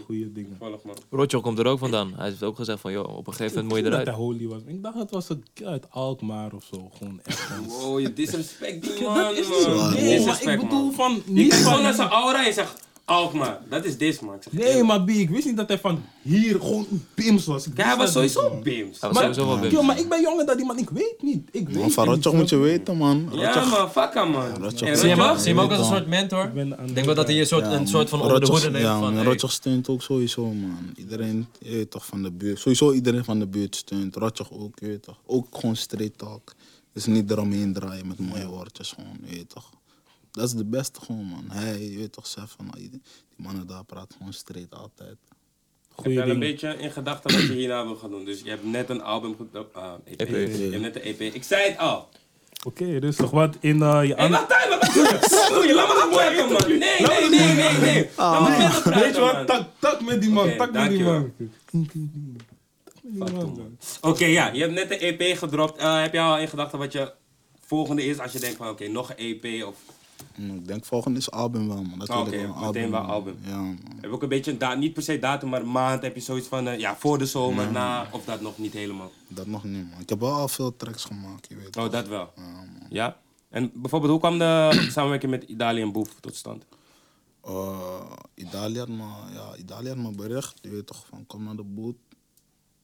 [SPEAKER 3] goede dingen.
[SPEAKER 1] toevallig man.
[SPEAKER 4] Rotjoch komt er ook vandaan. Hij heeft ook gezegd van, joh, op een gegeven moment moet je
[SPEAKER 3] dat hij
[SPEAKER 4] eruit.
[SPEAKER 3] holy was. Ik dacht het was het uit Alkmaar of zo. Gewoon echt.
[SPEAKER 1] Oh, je disrespect die man, man.
[SPEAKER 2] zo.
[SPEAKER 1] Je
[SPEAKER 2] Nee,
[SPEAKER 1] disrespect, man.
[SPEAKER 3] van...
[SPEAKER 1] Je kijkt gewoon naar zijn aura en je zegt... Alkmaar, dat is dit man. Ik zeg het
[SPEAKER 3] Nee,
[SPEAKER 1] eerlijk.
[SPEAKER 3] maar B, ik wist niet dat hij van hier gewoon een Bims was. Ik
[SPEAKER 1] Kijk, hij
[SPEAKER 3] wist
[SPEAKER 1] was
[SPEAKER 3] dat niet,
[SPEAKER 1] sowieso
[SPEAKER 3] man.
[SPEAKER 1] Bims.
[SPEAKER 4] Hij was
[SPEAKER 3] Maar-
[SPEAKER 4] sowieso wel
[SPEAKER 3] Yo,
[SPEAKER 4] binnen.
[SPEAKER 3] maar ik ben jonger dan die man, ik weet niet. Ik weet
[SPEAKER 2] Man, van Rotjoch moet je weten, man.
[SPEAKER 1] Ja
[SPEAKER 2] Rotjoch-
[SPEAKER 1] man, fuck hem man.
[SPEAKER 2] Rotjoch-
[SPEAKER 1] En
[SPEAKER 4] Zie je hem
[SPEAKER 1] Rotjoch-
[SPEAKER 4] ook? Zie je hem ook als een
[SPEAKER 2] Ja.
[SPEAKER 4] soort mentor?
[SPEAKER 3] ben aan
[SPEAKER 4] Ik denk wel dat hij een soort, een soort van onder de
[SPEAKER 2] Rotjoch-
[SPEAKER 4] hoede neemt
[SPEAKER 2] Ja,
[SPEAKER 4] van...
[SPEAKER 2] man,
[SPEAKER 4] hey.
[SPEAKER 2] Rotjoch steunt ook sowieso, man. Iedereen, je weet toch, van de buurt. Sowieso iedereen van de buurt steunt. Rotjoch ook, je weet toch. Ook gewoon straight talk. Dus niet eromheen draaien met mooie woordjes, gewoon, je weet toch. Dat is de beste gewoon, man. Hij, je weet toch, zelf van, nou, die die mannen daar praten gewoon straight altijd.
[SPEAKER 1] Ik
[SPEAKER 3] goede
[SPEAKER 1] heb wel een
[SPEAKER 3] dingen.
[SPEAKER 1] beetje in gedachten wat je hierna wil gaan doen. Dus je hebt net een album... ge- ah,
[SPEAKER 3] E
[SPEAKER 1] EP.
[SPEAKER 4] EP.
[SPEAKER 1] Je hebt net een EP. Ik zei het al.
[SPEAKER 3] Oké, rustig. Wat in eh, je
[SPEAKER 1] Hé,
[SPEAKER 3] andere...
[SPEAKER 1] wacht tijd, wacht even. Doe je, laat me dat maken, man. Nee, nee, nee, nee, nee. Laat me verder praten,
[SPEAKER 3] Weet je wat?
[SPEAKER 1] Ah, man.
[SPEAKER 3] Tak, tak met die man,
[SPEAKER 1] Oké,
[SPEAKER 3] tak met die
[SPEAKER 1] dankjewel.
[SPEAKER 3] man.
[SPEAKER 1] Fuck them, man. Oké, ja, je hebt net een EP gedropt. Eh, heb je al in gedachten wat je volgende is als je denkt van oké, nog een EP of
[SPEAKER 2] Mm, Ik denk volgend is album wel, man. Dat
[SPEAKER 1] Ah,
[SPEAKER 2] wil ik
[SPEAKER 1] oké,
[SPEAKER 2] wel, een
[SPEAKER 1] meteen wel
[SPEAKER 2] man.
[SPEAKER 1] album.
[SPEAKER 2] Ja, man.
[SPEAKER 1] heb je ook een beetje een da- niet per se datum, maar een maand heb je zoiets van eh, ja, voor de zomer, na of dat nog niet helemaal.
[SPEAKER 2] Dat nog niet, man. Ik heb wel al veel tracks gemaakt, je weet
[SPEAKER 1] Oh,
[SPEAKER 2] toch.
[SPEAKER 1] dat wel.
[SPEAKER 2] Ja, man.
[SPEAKER 1] Ja. En bijvoorbeeld, hoe kwam de samenwerking met Idali en Boef tot stand?
[SPEAKER 2] Eh, Italië had me, ja, Italië had me bericht, je weet toch, van kom naar de boot.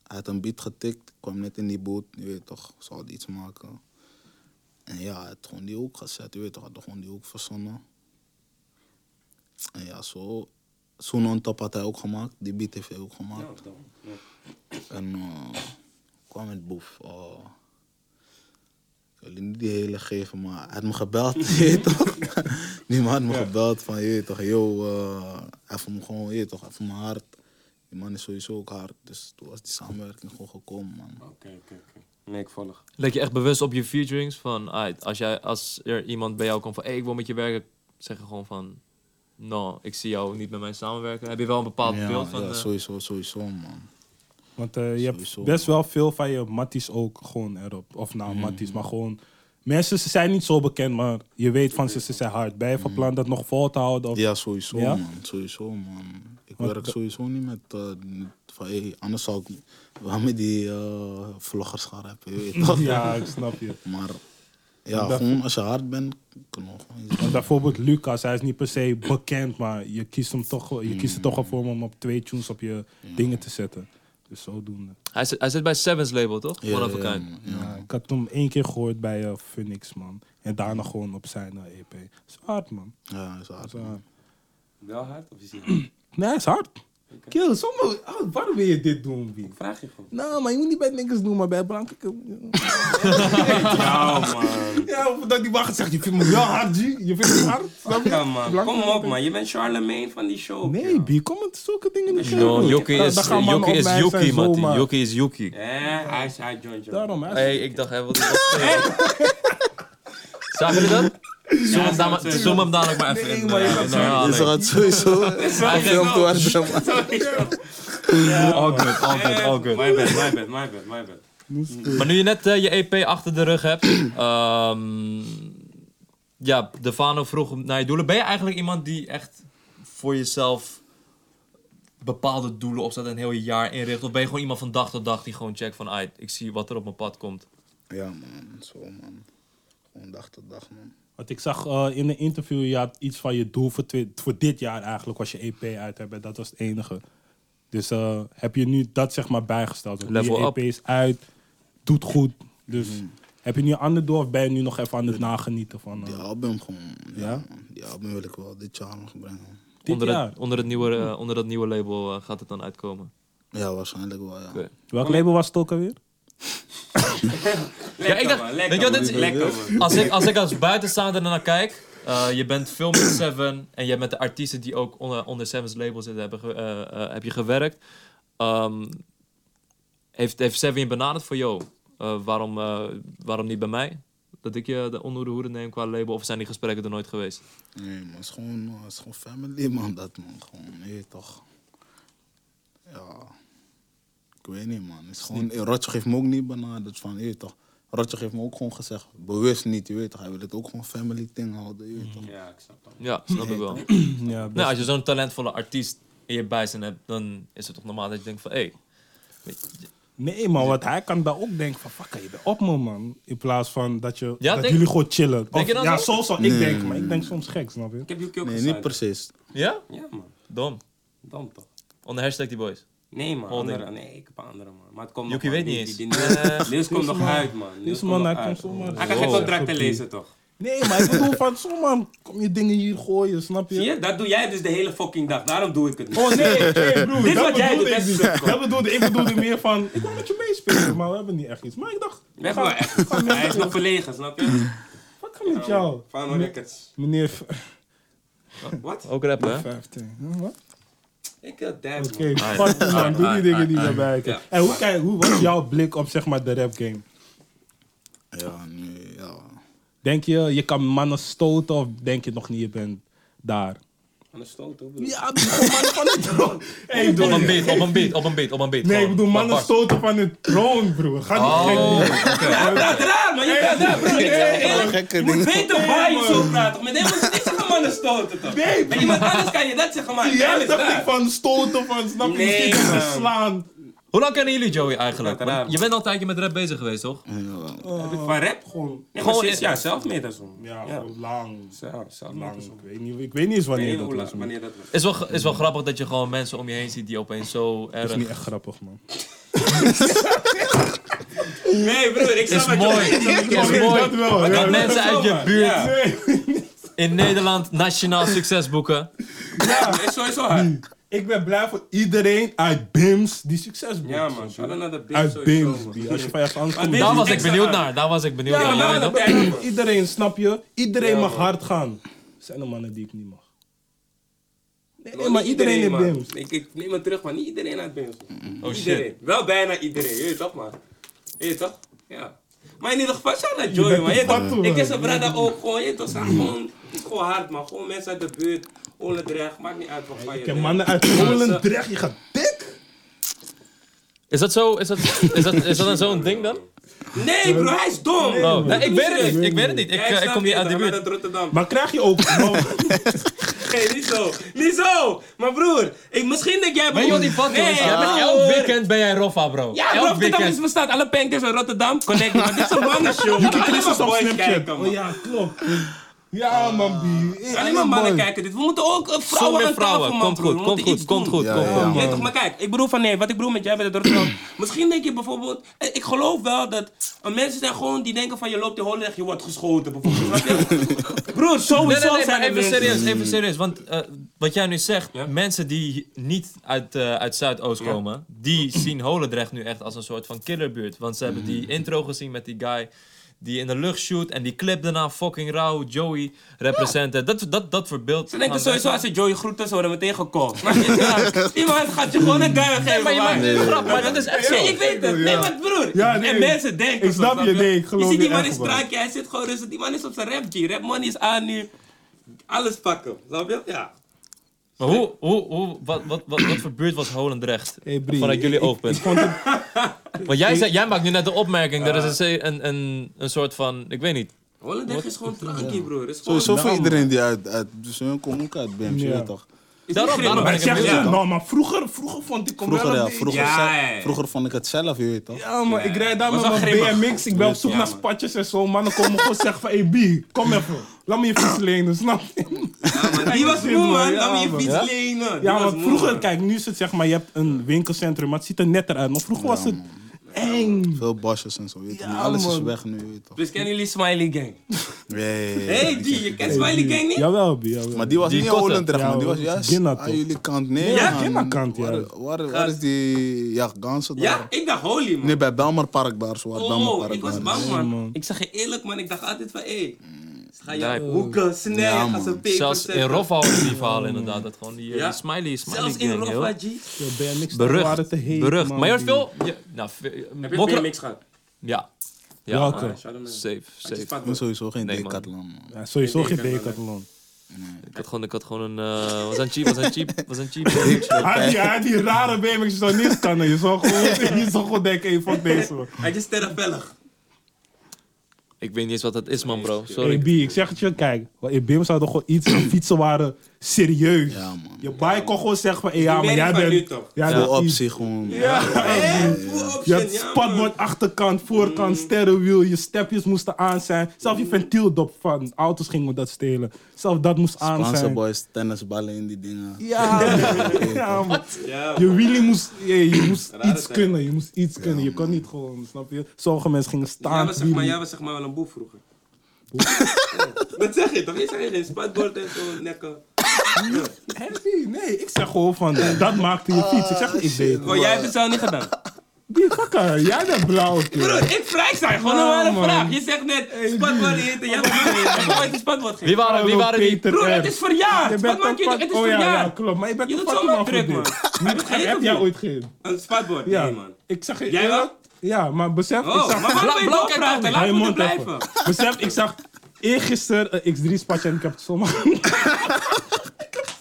[SPEAKER 2] Hij had een beat getikt, ik kwam net in die boot, je weet toch, zou het iets maken. En ja, hij had gewoon die hoek gezet, je weet toch, had gewoon die hoek verzonnen. En ja, zo, Soon on Top had hij ook gemaakt, die beat heeft hij ook
[SPEAKER 1] Ja,
[SPEAKER 2] gemaakt.
[SPEAKER 1] dan.
[SPEAKER 2] En eh, ik kwam met Boef. eh, ik wil je niet die hele geven, maar hij had me gebeld, je weet toch? Die man had me gebeld van, je weet toch, yo, eh even me gewoon, je weet toch, even mijn hart. Die man is sowieso ook hard, dus toen was die samenwerking gewoon gekomen, man.
[SPEAKER 1] Oké, oké, oké. Nee, ik volg.
[SPEAKER 4] Leek je echt bewust op je featurings van... alright, als, jij, als er iemand bij jou komt van... hey, ik wil met je werken. Zeg je gewoon van... No, ik zie jou niet met mij samenwerken. Heb je wel een bepaald
[SPEAKER 2] ja,
[SPEAKER 4] beeld van...
[SPEAKER 2] ja,
[SPEAKER 4] eh,
[SPEAKER 2] sowieso, sowieso, man.
[SPEAKER 3] Want eh, je
[SPEAKER 2] Sowieso, Mhm.
[SPEAKER 3] hebt best wel veel van je matties ook gewoon erop. Of nou, matties, maar gewoon... Mensen, ze zijn niet zo bekend, maar je weet van ze, ze zijn hard. Ben je van plan dat nog vol te houden? Of...
[SPEAKER 2] Mhm. Ja, sowieso,
[SPEAKER 3] Ja?
[SPEAKER 2] man. Sowieso, man. Ik
[SPEAKER 3] Want
[SPEAKER 2] werk
[SPEAKER 3] de-
[SPEAKER 2] sowieso niet met, eh, van, hey, anders zou ik wel met die eh, vloggers gaan rappen, je weet toch?
[SPEAKER 3] ja, ik snap je.
[SPEAKER 2] Maar ja,
[SPEAKER 3] Dat-
[SPEAKER 2] gewoon als je hard bent, kan nog gewoon iets
[SPEAKER 3] Want bijvoorbeeld Lucas, hij is niet per se bekend, maar je kiest, hem toch, wel- je kiest er toch wel voor om hem op twee tunes op je dingen te zetten. Dus zodoende.
[SPEAKER 4] hij, zit, hij zit bij Sevens label, toch?
[SPEAKER 2] Ja,
[SPEAKER 4] One of
[SPEAKER 2] ja,
[SPEAKER 4] a kind.
[SPEAKER 2] man, ja.
[SPEAKER 3] Ja, ik had hem één keer gehoord bij eh, Phoenix, man. En daarna gewoon op zijn eh, EP. Is hard, man.
[SPEAKER 2] Ja, is hard.
[SPEAKER 3] Is hard.
[SPEAKER 1] Wel hard of is hij?
[SPEAKER 3] Nee, is hard.
[SPEAKER 5] Kill, sommige... oh, waarom wil je dit doen, Wie?
[SPEAKER 1] Ik vraag je gewoon.
[SPEAKER 5] Nou, maar je moet niet bij niks doen, maar bij blanke...
[SPEAKER 1] Nou man.
[SPEAKER 5] Ja, of dat die wacht zegt, je vindt me wel hard, G. Je vindt me hard. Snap je?
[SPEAKER 1] Ja, man. Kom op man, je bent Charlemagne van die show.
[SPEAKER 5] Nee,
[SPEAKER 1] kerel.
[SPEAKER 5] B, kom met zulke dingen niet
[SPEAKER 4] No,
[SPEAKER 5] zeggen.
[SPEAKER 4] Yuki
[SPEAKER 3] Nou,
[SPEAKER 5] Dan-
[SPEAKER 4] is
[SPEAKER 5] dan gaan mannen op
[SPEAKER 4] Yuki is
[SPEAKER 5] mij zijn
[SPEAKER 4] Yuki, Mattie.
[SPEAKER 5] zomaar.
[SPEAKER 4] Yuki is Yuki.
[SPEAKER 1] Eh, hij is hij joint je.
[SPEAKER 5] Daarom, hè.
[SPEAKER 4] Hey, ik dacht, hij wilde dat Zagen jullie dat? Zoom, hem dan maar-
[SPEAKER 1] zeker.
[SPEAKER 4] zoom hem dadelijk maar even
[SPEAKER 5] Nee,
[SPEAKER 4] in.
[SPEAKER 5] maar je
[SPEAKER 4] eh,
[SPEAKER 5] gaat
[SPEAKER 4] in
[SPEAKER 5] zo-
[SPEAKER 4] herhaling.
[SPEAKER 2] Is dat sowieso? Hij filmt worden, man.
[SPEAKER 4] All good, all good, all good.
[SPEAKER 1] My bad, my bad, my bad, my bad.
[SPEAKER 4] Maar nu je net eh, je EP achter de rug hebt. ehm, ja, Devano vroeg om naar je doelen. Ben je eigenlijk iemand die echt voor jezelf bepaalde doelen opzet en een heel je jaar inricht? Of ben je gewoon iemand van dag tot dag die gewoon checkt van... "Ai, ik zie wat er op mijn pad komt.
[SPEAKER 2] Ja, man. Zo, man. Gewoon dag tot dag, man.
[SPEAKER 3] Want ik zag eh, in een interview, je had iets van je doel voor, twi- voor dit jaar eigenlijk, was je EP uit hebben. Dat was het enige. Dus eh, heb je nu dat zeg maar bijgesteld? Want nu
[SPEAKER 4] Level
[SPEAKER 3] je
[SPEAKER 4] up. Mm.
[SPEAKER 3] EP is uit, doet goed. Dus heb je nu een ander doel of ben je nu nog even aan het nagenieten van? eh,
[SPEAKER 2] Die album gewoon. Ja?
[SPEAKER 3] Ja?
[SPEAKER 2] man. Die album wil ik wel dit jaar nog brengen.
[SPEAKER 3] dit
[SPEAKER 4] Onder,
[SPEAKER 3] jaar?
[SPEAKER 4] het, onder, het nieuwe, eh, onder dat nieuwe label eh, gaat het dan uitkomen.
[SPEAKER 2] Ja, waarschijnlijk wel, ja.
[SPEAKER 4] Oké.
[SPEAKER 3] Welk label was het ook alweer?
[SPEAKER 1] Lekker,
[SPEAKER 4] ik dacht-
[SPEAKER 1] man,
[SPEAKER 4] weet je
[SPEAKER 1] lekker,
[SPEAKER 4] wat
[SPEAKER 1] man.
[SPEAKER 4] dit is?
[SPEAKER 1] lekker, man.
[SPEAKER 4] Als ik als, ik als buitenstaander naar kijk... eh, je bent veel met Seven en je hebt met de artiesten die ook onder, onder Seven's label zitten, hebben ge- eh, eh, heb je gewerkt. Ehm, heeft, heeft Seven je benaderd voor jou? waarom, eh, waarom niet bij mij? Dat ik je de onder de hoede neem qua label? Of zijn die gesprekken er nooit geweest?
[SPEAKER 2] Nee, maar het is gewoon, eh, het is gewoon family, man. Dat, man. Gewoon, je weet toch. Ja. Ik weet niet, man. Het is gewoon... Rotje heeft me ook niet benaderd van, je weet toch. Rotje heeft me ook gewoon gezegd, bewust niet, je weet toch. Hij wil het ook gewoon family thing houden,
[SPEAKER 3] Mm.
[SPEAKER 2] je weet toch.
[SPEAKER 1] Ja, ik snap dat.
[SPEAKER 4] Ja, snap ik wel.
[SPEAKER 3] Ja, best-
[SPEAKER 4] Nou, als je zo'n talentvolle artiest in je bijzijn hebt, dan is het toch normaal dat je denkt van... Hey, weet je,
[SPEAKER 3] Nee, man, want hij kan daar ook denken van, fuck, je bent op me, man. In plaats van dat, je,
[SPEAKER 4] Ja,
[SPEAKER 3] dat
[SPEAKER 4] denk-
[SPEAKER 3] jullie gewoon chillen. Of-
[SPEAKER 4] je dat
[SPEAKER 3] ja,
[SPEAKER 4] zo?
[SPEAKER 3] zo zou ik denken, maar ik denk soms gek, snap je?
[SPEAKER 1] Ik heb Yuki ook
[SPEAKER 2] Nee, niet
[SPEAKER 1] gesigned.
[SPEAKER 2] precies.
[SPEAKER 4] Ja?
[SPEAKER 1] Ja, man.
[SPEAKER 4] Dom.
[SPEAKER 1] Dan toch.
[SPEAKER 4] Onder hashtag die boys.
[SPEAKER 1] Nee, man.
[SPEAKER 4] Holding.
[SPEAKER 1] Andere, nee, ik heb een andere, man. Maar het komt
[SPEAKER 4] Yuki
[SPEAKER 1] nog, man.
[SPEAKER 4] weet niet
[SPEAKER 1] Die-
[SPEAKER 4] eens.
[SPEAKER 1] die- die- Niels- Niels komt nog uit, man. Niels
[SPEAKER 3] man,
[SPEAKER 1] nog
[SPEAKER 3] hij
[SPEAKER 1] uit.
[SPEAKER 3] komt zomaar-
[SPEAKER 1] Hij kan geen
[SPEAKER 4] Wow.
[SPEAKER 1] contracten lezen, toch?
[SPEAKER 3] Nee, maar ik bedoel van, zomaar kom je dingen hier gooien, snap
[SPEAKER 1] Zie je?
[SPEAKER 3] je?
[SPEAKER 1] Dat doe jij dus de hele fucking dag. Daarom doe ik het niet.
[SPEAKER 3] Oh nee, nee broer,
[SPEAKER 1] Dit
[SPEAKER 3] dat
[SPEAKER 1] wat jij
[SPEAKER 3] bedoelde
[SPEAKER 1] doet,
[SPEAKER 3] ik dus.
[SPEAKER 1] dat is
[SPEAKER 3] niet.
[SPEAKER 1] sukkel.
[SPEAKER 3] Dat bedoelde ik, bedoelde meer van, ik wil met je meespelen, maar we hebben niet echt iets. Maar ik dacht,
[SPEAKER 1] We hebben wel echt. Hij is nog verlegen, snap je?
[SPEAKER 3] wat ga met jou?
[SPEAKER 1] Fano Records.
[SPEAKER 3] Meneer v-
[SPEAKER 1] Wat?
[SPEAKER 4] Ook rappen, hè?
[SPEAKER 3] 15. Hm, wat?
[SPEAKER 1] Ik had dat,
[SPEAKER 3] Oké,
[SPEAKER 1] man.
[SPEAKER 3] fuck you, man, doe die dingen niet meer bij.
[SPEAKER 1] Ja.
[SPEAKER 3] En hoe, kijk, hoe was jouw blik op zeg maar de rap game?
[SPEAKER 2] Ja, nu, ja.
[SPEAKER 3] Denk je, je kan mannen stoten of denk je nog niet, je bent daar?
[SPEAKER 1] Aan de stoot, hoor.
[SPEAKER 3] Ja, ik bedoel, mannen van de troon. Hey,
[SPEAKER 4] Op
[SPEAKER 3] broer.
[SPEAKER 4] een beat, op een beat, op een beat, op een beat.
[SPEAKER 3] Nee, ik
[SPEAKER 4] Gewoon,
[SPEAKER 3] bedoel,
[SPEAKER 4] maar
[SPEAKER 3] mannen
[SPEAKER 4] bars.
[SPEAKER 3] stoten van de troon, broer. Ga niet gek
[SPEAKER 4] Oh,
[SPEAKER 3] doen.
[SPEAKER 1] Praat raar, man. Je praat raar, bro. Ik zeg je eerlijk,
[SPEAKER 2] Gekke
[SPEAKER 1] Je moet
[SPEAKER 2] dingen.
[SPEAKER 1] weten waar je zo praat. Met hem moet je niet zeggen, mannen stoten, toch?
[SPEAKER 3] Nee,
[SPEAKER 1] Met iemand anders kan je dat zeggen, maar hem
[SPEAKER 3] Ja,
[SPEAKER 1] is
[SPEAKER 3] dacht ik
[SPEAKER 1] raar.
[SPEAKER 3] van stoten van, snap je?
[SPEAKER 1] Nee,
[SPEAKER 3] Misschien is
[SPEAKER 1] man.
[SPEAKER 3] het slaan.
[SPEAKER 4] Hoe lang kennen jullie Joey eigenlijk?
[SPEAKER 1] Praat raar,
[SPEAKER 4] Want Je bent al een tijdje met rap bezig geweest, toch?
[SPEAKER 2] Ja,
[SPEAKER 1] Van rap?
[SPEAKER 3] Gewoon,
[SPEAKER 1] Nee, gewoon
[SPEAKER 4] Gewoon-
[SPEAKER 1] sinds, ja, zelfmeters. man.
[SPEAKER 3] ja,
[SPEAKER 1] ja.
[SPEAKER 3] gewoon lang.
[SPEAKER 1] Zelf- zelfmeters.
[SPEAKER 3] lang.
[SPEAKER 1] man.
[SPEAKER 3] Ik weet, niet, ik weet niet eens wanneer
[SPEAKER 1] Nee,
[SPEAKER 3] dat
[SPEAKER 1] hoe
[SPEAKER 3] was.
[SPEAKER 1] laat,
[SPEAKER 3] man.
[SPEAKER 1] wanneer dat was.
[SPEAKER 4] Is wel, ge- is wel grappig dat je gewoon mensen om je heen ziet die opeens zo
[SPEAKER 3] Dat is
[SPEAKER 4] erg...
[SPEAKER 3] niet echt grappig, man.
[SPEAKER 1] Nee, broer, ik
[SPEAKER 4] Is
[SPEAKER 1] snap wat
[SPEAKER 4] mooi,
[SPEAKER 1] je
[SPEAKER 4] is
[SPEAKER 3] Dat
[SPEAKER 4] mooi.
[SPEAKER 3] wel.
[SPEAKER 4] Dat
[SPEAKER 3] ja.
[SPEAKER 4] mensen uit je
[SPEAKER 1] zomaar.
[SPEAKER 4] buurt
[SPEAKER 1] Ja.
[SPEAKER 4] in Nederland nationaal succes boeken.
[SPEAKER 1] Ja, het is sowieso hard.
[SPEAKER 3] Ik ben blij voor iedereen uit BIMS die succes boekt.
[SPEAKER 1] Ja, man, shout out naar de BIM
[SPEAKER 3] Uit
[SPEAKER 1] sowieso,
[SPEAKER 3] BIMS.
[SPEAKER 1] man.
[SPEAKER 3] die- Als je van ergens anders
[SPEAKER 1] Maar
[SPEAKER 3] komt.
[SPEAKER 1] BIMS
[SPEAKER 4] Daar
[SPEAKER 1] is
[SPEAKER 4] was ik
[SPEAKER 1] extra
[SPEAKER 4] benieuwd
[SPEAKER 1] hard.
[SPEAKER 4] naar, daar was ik benieuwd
[SPEAKER 1] Ja,
[SPEAKER 4] naar.
[SPEAKER 1] maar
[SPEAKER 4] jij
[SPEAKER 1] dat
[SPEAKER 4] weet
[SPEAKER 1] ben
[SPEAKER 4] toch?
[SPEAKER 1] je, man.
[SPEAKER 3] Iedereen, snap je? Iedereen
[SPEAKER 1] Ja,
[SPEAKER 3] mag
[SPEAKER 1] man.
[SPEAKER 3] hard gaan. Zijn er mannen die ik niet mag? Nee,
[SPEAKER 1] Niet
[SPEAKER 3] maar iedereen heeft
[SPEAKER 1] man.
[SPEAKER 3] BIMS.
[SPEAKER 1] Ik, ik neem het terug, maar niet iedereen uit BIMS.
[SPEAKER 4] Oh, shit.
[SPEAKER 1] iedereen. Wel bijna iedereen, je weet toch, man. Je weet toch? Ja. Maar in ieder geval, shout out Joey,
[SPEAKER 3] bent
[SPEAKER 1] man. Je
[SPEAKER 3] een
[SPEAKER 1] weet
[SPEAKER 3] fatsoen,
[SPEAKER 1] toch? Ik
[SPEAKER 3] man.
[SPEAKER 1] ken zijn brada ook gewoon, je weet toch? ze zijn gewoon- Het is gewoon hard, man. Gewoon mensen uit de buurt, Olendrecht, maakt niet uit wat van je.
[SPEAKER 3] Ik heb
[SPEAKER 1] bent.
[SPEAKER 3] mannen uit Holendrecht, je gaat dik.
[SPEAKER 4] Is dat zo, is dat, is dat, is dat zo'n ding dan?
[SPEAKER 1] Nee, bro, hij is dom.
[SPEAKER 4] Oh, nee, ik weet het niet, ik weet het niet. Ik,
[SPEAKER 1] Ja,
[SPEAKER 4] eh, ik
[SPEAKER 1] snap
[SPEAKER 4] kom niet
[SPEAKER 1] je,
[SPEAKER 4] uit die
[SPEAKER 1] hij
[SPEAKER 4] buurt.
[SPEAKER 1] komt uit Rotterdam.
[SPEAKER 3] Maar krijg je ook...
[SPEAKER 1] Nee, niet zo. Niet zo. Maar broer, ik, misschien denk jij...
[SPEAKER 4] Weet je wat die foto
[SPEAKER 1] nee,
[SPEAKER 4] is? Jij bent- elk
[SPEAKER 1] broer.
[SPEAKER 4] weekend ben jij Roffa, bro.
[SPEAKER 1] Ja, bro,
[SPEAKER 4] elk
[SPEAKER 1] Rotterdam is bestaat. Alle pancakes in Rotterdam. Connect, maar dit is een mannenshow. Je kan alleen maar
[SPEAKER 3] op
[SPEAKER 1] boys
[SPEAKER 3] Snapchat.
[SPEAKER 1] kijken, man.
[SPEAKER 3] Oh ja, klopt. Ja, man, die. Hey,
[SPEAKER 1] Alleen maar mannen
[SPEAKER 3] boy.
[SPEAKER 1] kijken dit. We moeten ook eh, vrouwen
[SPEAKER 4] meer
[SPEAKER 1] aan
[SPEAKER 4] vrouwen.
[SPEAKER 1] tafel, man,
[SPEAKER 4] Komt
[SPEAKER 1] broer. We
[SPEAKER 4] goed,
[SPEAKER 1] moeten
[SPEAKER 4] komt
[SPEAKER 1] iets
[SPEAKER 4] goed,
[SPEAKER 1] doen.
[SPEAKER 4] komt goed, komt
[SPEAKER 2] Ja, ja,
[SPEAKER 1] Je weet
[SPEAKER 2] man.
[SPEAKER 1] toch, maar kijk, ik bedoel van nee, wat ik bedoel met jij bent het Rotterdam. Misschien denk je bijvoorbeeld, eh, ik geloof wel dat eh, mensen zijn gewoon die denken van je loopt in Holland en je wordt geschoten bijvoorbeeld. Snap je? Broer, sowieso
[SPEAKER 4] Nee, nee, nee,
[SPEAKER 1] zijn
[SPEAKER 4] maar
[SPEAKER 1] er
[SPEAKER 4] even
[SPEAKER 1] mensen-
[SPEAKER 4] serieus, even serieus. Want eh, wat jij nu zegt, mensen die niet uit, eh, uit Zuidoost komen, die zien Holendrecht nu echt als een soort van killerbuurt. Want ze hebben die intro gezien met die guy die in de lucht shoot en die clip daarna fucking rauw, Joey representen. Dat, dat, dat verbeeldt...
[SPEAKER 1] Ze denken
[SPEAKER 4] gewoon-
[SPEAKER 1] sowieso als ze Joey groeten, ze worden meteen gekocht. Maar ja, iemand gaat je gewoon een duim geven.
[SPEAKER 4] Nee, maar je maakt
[SPEAKER 1] man.
[SPEAKER 4] nu een grap, maar dat is echt zo.
[SPEAKER 1] Nee, ik weet het. Nee, maar broer.
[SPEAKER 3] Ja, nee.
[SPEAKER 1] En mensen denken
[SPEAKER 3] Ik
[SPEAKER 1] zo,
[SPEAKER 3] snap je. Nee, ik
[SPEAKER 1] Je
[SPEAKER 3] geloof
[SPEAKER 1] ziet
[SPEAKER 3] je
[SPEAKER 1] die man in
[SPEAKER 3] echt, man.
[SPEAKER 1] straatje, hij zit gewoon rustig. Die man is op zijn rap, G. Rap money is aan nu. Alles pakken. Snap je? Ja.
[SPEAKER 4] Maar hoe, hoe, hoe, wat, wat, wat, wat voor buurt was Holendrecht?
[SPEAKER 3] Hey, Brie,
[SPEAKER 4] vanuit jullie
[SPEAKER 3] ik- ik-
[SPEAKER 4] oogpunt.
[SPEAKER 3] ik vond het-
[SPEAKER 4] Want jij, zei, jij maakt nu net de opmerking, dat is een, een, een, een soort van, ik weet niet.
[SPEAKER 1] Hollandeg is gewoon trankie, broer. Is gewoon...
[SPEAKER 2] Sowieso voor iedereen die uit, uit dus hun komt ook uit BIMS, je
[SPEAKER 3] Ja.
[SPEAKER 2] weet toch?
[SPEAKER 1] Is
[SPEAKER 4] Daarom-
[SPEAKER 1] niet grim,
[SPEAKER 4] daarom
[SPEAKER 1] maar
[SPEAKER 4] ben
[SPEAKER 1] ik
[SPEAKER 4] ik
[SPEAKER 1] zeg
[SPEAKER 3] Zeg
[SPEAKER 1] je-
[SPEAKER 3] je, nou, maar vroeger, vroeger vond ik hem
[SPEAKER 2] Vroeger,
[SPEAKER 3] wel
[SPEAKER 2] ja,
[SPEAKER 3] een
[SPEAKER 2] vroeger,
[SPEAKER 1] Ja,
[SPEAKER 2] zelf-
[SPEAKER 1] ja, ja.
[SPEAKER 2] vroeger vond ik het zelf, je weet toch?
[SPEAKER 3] Ja, man, ik rijd daar
[SPEAKER 1] Was
[SPEAKER 3] met
[SPEAKER 1] wel
[SPEAKER 3] mijn
[SPEAKER 1] grimmig.
[SPEAKER 3] BMX. Ik ben op zoek
[SPEAKER 1] Ja,
[SPEAKER 3] naar
[SPEAKER 1] man.
[SPEAKER 3] spatjes en zo. Mannen komen gewoon zeggen van, hey, B, kom even. Laat me je fiets lenen, snap je?
[SPEAKER 1] Ja, man, Die was moe, man. Laat me je
[SPEAKER 3] Ja,
[SPEAKER 1] fiets
[SPEAKER 3] man.
[SPEAKER 1] lenen. Die
[SPEAKER 3] Ja,
[SPEAKER 1] was
[SPEAKER 3] want
[SPEAKER 1] moe,
[SPEAKER 3] vroeger,
[SPEAKER 1] man.
[SPEAKER 3] kijk, nu is het zeg maar, je hebt een winkelcentrum, maar het ziet er netter uit. Maar vroeger was het eng.
[SPEAKER 2] Veel bosjes en zo, weet je
[SPEAKER 3] Ja,
[SPEAKER 2] toch? Alles is
[SPEAKER 3] man.
[SPEAKER 2] weg nu, je weet toch?
[SPEAKER 1] Dus kennen jullie Smiley Gang?
[SPEAKER 2] Ja, ja, ja, ja.
[SPEAKER 1] Hé, G, je kent Smiley Gang niet?
[SPEAKER 3] Jawel, B, jawel.
[SPEAKER 2] Maar die was
[SPEAKER 4] Die
[SPEAKER 2] niet in
[SPEAKER 4] kotten.
[SPEAKER 2] Holendrecht,
[SPEAKER 3] Ja,
[SPEAKER 2] man. Die was
[SPEAKER 3] hoor.
[SPEAKER 2] juist
[SPEAKER 3] Ginna
[SPEAKER 2] aan
[SPEAKER 3] toch?
[SPEAKER 2] jullie kant. Nee,
[SPEAKER 3] Ja,
[SPEAKER 2] man.
[SPEAKER 3] Ginna kant, ja.
[SPEAKER 2] Waar, waar, waar is die... Ja, ganzen
[SPEAKER 1] Ja,
[SPEAKER 2] daar?
[SPEAKER 1] ik dacht holy, man.
[SPEAKER 2] Nee, bij Belmerpark daar, zo. waar
[SPEAKER 1] Oh,
[SPEAKER 2] Belmerpark
[SPEAKER 1] ik was
[SPEAKER 2] daar
[SPEAKER 1] bang,
[SPEAKER 2] is.
[SPEAKER 1] man.
[SPEAKER 3] man.
[SPEAKER 1] Ik zeg je eerlijk, man. Ik dacht altijd van, hé. ze gaan je
[SPEAKER 4] Ja,
[SPEAKER 1] hoeken snijden,
[SPEAKER 2] Ja,
[SPEAKER 1] gaan ze
[SPEAKER 2] man.
[SPEAKER 1] peper
[SPEAKER 4] Zelfs in
[SPEAKER 1] zetten.
[SPEAKER 4] Roffa was die verhaal inderdaad, dat gewoon die, eh,
[SPEAKER 1] Ja.
[SPEAKER 4] die smiley, smiley
[SPEAKER 1] Zelfs in
[SPEAKER 4] gang, joh.
[SPEAKER 1] Roffa, G.
[SPEAKER 3] Yo, BMX, daar waren
[SPEAKER 4] Berucht,
[SPEAKER 3] te heet,
[SPEAKER 4] berucht.
[SPEAKER 3] man,
[SPEAKER 4] Maar je hoort
[SPEAKER 3] B.
[SPEAKER 4] veel... je- nou, veel-
[SPEAKER 1] Heb je
[SPEAKER 4] Mokro-
[SPEAKER 1] niks gehad?
[SPEAKER 4] Ja. Ja,
[SPEAKER 3] Welke?
[SPEAKER 4] man.
[SPEAKER 3] Ja,
[SPEAKER 4] Safe, safe.
[SPEAKER 2] Ik ben sowieso geen
[SPEAKER 4] Nee, man.
[SPEAKER 2] decathlon, man.
[SPEAKER 3] Ja, sowieso
[SPEAKER 1] Nee,
[SPEAKER 3] geen
[SPEAKER 1] Decathlon,
[SPEAKER 3] decathlon.
[SPEAKER 4] Ik had gewoon, ik had gewoon een... eh, was een cheap, was een cheap, was een cheap.
[SPEAKER 3] Hij had Ah, die- hij had die rare BMX zo niet kan. Je zou gewoon, je zou gewoon denken, hey, fuck deze. man.
[SPEAKER 1] Hij is sterrenvellig.
[SPEAKER 4] Ik weet niet eens wat dat is, man, bro. Sorry.
[SPEAKER 3] Hey, B, ik zeg het je, kijk, in BIMS hadden gewoon iets, fietsen waren serieus.
[SPEAKER 2] Ja, man.
[SPEAKER 3] Je baai kon gewoon zeggen van, hey, ja,
[SPEAKER 1] Die
[SPEAKER 3] maar jij
[SPEAKER 1] werkt van
[SPEAKER 3] bent...
[SPEAKER 1] nu toch?
[SPEAKER 3] jij
[SPEAKER 2] Voor
[SPEAKER 3] bent iets.
[SPEAKER 2] optie gewoon.
[SPEAKER 1] Hè? Full option,
[SPEAKER 3] Je had
[SPEAKER 1] ja, man.
[SPEAKER 3] spatbord, achterkant, voorkant, sterrenwiel, je stepjes moesten aan zijn. Zelfs je ventieldop van auto's gingen we dat stelen. Zelfs dat moest aan
[SPEAKER 2] Spaanse
[SPEAKER 3] zijn.
[SPEAKER 2] boys, tennisballen in die dingen.
[SPEAKER 3] Ja, man. ja, man.
[SPEAKER 1] Ja,
[SPEAKER 3] Je wheelie moest, je, je moest
[SPEAKER 1] Rare
[SPEAKER 3] iets
[SPEAKER 1] tijd.
[SPEAKER 3] kunnen, je moest iets kunnen. Je kon niet gewoon, snap je? Sommige mensen gingen
[SPEAKER 1] Jij
[SPEAKER 3] staan.
[SPEAKER 1] was, zeg maar,
[SPEAKER 3] wheelie.
[SPEAKER 1] jij was zeg maar wel een boef vroeger. Ja. Dat zeg je toch? Je zei geen spatbord en zo, nekken.
[SPEAKER 3] Nee, nee, ik zeg gewoon van, dat maakte je fiets. Ik zeg niet, ik deed het.
[SPEAKER 1] Oh, jij hebt het zelf niet gedaan.
[SPEAKER 3] Die kakker, jij bent blauw.
[SPEAKER 1] Bro,
[SPEAKER 3] kerel.
[SPEAKER 1] ik vraag zijn gewoon een
[SPEAKER 3] Ja,
[SPEAKER 1] ware
[SPEAKER 3] man.
[SPEAKER 1] vraag. Je zegt net spatbord niet eten. Jij hebt nooit een spatbord
[SPEAKER 4] Wie
[SPEAKER 1] gegeten.
[SPEAKER 4] waren, wie waren die?
[SPEAKER 3] Peter
[SPEAKER 1] Bro,
[SPEAKER 3] R.
[SPEAKER 1] het is verjaard.
[SPEAKER 3] Je
[SPEAKER 1] Wat
[SPEAKER 3] bent
[SPEAKER 1] maak je
[SPEAKER 3] een
[SPEAKER 1] toch? Het is
[SPEAKER 3] fuck- oh, ja, ja,
[SPEAKER 1] verjaard.
[SPEAKER 3] klopt. Maar je bent
[SPEAKER 1] Je
[SPEAKER 3] een
[SPEAKER 1] doet
[SPEAKER 3] fucking
[SPEAKER 1] zo wel druk,
[SPEAKER 3] afgediend.
[SPEAKER 1] man. Heb je geen
[SPEAKER 3] Heb jij ooit geen?
[SPEAKER 1] Een spatbord?
[SPEAKER 3] Ja,
[SPEAKER 1] Nee, man.
[SPEAKER 3] Ik zeg je
[SPEAKER 1] Jij
[SPEAKER 3] eerlijk-
[SPEAKER 1] wel?
[SPEAKER 3] Ja, maar besef, ik
[SPEAKER 1] Oh, maar
[SPEAKER 3] zag...
[SPEAKER 1] waarom ben je
[SPEAKER 4] Blauw- blauw-
[SPEAKER 1] doorpraten?
[SPEAKER 3] Hou
[SPEAKER 1] Laat
[SPEAKER 3] je
[SPEAKER 1] me
[SPEAKER 3] mond even.
[SPEAKER 1] blijven.
[SPEAKER 3] Besef, ik zag eergisteren een X3-spatje en ik heb het zomaar gedaan.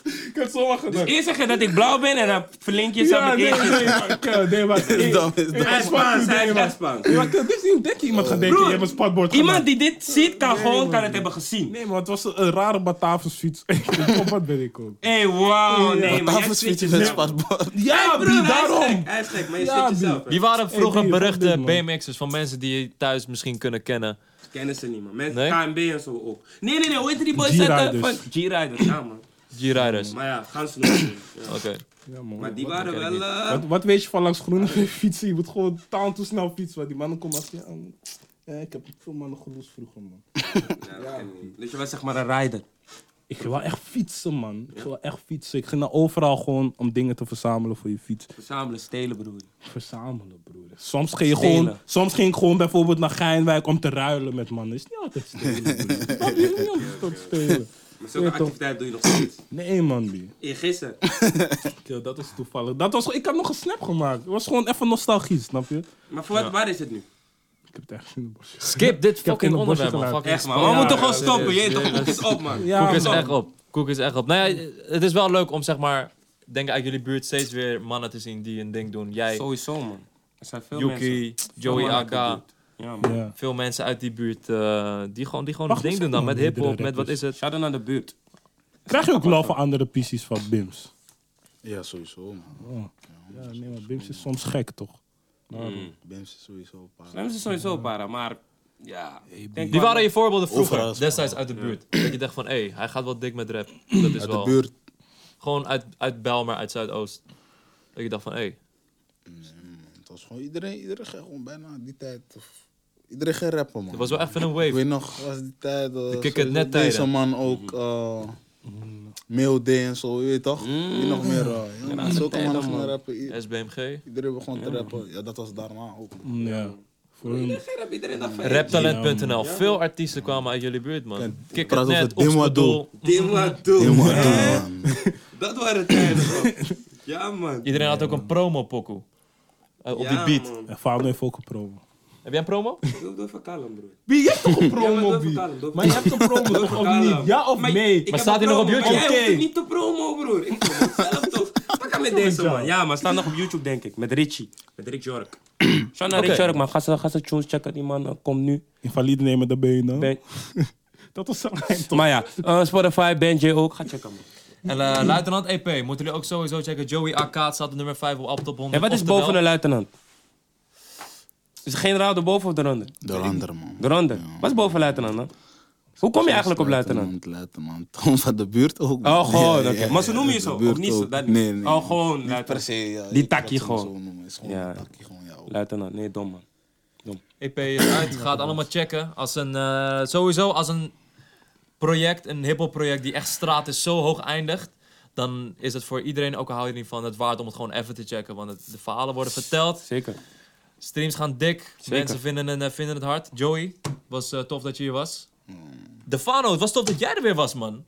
[SPEAKER 3] ik heb het zomaar gedaan.
[SPEAKER 1] Eerst zeg je dat ik blauw ben en dan verlink je jezelf
[SPEAKER 3] ja,
[SPEAKER 1] met
[SPEAKER 3] nee,
[SPEAKER 1] eerst.
[SPEAKER 3] nee, maar- ja, nee, maar...
[SPEAKER 2] Is dom, is dom.
[SPEAKER 1] Hij is Spaans, hij is echt Spaans.
[SPEAKER 3] Ja, maar dit is niet denk je iemand gaat denken,
[SPEAKER 1] Broer,
[SPEAKER 3] je hebt een spatbord
[SPEAKER 1] Iemand
[SPEAKER 3] gedaan.
[SPEAKER 1] die dit ziet, kan gewoon kan het hebben gezien.
[SPEAKER 3] Nee, maar het was een rare Batavus fiets. Op wat ben ik ook.
[SPEAKER 1] Hé, wauw, nee, maar jij
[SPEAKER 2] Tafels
[SPEAKER 1] zit
[SPEAKER 2] fietsen met
[SPEAKER 1] jezelf.
[SPEAKER 2] spatbord.
[SPEAKER 3] Ja,
[SPEAKER 1] Broer,
[SPEAKER 3] broer,
[SPEAKER 1] hij is
[SPEAKER 3] daarom!
[SPEAKER 1] gek, Hij is gek, maar je
[SPEAKER 3] Ja,
[SPEAKER 1] zit jezelf. hè.
[SPEAKER 4] Wie waren vroeger
[SPEAKER 3] Hey, die-
[SPEAKER 4] beruchte
[SPEAKER 3] dit, man.
[SPEAKER 4] BMX'ers van mensen die je thuis misschien kunnen kennen?
[SPEAKER 1] Kennen ze niet, man. Met
[SPEAKER 4] Nee?
[SPEAKER 1] KMB en zo ook. Nee, nee, nee, hoe heet die boys
[SPEAKER 3] G-Riders.
[SPEAKER 1] uit, eh, van G-Riders, ja, man.
[SPEAKER 4] G-Riders.
[SPEAKER 1] Maar ja, gaan ze nog doen. ja.
[SPEAKER 4] Oké.
[SPEAKER 3] Ja, man.
[SPEAKER 1] Maar die waren wel... eh,
[SPEAKER 3] Wat, wat weet je van langs groene fietsen? Je moet gewoon taal toe snel fietsen. Want die mannen komen als je aan. Ja, ik heb veel mannen geloos vroeger, man.
[SPEAKER 1] ja, dat ken ik niet. Dus je was zeg maar een rider.
[SPEAKER 3] Ik ging wel echt fietsen, man. Ik ging wel echt fietsen. Ik ging naar overal gewoon om dingen te verzamelen voor je fiets.
[SPEAKER 1] Verzamelen, stelen, broer.
[SPEAKER 3] Verzamelen, broer. Soms ging, je gewoon,
[SPEAKER 1] Stelen.
[SPEAKER 3] soms ging ik gewoon bijvoorbeeld naar Geinwijk om te ruilen met mannen. Is niet altijd stelen, broer. Snap je? Niet altijd tot stelen.
[SPEAKER 1] Maar zulke
[SPEAKER 3] Ja, toch.
[SPEAKER 1] activiteit doe je nog steeds.
[SPEAKER 3] Nee, man, die.
[SPEAKER 1] Eer gisteren.
[SPEAKER 3] Ja, dat is toevallig. Dat was, ik had nog een snap gemaakt. Het was gewoon even nostalgie, snap je?
[SPEAKER 1] Maar voor wat, waar is het nu?
[SPEAKER 3] Ik heb het echt in de bosje.
[SPEAKER 4] Skip dit
[SPEAKER 3] heb in
[SPEAKER 4] fucking
[SPEAKER 3] de bosjes
[SPEAKER 4] onderwerp, man.
[SPEAKER 3] geluid.
[SPEAKER 4] Fucking
[SPEAKER 1] Echt, man.
[SPEAKER 4] spannend.
[SPEAKER 1] we moeten
[SPEAKER 4] Ja,
[SPEAKER 1] gewoon
[SPEAKER 4] ja,
[SPEAKER 1] stoppen.
[SPEAKER 4] serieus.
[SPEAKER 1] Je toch, koek is op, man.
[SPEAKER 3] Ja,
[SPEAKER 4] Koek is
[SPEAKER 1] man.
[SPEAKER 4] echt op. Koek is echt op. Nou ja, het is wel leuk om zeg maar, denk ik uit jullie buurt steeds weer mannen te zien die een ding doen. Jij,
[SPEAKER 1] Sowieso, man. Er zijn veel mensen.
[SPEAKER 4] Yuki, Joey
[SPEAKER 1] Veel mannen
[SPEAKER 4] AK.
[SPEAKER 1] uit de buurt. Ja, man.
[SPEAKER 3] Ja.
[SPEAKER 4] Veel mensen uit die buurt eh, die gewoon, die gewoon
[SPEAKER 3] Wacht,
[SPEAKER 4] een ding
[SPEAKER 3] wat zeg
[SPEAKER 4] doen dan.
[SPEAKER 3] je
[SPEAKER 4] Met
[SPEAKER 3] nou,
[SPEAKER 4] hip-hop,
[SPEAKER 3] meerdere
[SPEAKER 4] met wat is het?
[SPEAKER 1] Shout-out naar de buurt.
[SPEAKER 3] Krijg je ook love van andere pieces van Bims?
[SPEAKER 2] Ja, sowieso, man.
[SPEAKER 3] Oh. Ja, nee, maar Bims is soms gek, toch?
[SPEAKER 2] Bims is sowieso een paar.
[SPEAKER 1] Slam Mm. ze sowieso para, maar... Ja. ik denk
[SPEAKER 4] Die
[SPEAKER 1] wel-
[SPEAKER 4] waren je voorbeelden
[SPEAKER 2] Overal
[SPEAKER 4] vroeger,
[SPEAKER 2] is het
[SPEAKER 4] destijds uit de buurt. Dat je dacht van, hé, hij gaat wel dik met rap. Dat is
[SPEAKER 2] Uit de
[SPEAKER 4] wel.
[SPEAKER 2] buurt.
[SPEAKER 4] Gewoon uit, uit Bijlmer, uit Zuidoost. Dat je dacht van, hé,
[SPEAKER 2] Het was gewoon iedereen, iedereen ging gewoon bijna die tijd. of- Iedereen ging rappen, man.
[SPEAKER 4] dat was wel echt een
[SPEAKER 2] Ik
[SPEAKER 4] wave.
[SPEAKER 2] weet nog, was die tijd. eh,
[SPEAKER 4] kick it
[SPEAKER 2] sowieso
[SPEAKER 4] net
[SPEAKER 2] Deze
[SPEAKER 4] tijden.
[SPEAKER 2] man ook.
[SPEAKER 1] Mhm.
[SPEAKER 2] eh Mail D en zo, je weet toch?
[SPEAKER 1] Mhm.
[SPEAKER 2] Je weet nog meer. eh, ja, man, zulke mannen gingen rappen. I-
[SPEAKER 4] SBMG.
[SPEAKER 2] Iedereen begon te rappen. Ja, dat was daarna ook.
[SPEAKER 1] Mhm.
[SPEAKER 2] man.
[SPEAKER 3] Ja. Voor hun.
[SPEAKER 1] Gerrit, Iedereen dacht van...
[SPEAKER 4] Raptalent.nl. Veel artiesten kwamen uit jullie buurt, man. Kick
[SPEAKER 2] praat
[SPEAKER 4] het
[SPEAKER 2] over
[SPEAKER 4] net,
[SPEAKER 2] Dimwa
[SPEAKER 4] Oksbedoel.
[SPEAKER 1] Dimma doen.
[SPEAKER 2] Helemaal
[SPEAKER 1] hè?
[SPEAKER 2] doen, man.
[SPEAKER 1] Dat waren tijden, man. Ja, man.
[SPEAKER 4] Iedereen had ook een promo-pokoe. Eh, op
[SPEAKER 1] Ja,
[SPEAKER 4] die beat.
[SPEAKER 1] man.
[SPEAKER 3] En Fabio heeft ook een promo.
[SPEAKER 4] Heb jij een promo?
[SPEAKER 1] Doe doe even kalm, broer.
[SPEAKER 3] Wie? Je hebt toch een
[SPEAKER 1] Ja, maar doe
[SPEAKER 3] promo,
[SPEAKER 1] even
[SPEAKER 3] Bi?
[SPEAKER 1] kalm, doe even
[SPEAKER 3] Maar je hebt een promo, toch? Of niet? Ja of nee?
[SPEAKER 4] Maar staat hij nog op YouTube?
[SPEAKER 1] Oké.
[SPEAKER 3] Oké.
[SPEAKER 1] hoeft het niet te promo, broer. Ik promo het zelf toch. Pak hem met deze, man. Ja, maar staat nog op YouTube, denk ik. Met Richie. Met Rick Jork. Shout naar Rick
[SPEAKER 4] Oké.
[SPEAKER 1] Jork, man. Ga ze, ga ze tunes checken. Die man eh, komt nu.
[SPEAKER 3] Invalide nemen de benen.
[SPEAKER 1] Ben-
[SPEAKER 3] Dat was zijn lijn, toch?
[SPEAKER 1] maar ja, eh, Spotify, Benji ook. Ga checken, man.
[SPEAKER 4] En eh, Luitenant EP. Moeten jullie ook sowieso checken. Joey AK staat op nummer 5 op Aptop 100.
[SPEAKER 1] En wat is
[SPEAKER 4] Oftewel,
[SPEAKER 1] boven een luitenant? Is de generaal erboven of eronder?
[SPEAKER 2] De andere, man.
[SPEAKER 1] Eronder. Wat is boven luitenant dan? Hoe kom je eigenlijk op luitenant?
[SPEAKER 2] Luitenant, gewoon van de buurt ook. man.
[SPEAKER 1] Oh, gewoon.
[SPEAKER 2] Ja,
[SPEAKER 1] oké.
[SPEAKER 2] ja,
[SPEAKER 1] Maar ze
[SPEAKER 2] ja,
[SPEAKER 1] noemen je
[SPEAKER 2] de
[SPEAKER 1] zo.
[SPEAKER 2] buurt
[SPEAKER 1] Of niet zo?
[SPEAKER 2] ook.
[SPEAKER 1] Dat
[SPEAKER 2] Nee, nee.
[SPEAKER 1] Oh, gewoon
[SPEAKER 2] Niet per
[SPEAKER 1] luitenant.
[SPEAKER 2] se, ja,
[SPEAKER 1] Die
[SPEAKER 2] ik
[SPEAKER 1] takkie
[SPEAKER 2] wat ze hem
[SPEAKER 1] gewoon.
[SPEAKER 2] Zo noemen. Is gewoon
[SPEAKER 1] Ja.
[SPEAKER 2] een takkie, gewoon, ja. ook.
[SPEAKER 1] Luitenant. Nee, dom, man.
[SPEAKER 4] EP is E eh, uit. Gaat allemaal checken. Als een, eh, sowieso als een project, een hiphop project die echt straat is, zo hoog eindigt. Dan is het voor iedereen, ook al hou je er niet van, het waard om het gewoon even te checken. Want het- de verhalen worden verteld.
[SPEAKER 1] Zeker.
[SPEAKER 4] Streams gaan dik.
[SPEAKER 1] Zeker.
[SPEAKER 4] Mensen vinden, en, vinden het hard. Joey, was eh, tof dat je hier was.
[SPEAKER 1] Hmm.
[SPEAKER 4] De Fano, het was tof dat jij er weer was, man.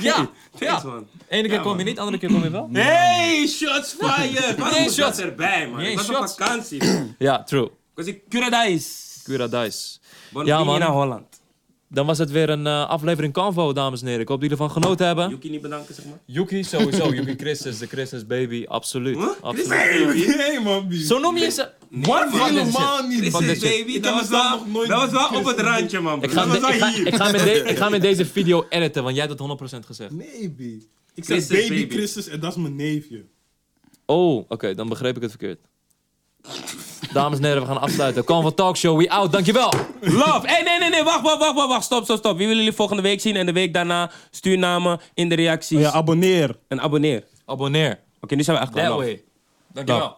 [SPEAKER 4] Ja,
[SPEAKER 1] Thanks,
[SPEAKER 4] ja.
[SPEAKER 1] man.
[SPEAKER 4] Ene keer
[SPEAKER 1] Ja,
[SPEAKER 4] kom je
[SPEAKER 1] man.
[SPEAKER 4] niet, andere keer kom je wel.
[SPEAKER 1] Hey, shots fired! Waarom
[SPEAKER 4] Nee,
[SPEAKER 1] was
[SPEAKER 4] shots.
[SPEAKER 1] dat erbij, man?
[SPEAKER 4] Nee,
[SPEAKER 1] Ik was op
[SPEAKER 4] shots.
[SPEAKER 1] vakantie. man.
[SPEAKER 4] Ja, true.
[SPEAKER 1] Was ik Curadais.
[SPEAKER 4] Cura Dice. Ja,
[SPEAKER 1] Ja,
[SPEAKER 4] man.
[SPEAKER 1] man. naar Holland.
[SPEAKER 4] Dan was het weer een eh, aflevering Convo, dames en heren. Ik hoop dat jullie ervan genoten hebben.
[SPEAKER 1] Yuki niet bedanken, zeg maar.
[SPEAKER 4] Yuki sowieso, Yuki Christus, de Christus baby, absoluut.
[SPEAKER 1] Huh?
[SPEAKER 4] absoluut.
[SPEAKER 1] Christus, baby.
[SPEAKER 3] Nee, man, Bi.
[SPEAKER 4] Zo noem je ze.
[SPEAKER 1] man.
[SPEAKER 5] Helemaal niet.
[SPEAKER 4] Fuck
[SPEAKER 1] Chrissy
[SPEAKER 4] this shit.
[SPEAKER 1] baby,
[SPEAKER 5] Ik
[SPEAKER 1] dat
[SPEAKER 5] heb
[SPEAKER 1] was
[SPEAKER 5] mezelf
[SPEAKER 1] wel-
[SPEAKER 5] nog nooit
[SPEAKER 1] dat was wel op het randje, man.
[SPEAKER 4] Ik
[SPEAKER 1] broer.
[SPEAKER 4] ga,
[SPEAKER 1] Dat
[SPEAKER 4] met,
[SPEAKER 1] was
[SPEAKER 4] ik,
[SPEAKER 1] wel
[SPEAKER 4] ga,
[SPEAKER 1] hier.
[SPEAKER 4] ik, ga met de- ik ga met deze video editen, want jij hebt dat 100% gezegd.
[SPEAKER 5] Nee, B. Ik
[SPEAKER 1] Christus,
[SPEAKER 5] zeg baby,
[SPEAKER 1] baby.
[SPEAKER 5] Christus en dat is mijn neefje.
[SPEAKER 4] Oh, oké, dan begreep ik het verkeerd. Dames en heren, we gaan afsluiten. Kom van Talkshow, we out, dankjewel.
[SPEAKER 1] Love. Hey, nee, nee, nee. Wacht, wacht, wacht, wacht. wacht. Stop, stop, stop. Wie willen jullie volgende week zien? En de week daarna stuur namen in de reacties.
[SPEAKER 3] Oh Ja, abonneer.
[SPEAKER 1] en abonneer. Oké,
[SPEAKER 4] Abonneer.
[SPEAKER 1] nu zijn we echt klaar.
[SPEAKER 4] That
[SPEAKER 1] Love.
[SPEAKER 4] way. Dankjewel.